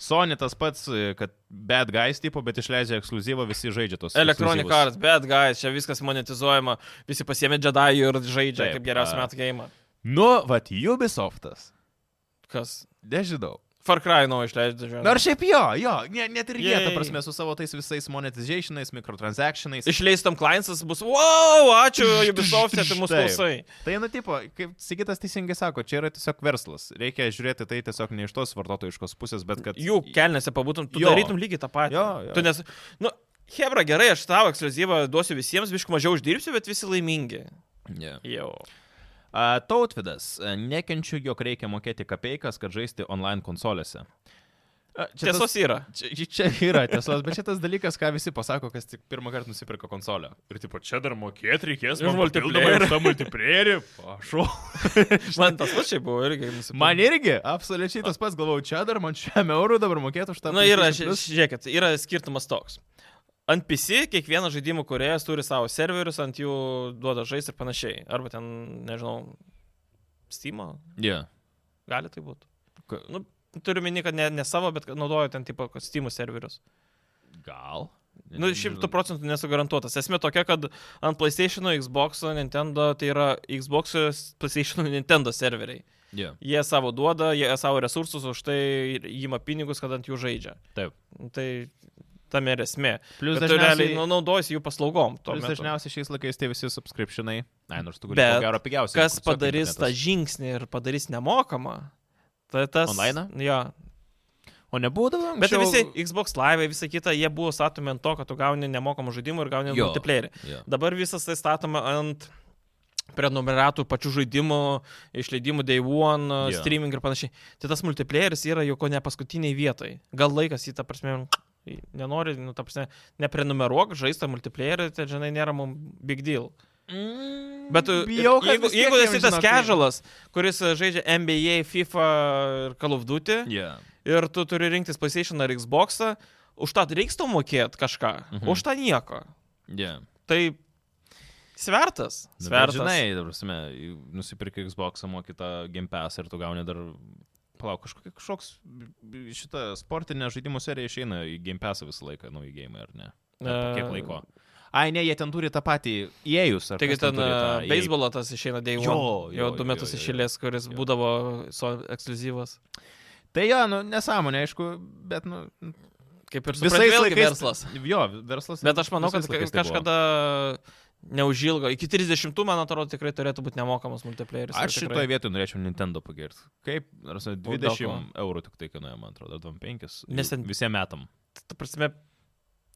[SPEAKER 1] Sony tas pats, e, kad bad guys tipo, bet išleidžia ekskluzyvą, visi žaidžia tos.
[SPEAKER 2] Electronic
[SPEAKER 1] ekskliuzyvus.
[SPEAKER 2] Arts, bet guys, čia viskas monetizuojama, visi pasiemė Jedi ir
[SPEAKER 1] Taip,
[SPEAKER 2] žaidžia Taip, kaip geriausią
[SPEAKER 1] a.
[SPEAKER 2] metų gėjimą.
[SPEAKER 1] Nu, vat Ubisoftas.
[SPEAKER 2] Kas?
[SPEAKER 1] Nežinau.
[SPEAKER 2] Far Cry naujo išleidžia žodžiu.
[SPEAKER 1] Nors šiaip jo, jo, ne, net ir jie, ta
[SPEAKER 2] Yay.
[SPEAKER 1] prasme, su savo tais visais monetizationais, mikrotransactionais.
[SPEAKER 2] Išleistam Kleinsas bus, wow, ačiū Ubisoft,
[SPEAKER 1] tš,
[SPEAKER 2] tai mūsų
[SPEAKER 1] taip.
[SPEAKER 2] klausai.
[SPEAKER 1] Tai nutipo, kaip Sigitas teisingai sako, čia yra tiesiog verslas. Reikia žiūrėti tai tiesiog ne iš tos vartotojiškos pusės, bet kad...
[SPEAKER 2] Jų kelnėse pabūtum, tu
[SPEAKER 1] Jo.
[SPEAKER 2] jo. darytum lygiai tą patį.
[SPEAKER 1] Jo, jo.
[SPEAKER 2] Tu nes, nu, Hebra, gerai, aš tavo ekskluzyvą duosiu visiems, bišku mažiau uždirbsiu, bet visi laimingi.
[SPEAKER 1] Yeah.
[SPEAKER 2] Jau.
[SPEAKER 1] A, tautvidas, a, nekenčiu, jog reikia mokėti kapeikas, kad žaisti online konsolėse. A, čia
[SPEAKER 2] Tiesos
[SPEAKER 1] tas-
[SPEAKER 2] yra.
[SPEAKER 1] Čia, čia yra tiesos, bet šitas dalykas, ką visi pasako, kas tik pirmą kartą nusipirka konsolę. Ir tipo, čia dar mokėti reikės,
[SPEAKER 2] Ir
[SPEAKER 1] man papildomai
[SPEAKER 2] multiplayer.
[SPEAKER 1] už tą multiplėrį. Prašau.
[SPEAKER 2] Man tas pats šiaip buvo irgi. nusipirkau.
[SPEAKER 1] Man irgi, absoliučiai tas pats, galvojau, čia dar man šiam eurų dabar mokėtų už tą.
[SPEAKER 2] Na ir
[SPEAKER 1] PlayStation Plus.
[SPEAKER 2] žiūrėkit, yra skirtumas toks. Ant PC kiekvienas žaidimų kuriejas turi savo serverius, ant jų duoda žaisti ir panašiai. Arba ten, nežinau, Steam,
[SPEAKER 1] Yeah.
[SPEAKER 2] gali tai būti.
[SPEAKER 1] Ka-
[SPEAKER 2] Nu, turiu meni, kad ne, ne savo, bet kad naudoju ten tipo kad Steam serverius.
[SPEAKER 1] Gal.
[SPEAKER 2] Na, nu, šimtų procentų nesu garantuotas. Esmė tokia, kad ant PlayStation, Xbox, Nintendo, tai yra Xbox, PlayStation, Nintendo serveriai.
[SPEAKER 1] Yeah.
[SPEAKER 2] Jie savo duoda, jie savo resursus, už tai įima pinigus, kad ant jų žaidžia.
[SPEAKER 1] Taip.
[SPEAKER 2] Tai tam ir esmė.
[SPEAKER 1] Plius
[SPEAKER 2] Bet tu
[SPEAKER 1] dažniausiai,
[SPEAKER 2] realiai nu, naudojasi jų paslaugom. tuo
[SPEAKER 1] plius
[SPEAKER 2] metu.
[SPEAKER 1] dažniausiai šiais laikais tai visi subscriptionai. Na, nors tu gali
[SPEAKER 2] Bet
[SPEAKER 1] ko gero pigiausiai.
[SPEAKER 2] Kas
[SPEAKER 1] tiesiog
[SPEAKER 2] padarys tą
[SPEAKER 1] internetas.
[SPEAKER 2] žingsnį ir padarys nemokamą, tai tas...
[SPEAKER 1] Onlainą?
[SPEAKER 2] Jo.
[SPEAKER 1] O nebūdavo?
[SPEAKER 2] Bet tai visi Xbox Live, visa kita, jie buvo statomi ant to, kad tu gauni nemokamų žaidimų ir gauni
[SPEAKER 1] Jo.
[SPEAKER 2] multiplayerį.
[SPEAKER 1] Jo.
[SPEAKER 2] Dabar visas tai statoma ant prenumeratų pačių žaidimų, išleidimų Day One,
[SPEAKER 1] Jo.
[SPEAKER 2] yeah. streaming ir panašiai. Tai tas multiplayeris yra jau ko ne paskutiniai vietai. Gal laikas į tą prasme, nenori, nu, ta prasme, neprenumeruok, žaisti multiplayerį, tai žinai, nėra mums big deal. Bet tu,
[SPEAKER 1] Mm, Bijau, kad
[SPEAKER 2] jeigu,
[SPEAKER 1] vis tiek
[SPEAKER 2] jeigu
[SPEAKER 1] jiem,
[SPEAKER 2] esi tas
[SPEAKER 1] žinok, tai-
[SPEAKER 2] kežalas, kuris e, žaidžia NBA, FIFA ir Call of Duty,
[SPEAKER 1] Yeah.
[SPEAKER 2] ir tu turi rinktis PlayStation ar Xbox, e, už tą reiks tau mokėti kažką,
[SPEAKER 1] Mhm.
[SPEAKER 2] mhm. už tą nieko.
[SPEAKER 1] Yeah.
[SPEAKER 2] Tai svertas.
[SPEAKER 1] Nu, bet
[SPEAKER 2] Svertas.
[SPEAKER 1] Žinai, ta prasme, nusipirki Xbox, mokita Game Pass ir tu gauni dar... Palauk, kažkokia kažkoks šita sportinė žaidimų serija išeina į Game Pass visą laiką, nu į game ar ne? Ar po Kiek
[SPEAKER 2] E,
[SPEAKER 1] laiko? Ai, ne, jie ten turi tą patį įėjus. ar
[SPEAKER 2] Taigi
[SPEAKER 1] kas ten
[SPEAKER 2] ten
[SPEAKER 1] turi tą
[SPEAKER 2] e,
[SPEAKER 1] EA?
[SPEAKER 2] beisbolo tas išeina Day One.
[SPEAKER 1] Jo, jo,
[SPEAKER 2] jau du
[SPEAKER 1] jo,
[SPEAKER 2] metus
[SPEAKER 1] jo, jo.
[SPEAKER 2] išėlės, kuris
[SPEAKER 1] Jo.
[SPEAKER 2] būdavo so ekskluzyvas.
[SPEAKER 1] Tai jo, nu, nesąmonė, aišku, bet, nu,
[SPEAKER 2] Kaip ir
[SPEAKER 1] visais
[SPEAKER 2] visai vėlgi
[SPEAKER 1] laikais-
[SPEAKER 2] verslas.
[SPEAKER 1] Jo, verslas.
[SPEAKER 2] Bet aš manau, kad
[SPEAKER 1] visais laikais
[SPEAKER 2] ka-
[SPEAKER 1] tai buvo.
[SPEAKER 2] kažkada neužilgo, iki 30, man atrodo, tikrai turėtų būti nemokamas multiplayeris.
[SPEAKER 1] Aš
[SPEAKER 2] ir
[SPEAKER 1] šitoje
[SPEAKER 2] tikrai-
[SPEAKER 1] vietoje norėčiau Nintendo pagirti. Kaip, ar prasme,
[SPEAKER 2] O, daug
[SPEAKER 1] 20 eurų tik tai kainuoja, man atrodo, ar 25.
[SPEAKER 2] Nes ten-
[SPEAKER 1] Visiems metam.
[SPEAKER 2] ta prasme,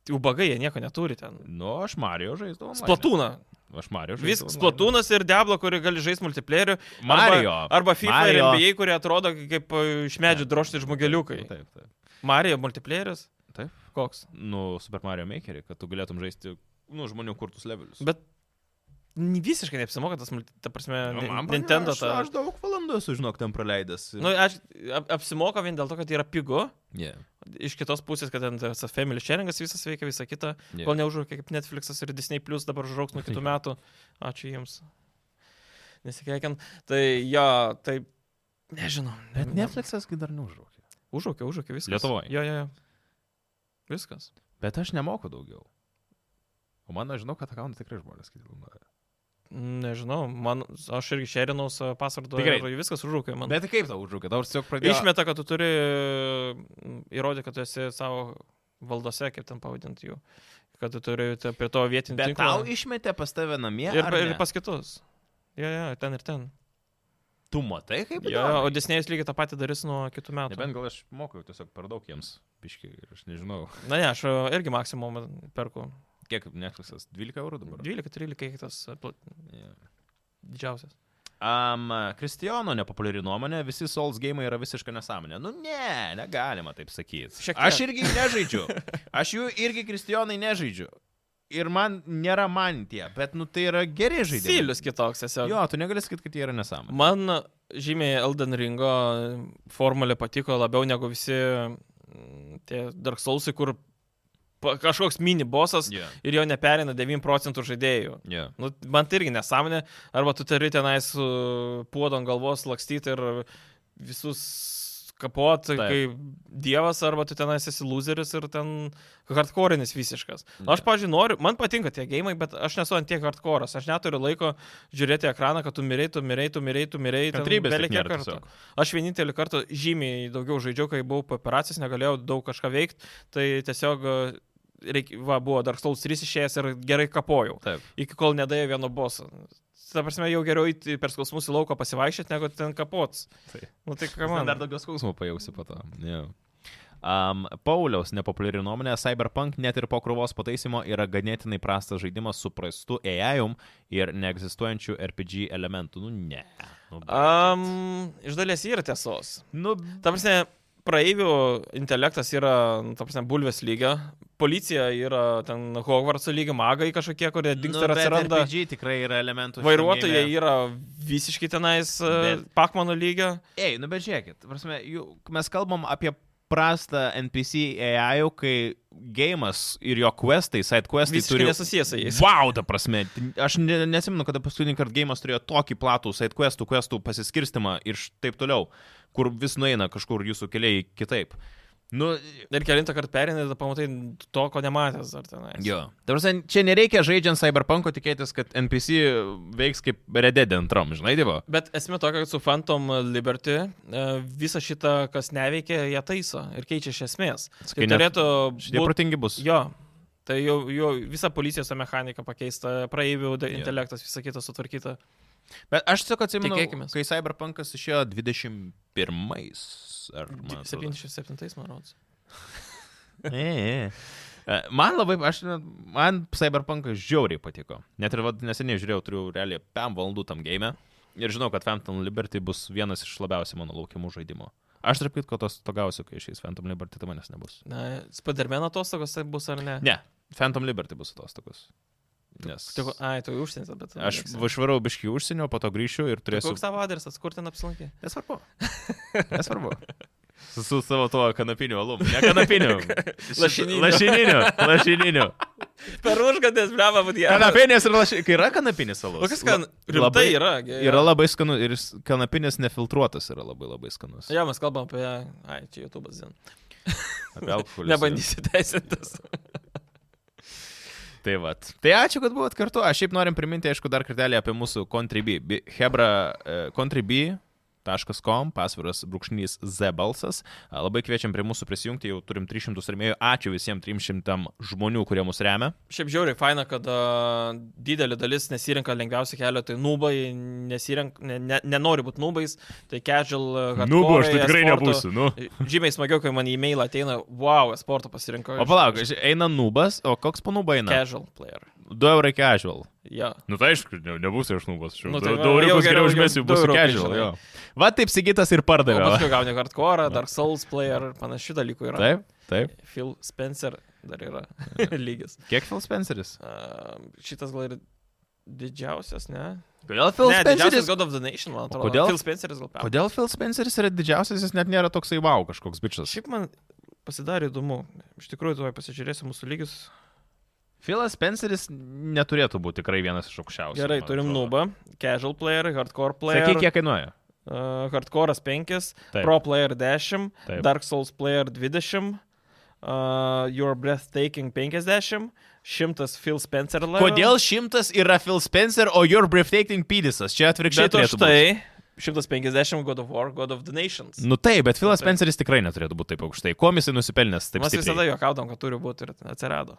[SPEAKER 2] ubagai, jie nieko neturi ten.
[SPEAKER 1] Nu, aš Mario žaisdavau. online.
[SPEAKER 2] Splatūną.
[SPEAKER 1] Aš Mario žaisdavau.
[SPEAKER 2] Vis
[SPEAKER 1] online.
[SPEAKER 2] Splatūnas ir Diablo, kuri gali žaisti multiplayeriu.
[SPEAKER 1] Mario.
[SPEAKER 2] Arba, arba FIFA Mario.
[SPEAKER 1] Mario.
[SPEAKER 2] ir NBA, kurie atrodo kaip e, iš medžių drošti žmogeliukai.
[SPEAKER 1] Nu, Taip, taip.
[SPEAKER 2] Mario multiplayeris?
[SPEAKER 1] Taip.
[SPEAKER 2] Koks?
[SPEAKER 1] Nu, Super Mario Makerį, kad tu galėtum žaisti, nu, žmonių kurtus levelius.
[SPEAKER 2] Bet n- visiškai neapsimoka tas, multi- ta prasme,
[SPEAKER 1] Nu,
[SPEAKER 2] Ni-
[SPEAKER 1] man-
[SPEAKER 2] Nintendo
[SPEAKER 1] aš,
[SPEAKER 2] ta.
[SPEAKER 1] Aš daug valandų esu, žinok, ten praleidęs.
[SPEAKER 2] Nu, aš ap- apsimoka vien dėl to, kad yra pigu.
[SPEAKER 1] yeah.
[SPEAKER 2] Iš kitos pusės, kad ten tas family sharingas visas veikia, visa kita.
[SPEAKER 1] Yeah.
[SPEAKER 2] Yeah. Kol neužrūkė kaip Netflixas ir Disney Plus dabar žrauks nuo kitų metų. Ačiū jiems. Nesikeikiant. Tai jo, tai nežinau.
[SPEAKER 1] Bet Netflixas kai dar neužraukė.
[SPEAKER 2] Užrūkė, užrūkė viskas.
[SPEAKER 1] Lietuvoj.
[SPEAKER 2] Jo, jo, jo. Viskas.
[SPEAKER 1] Bet aš nemoku daugiau. O mano, žinau, kad akantą tikrai žmonės kitaip naudoja.
[SPEAKER 2] Nežinau, man, aš irgi šerinau savo pasvardą
[SPEAKER 1] Tai gerai.
[SPEAKER 2] ir viskas užrūkė man.
[SPEAKER 1] Bet tai kaip tau užraukė? Tau aš tiesiog pradėjau.
[SPEAKER 2] Išmeta, kad tu turi mm, įrodyti, kad tu esi savo valdose, kaip ten pavadinti jų. Kad tu turi te- prie to vietinį
[SPEAKER 1] Bet
[SPEAKER 2] tinklą.
[SPEAKER 1] tau išmetė pas tave namie.
[SPEAKER 2] ir,
[SPEAKER 1] ar
[SPEAKER 2] ir
[SPEAKER 1] ne?
[SPEAKER 2] pas kitus. Jo, jo, ten ir ten.
[SPEAKER 1] Tu matai, kaip
[SPEAKER 2] Jo, jo, o Disney'us lygiai tą patį darys nuo kitų metų.
[SPEAKER 1] Nebent gal aš moku tiesiog per daug jiems, biškai, ir aš nežinau,
[SPEAKER 2] Na ne, aš e, irgi maksimum perku.
[SPEAKER 1] kiek Netflixas, 12 eurų dabar.
[SPEAKER 2] 12-13, kiek tas e, pla-
[SPEAKER 1] Yeah.
[SPEAKER 2] didžiausias.
[SPEAKER 1] Um, Kristijono nepopuliari nuomonė, visi Souls gėjimai yra visiška nesąmonė. Nu ne, negalima taip sakyti.
[SPEAKER 2] Šiek tiek.
[SPEAKER 1] Aš irgi nežaidžiu. Aš jų irgi Kristijonai nežaidžiu. Ir man nėra man tie, bet nu tai yra geri žaidimai.
[SPEAKER 2] Stilius kitoks tiesiog.
[SPEAKER 1] Jo, tu negali sakyti, kad jie yra nesąmonė.
[SPEAKER 2] Man žymiai Elden Ringo formulė patiko labiau negu visi mm, tie Dark Soulsai, kur pa- kažkoks mini bosas
[SPEAKER 1] Yeah.
[SPEAKER 2] ir jo neperina 9 procentų žaidėjų.
[SPEAKER 1] Yeah.
[SPEAKER 2] Nu, man tai irgi nesąmonė, arba tu turi tenais puodą ant galvos lakstyti ir visus kapot
[SPEAKER 1] Taip.
[SPEAKER 2] kaip dievas, arba tu tenais esi loseris ir ten hardcore'nis visiškas. Na, Nu, Aš,
[SPEAKER 1] Ne.
[SPEAKER 2] pažiūrėjau, noriu, man patinka tie gėjimai, bet aš nesu ant tiek hardcore'as, aš neturiu laiko žiūrėti ekraną, kad tu mirei, tu mirei, tu mirei, tu mirei. ten
[SPEAKER 1] Kantrybės
[SPEAKER 2] belekiek
[SPEAKER 1] tik nėra
[SPEAKER 2] kartų.
[SPEAKER 1] tiesiog.
[SPEAKER 2] Aš vienintelį kartą žymiai daugiau žaidžiau, kai buvau po operacijos, negalėjau daug kažką veikti, tai tiesiog e, reik, va, buvo Dark Souls 3 išėjęs ir gerai kapojau
[SPEAKER 1] Taip.
[SPEAKER 2] iki kol nedavė vieno boso. Ta prasme, jau geriau eiti per skausmus į lauką pasivaikščioti, negu ten kapots.
[SPEAKER 1] Taip.
[SPEAKER 2] Nu tai ką
[SPEAKER 1] Jis ten
[SPEAKER 2] man.
[SPEAKER 1] dar daugiau skausmo pajausi po to. Yeah. Um, Pauliaus nepopuliari nuomonė, Cyberpunk net ir po krūvos pataisimo yra ganėtinai prastas žaidimas su prastu AI-um ir neegzistuojančių RPG elementų. Nu, ne. Nu, bet-
[SPEAKER 2] Um, iš dalies yra tiesos.
[SPEAKER 1] nu,
[SPEAKER 2] Ta prasme, praeivių intelektas yra, nu, ta prasme, bulvės lygio, policija yra ten Hogwarts lygio magai kažkokie,
[SPEAKER 1] nu,
[SPEAKER 2] kurie dinksta ir
[SPEAKER 1] bet
[SPEAKER 2] atsiranda.
[SPEAKER 1] RPG tikrai yra elementų. šitam
[SPEAKER 2] Vairuotojai
[SPEAKER 1] game.
[SPEAKER 2] yra visiškai tenais
[SPEAKER 1] Bet-
[SPEAKER 2] pakmano lygio.
[SPEAKER 1] Ei, nu bet žiūrėkit, ta prasme, jų, mes kalbam apie prastą NPC AI-ų, kai gėjimas ir jo questai, side questai
[SPEAKER 2] Visiškai
[SPEAKER 1] turi
[SPEAKER 2] nesusijęs su jais.
[SPEAKER 1] Wow, ta prasme. Aš ne, nesimenu, kada paskutinį kartą gėjimas turėjo tokį platų side questų, questų pasiskirstimą ir š- taip toliau, kur vis nueina kažkur jūsų keliai kitaip. Nu,
[SPEAKER 2] Ir kelintą kartą perinai, tada pamatai to, ko nematęs dar tenais.
[SPEAKER 1] jo. Ta prasme, čia nereikia žaidžiant Cyberpunko tikėtis, kad NPC veiks kaip Red Dead antram, žinai, dievo.
[SPEAKER 2] Bet esmė tokia, kad su Phantom Liberty e, visą šitą, kas neveikia, jie taiso ir keičia iš esmės. Tai turėtų
[SPEAKER 1] Šitie
[SPEAKER 2] būti.
[SPEAKER 1] protingi bus.
[SPEAKER 2] Jo. Tai jau, jau visa policijos mechanika pakeista, praeivių da-
[SPEAKER 1] Jo.
[SPEAKER 2] intelektas, visa kita sutvarkyta.
[SPEAKER 1] Bet aš tiesiog atsimenu,
[SPEAKER 2] Tikėkimės.
[SPEAKER 1] kai Cyberpunkas išėjo 21-ais. Ar man atrodo.
[SPEAKER 2] 77, man rodos.
[SPEAKER 1] E, e. E, Man labai, aš, net- man Cyberpunkas žiauriai patiko. Net ir vat neseniai žiūrėjau, turiu realiai 5 valandų tam game. e Ir žinau, kad Phantom Liberty bus vienas iš labiausiai mano laukiamų žaidimų. Aš tarp kitko tos to gausiu, kai išeis Phantom Liberty, tai manęs nebus.
[SPEAKER 2] Na, Spiderman atostogos tai bus ar ne?
[SPEAKER 1] Ne, Phantom Liberty bus atostogos. Nes
[SPEAKER 2] Tik, ai, tu užsienis, bet...
[SPEAKER 1] aš
[SPEAKER 2] Liksi.
[SPEAKER 1] važiuoju biškių užsienio, po to grįšiu ir
[SPEAKER 2] Tai
[SPEAKER 1] turėsiu...
[SPEAKER 2] Koks tavo adresas, kur ten apsilankė?
[SPEAKER 1] Nesvarbu. Nesvarbu. Su, su savo tuo kanapiniu alum. Ne kanapiniu.
[SPEAKER 2] Lašininiu.
[SPEAKER 1] Lašininiu. Lašininiu.
[SPEAKER 2] Per užgadės, bleva, būdė.
[SPEAKER 1] Kanapinės ir lašinis. Kai yra kanapinis alus.
[SPEAKER 2] O kas kan...
[SPEAKER 1] La- labai-
[SPEAKER 2] Rimtai yra. ge-
[SPEAKER 1] Yra labai skanu ir jis- kanapinis nefiltruotas yra labai labai skanus.
[SPEAKER 2] Ja, mes kalbam apie... Ai, čia YouTube'as. dzin.
[SPEAKER 1] Apie alkoholį.
[SPEAKER 2] Nebandysi teisintis.
[SPEAKER 1] Tai va. Tai ačiū, kad buvot kartu. Aš šiaip norim priminti, aišku, dar kartelį apie mūsų Contribui. Bi- Hebra e, Contribui. .com, pasviras brūkšnys Z balsas. E, Labai kviečiam prie mūsų prisijungti, jau turim 300 remėjų. Ačiū visiems 300 žmonių, kurie mus remia.
[SPEAKER 2] Šiaip žiauriai faina, kad a, didelė dalis nesirinka lengviausią kelią, tai nubai, nesirink, ne, ne, nenori būti nubais, tai casual. a,
[SPEAKER 1] tai
[SPEAKER 2] hardcore, e-sporto.
[SPEAKER 1] nu.
[SPEAKER 2] Žymiai smagiau, kai man į e-mailą ateina, wow, sporto pasirinko.
[SPEAKER 1] O palauk, ži- eina nubas, o koks panuba eina?
[SPEAKER 2] Casual player.
[SPEAKER 1] 2 eurai casual.
[SPEAKER 2] Ja.
[SPEAKER 1] Nu tai aišku, ne, nebus aš nubas.
[SPEAKER 2] Nu, tai va, jau geriau, jau du eurukai, žinai.
[SPEAKER 1] Va taip Sigitas ir
[SPEAKER 2] O
[SPEAKER 1] pardavė. va.
[SPEAKER 2] paskui gauni hardcore, Dark Souls player ir panašių dalykų yra.
[SPEAKER 1] Taip, taip.
[SPEAKER 2] Phil Spencer dar yra lygis.
[SPEAKER 1] Kiek Phil Spenceris?
[SPEAKER 2] A, šitas gal ir didžiausias, ne?
[SPEAKER 1] Kodėl Phil
[SPEAKER 2] ne, didžiausias
[SPEAKER 1] Spenceris?
[SPEAKER 2] God of the Nation, man atrodo.
[SPEAKER 1] kodėl?
[SPEAKER 2] Phil Spenceris gal per.
[SPEAKER 1] Kodėl Phil Spenceris yra didžiausias, jis net nėra toksai wow kažkoks bičias.
[SPEAKER 2] Šiaip man pasidarė įdomu. Iš tikrųjų, tuoj pasižiūrėsiu mūsų lygius.
[SPEAKER 1] Philas Spenceris neturėtų būti tikrai vienas iš aukščiausių.
[SPEAKER 2] Gerai,
[SPEAKER 1] man
[SPEAKER 2] turim
[SPEAKER 1] atrodo.
[SPEAKER 2] nubą, casual player, hardcore player.
[SPEAKER 1] Sakyk, kiek kainuoja.
[SPEAKER 2] Uh, hardcore 5,
[SPEAKER 1] Taip.
[SPEAKER 2] pro player 10,
[SPEAKER 1] Taip.
[SPEAKER 2] Dark Souls player 20, uh, Your Breathtaking 50, 100 Phil Spencer level.
[SPEAKER 1] Kodėl šimtas yra Phil Spencer, o Your Breathtaking Pedisas? Čia atvirkščiai.
[SPEAKER 2] Šito
[SPEAKER 1] turėtų būt.
[SPEAKER 2] štai 150 tai God of War, God of the Nations.
[SPEAKER 1] Nu taip, bet Filas
[SPEAKER 2] Nu, taip.
[SPEAKER 1] Spenceris tikrai neturėtų būti taip aukštai. Kom jisai nusipelnęs taip
[SPEAKER 2] Mes visada
[SPEAKER 1] stipriai?
[SPEAKER 2] juokaudom, kad turi būti ir atsirado.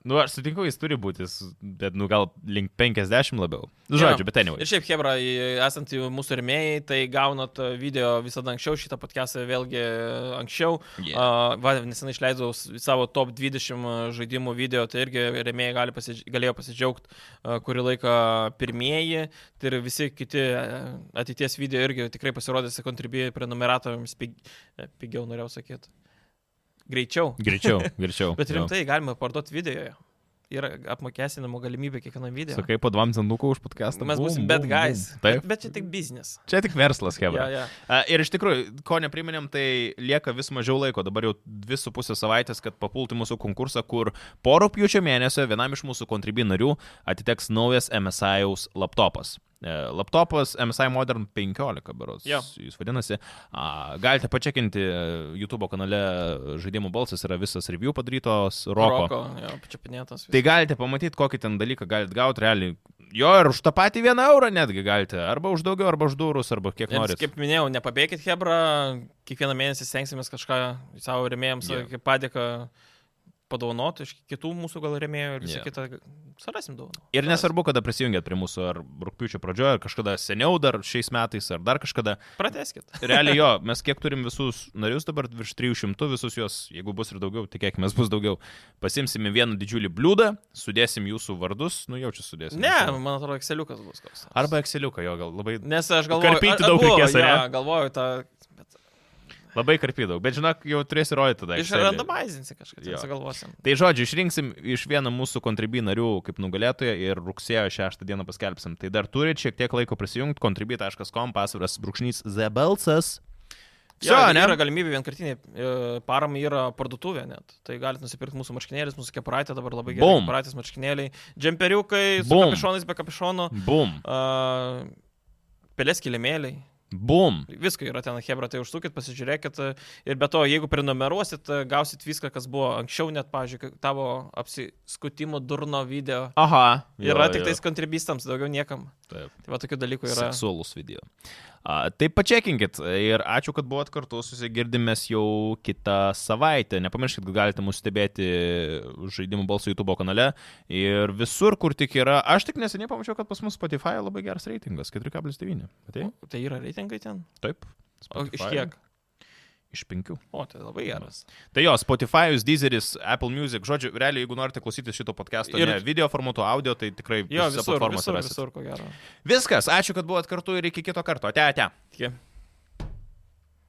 [SPEAKER 1] Nu, aš sutinku, jis turi būti, jis- bet nu gal link 50 labiau. Nu, Žodžiu,
[SPEAKER 2] Jo.
[SPEAKER 1] bet anyway.
[SPEAKER 2] Ir šiaip, Hebra, į- esant į mūsų remėjai, tai gaunat e, video visada anksčiau, šitą podcastą vėlgi e, anksčiau.
[SPEAKER 1] Yeah.
[SPEAKER 2] Yeah. Uh, Nesenai išleidau s- savo top 20 žaidimų video, tai irgi remėjai gali pasidž... galėjo pasidžiaugti uh, kurį laiką pirmieji. Tai ir visi kiti uh, ateities video irgi tikrai pasirodėsi kontribijai prenumeratoriams pig... e, pigiau, norėjau sakyti. Greičiau.
[SPEAKER 1] Greičiau, greičiau.
[SPEAKER 2] Bet
[SPEAKER 1] Jo.
[SPEAKER 2] rimtai galima parduoti videoje. Yra apmokestinamo galimybė kiekvienam video.
[SPEAKER 1] Sakai, po 2 centukų už podcastą.
[SPEAKER 2] Mes
[SPEAKER 1] Bum,
[SPEAKER 2] būsim
[SPEAKER 1] bum,
[SPEAKER 2] bad
[SPEAKER 1] bum.
[SPEAKER 2] guys. Bet,
[SPEAKER 1] Taip.
[SPEAKER 2] bet čia tik biznis.
[SPEAKER 1] Čia tik verslas, Hebra.
[SPEAKER 2] Ja, ja.
[SPEAKER 1] A, Ir iš tikrųjų, ko nepriminėm, tai lieka vis mažiau laiko, dabar jau 2,5 savaitės, kad papulti mūsų konkursą, kur po rūpjūčio mėnesio vienam iš mūsų kontribį narių atiteks naujas MSI -jaus laptopas. E, Laptopas MSI Modern 15, beros,
[SPEAKER 2] Jo.
[SPEAKER 1] jis vadinasi. A, Galite pačekinti e, YouTube kanale Žaidimų balsas, yra visas review padarytos Roko. Roko.
[SPEAKER 2] jo, pačiapinėtas.
[SPEAKER 1] Tai galite pamatyti, kokį ten dalyką galite gauti realiai. Jo ir už tą patį vieną eurą netgi galite. Arba už daugiau, arba už durus, arba kiek
[SPEAKER 2] Jums,
[SPEAKER 1] norite.
[SPEAKER 2] kaip minėjau, nepabėgit Hebra, kiekvieną mėnesį stengsimės kažką savo remėjams
[SPEAKER 1] Jo.
[SPEAKER 2] yeah. padėką padovanoti iš kitų mūsų gal remėjų ir
[SPEAKER 1] Jo.
[SPEAKER 2] visą yeah. kitą. Sarasim dovanų.
[SPEAKER 1] Ir nesvarbu, kada prisijungiat prie mūsų, ar rūpiučio pradžioje, ar kažkada seniau, dar šiais metais, ar dar kažkada.
[SPEAKER 2] Prateskit.
[SPEAKER 1] Realiai jo, mes kiek turim visus narius dabar, virš 300 visus juos, jeigu bus ir daugiau, tikėkime, bus daugiau. Pasimsim į vieną didžiulį bliūdą, sudėsim jūsų vardus, nu jaučiu sudėsim.
[SPEAKER 2] Ne,
[SPEAKER 1] jūsų.
[SPEAKER 2] man atrodo, Exceliukas bus koks. nors.
[SPEAKER 1] Arba ekseliuką jo, gal labai,
[SPEAKER 2] Nes aš galvoju,
[SPEAKER 1] Karpyti
[SPEAKER 2] a-
[SPEAKER 1] daug
[SPEAKER 2] abu,
[SPEAKER 1] reikės, ar
[SPEAKER 2] jo,
[SPEAKER 1] ne?
[SPEAKER 2] Galvoju, tą... bet
[SPEAKER 1] labai karpydau, bet žinok, jau turėsi rodyti tada. Excelį.
[SPEAKER 2] Išrandomaizinsi kažką,
[SPEAKER 1] Jo.
[SPEAKER 2] tai sugalvosim.
[SPEAKER 1] Tai žodžiu, išrinksim iš vieno mūsų kontribį narių kaip nugalėtoją ir rugsėjo 6 dieną paskelbsim. Tai dar turit šiek tiek laiko prisijungti, kontribį.com pasviras brūkšnys zebelsas.
[SPEAKER 2] Jo,
[SPEAKER 1] Jo, ne?
[SPEAKER 2] Yra galimybė vienkartinė parama yra parduotuvė net. Tai galite nusipirkti mūsų marškinėlius, mūsų kepuraitė dabar labai gerai.
[SPEAKER 1] Bum.
[SPEAKER 2] Kepuraitės marškinėliai, džemperiukai, su
[SPEAKER 1] Bum.
[SPEAKER 2] kapišonais be kapišono,
[SPEAKER 1] Bum.
[SPEAKER 2] uh, pelės kilimėliai.
[SPEAKER 1] Bum.
[SPEAKER 2] Visko yra ten, Hebra, tai užsukit, pasižiūrėkit. e, Ir be to, jeigu prenumeruosit, e, gausit viską, kas buvo anksčiau, net, pavyzdžiui, tavo apsiskutimo durno video.
[SPEAKER 1] Aha.
[SPEAKER 2] Yra tik tais kontribistams, daugiau niekam.
[SPEAKER 1] Taip.
[SPEAKER 2] Tai va tokių dalykų yra.
[SPEAKER 1] Seksualus video. A, tai pačekinkit ir ačiū, kad buvot kartu, susigirdimės jau kitą savaitę. Nepamirškit, kad galite mūsų stebėti žaidimų balsų YouTube kanale ir visur, kur tik yra. Aš tik neseniai pamačiau, kad pas mus Spotify labai geras reitingas - 4,9. Matei?
[SPEAKER 2] O, Tai yra reitingai ten?
[SPEAKER 1] Taip.
[SPEAKER 2] O iš
[SPEAKER 1] Spotify.
[SPEAKER 2] kiek?
[SPEAKER 1] Iš penkių.
[SPEAKER 2] O, tai labai geras.
[SPEAKER 1] Tai jo, Spotify'us, Deezeris, Apple Music, žodžiu, realiai, jeigu norite klausytis šito podcast'o ir
[SPEAKER 2] Ir-
[SPEAKER 1] ne video formatu, audio, tai tikrai
[SPEAKER 2] Jo,
[SPEAKER 1] visose
[SPEAKER 2] visur,
[SPEAKER 1] platformose
[SPEAKER 2] visur,
[SPEAKER 1] rasit.
[SPEAKER 2] visur, ko gero.
[SPEAKER 1] Viskas, ačiū, kad buvot kartu ir iki kito karto. Ate, ate.
[SPEAKER 2] Tikiu.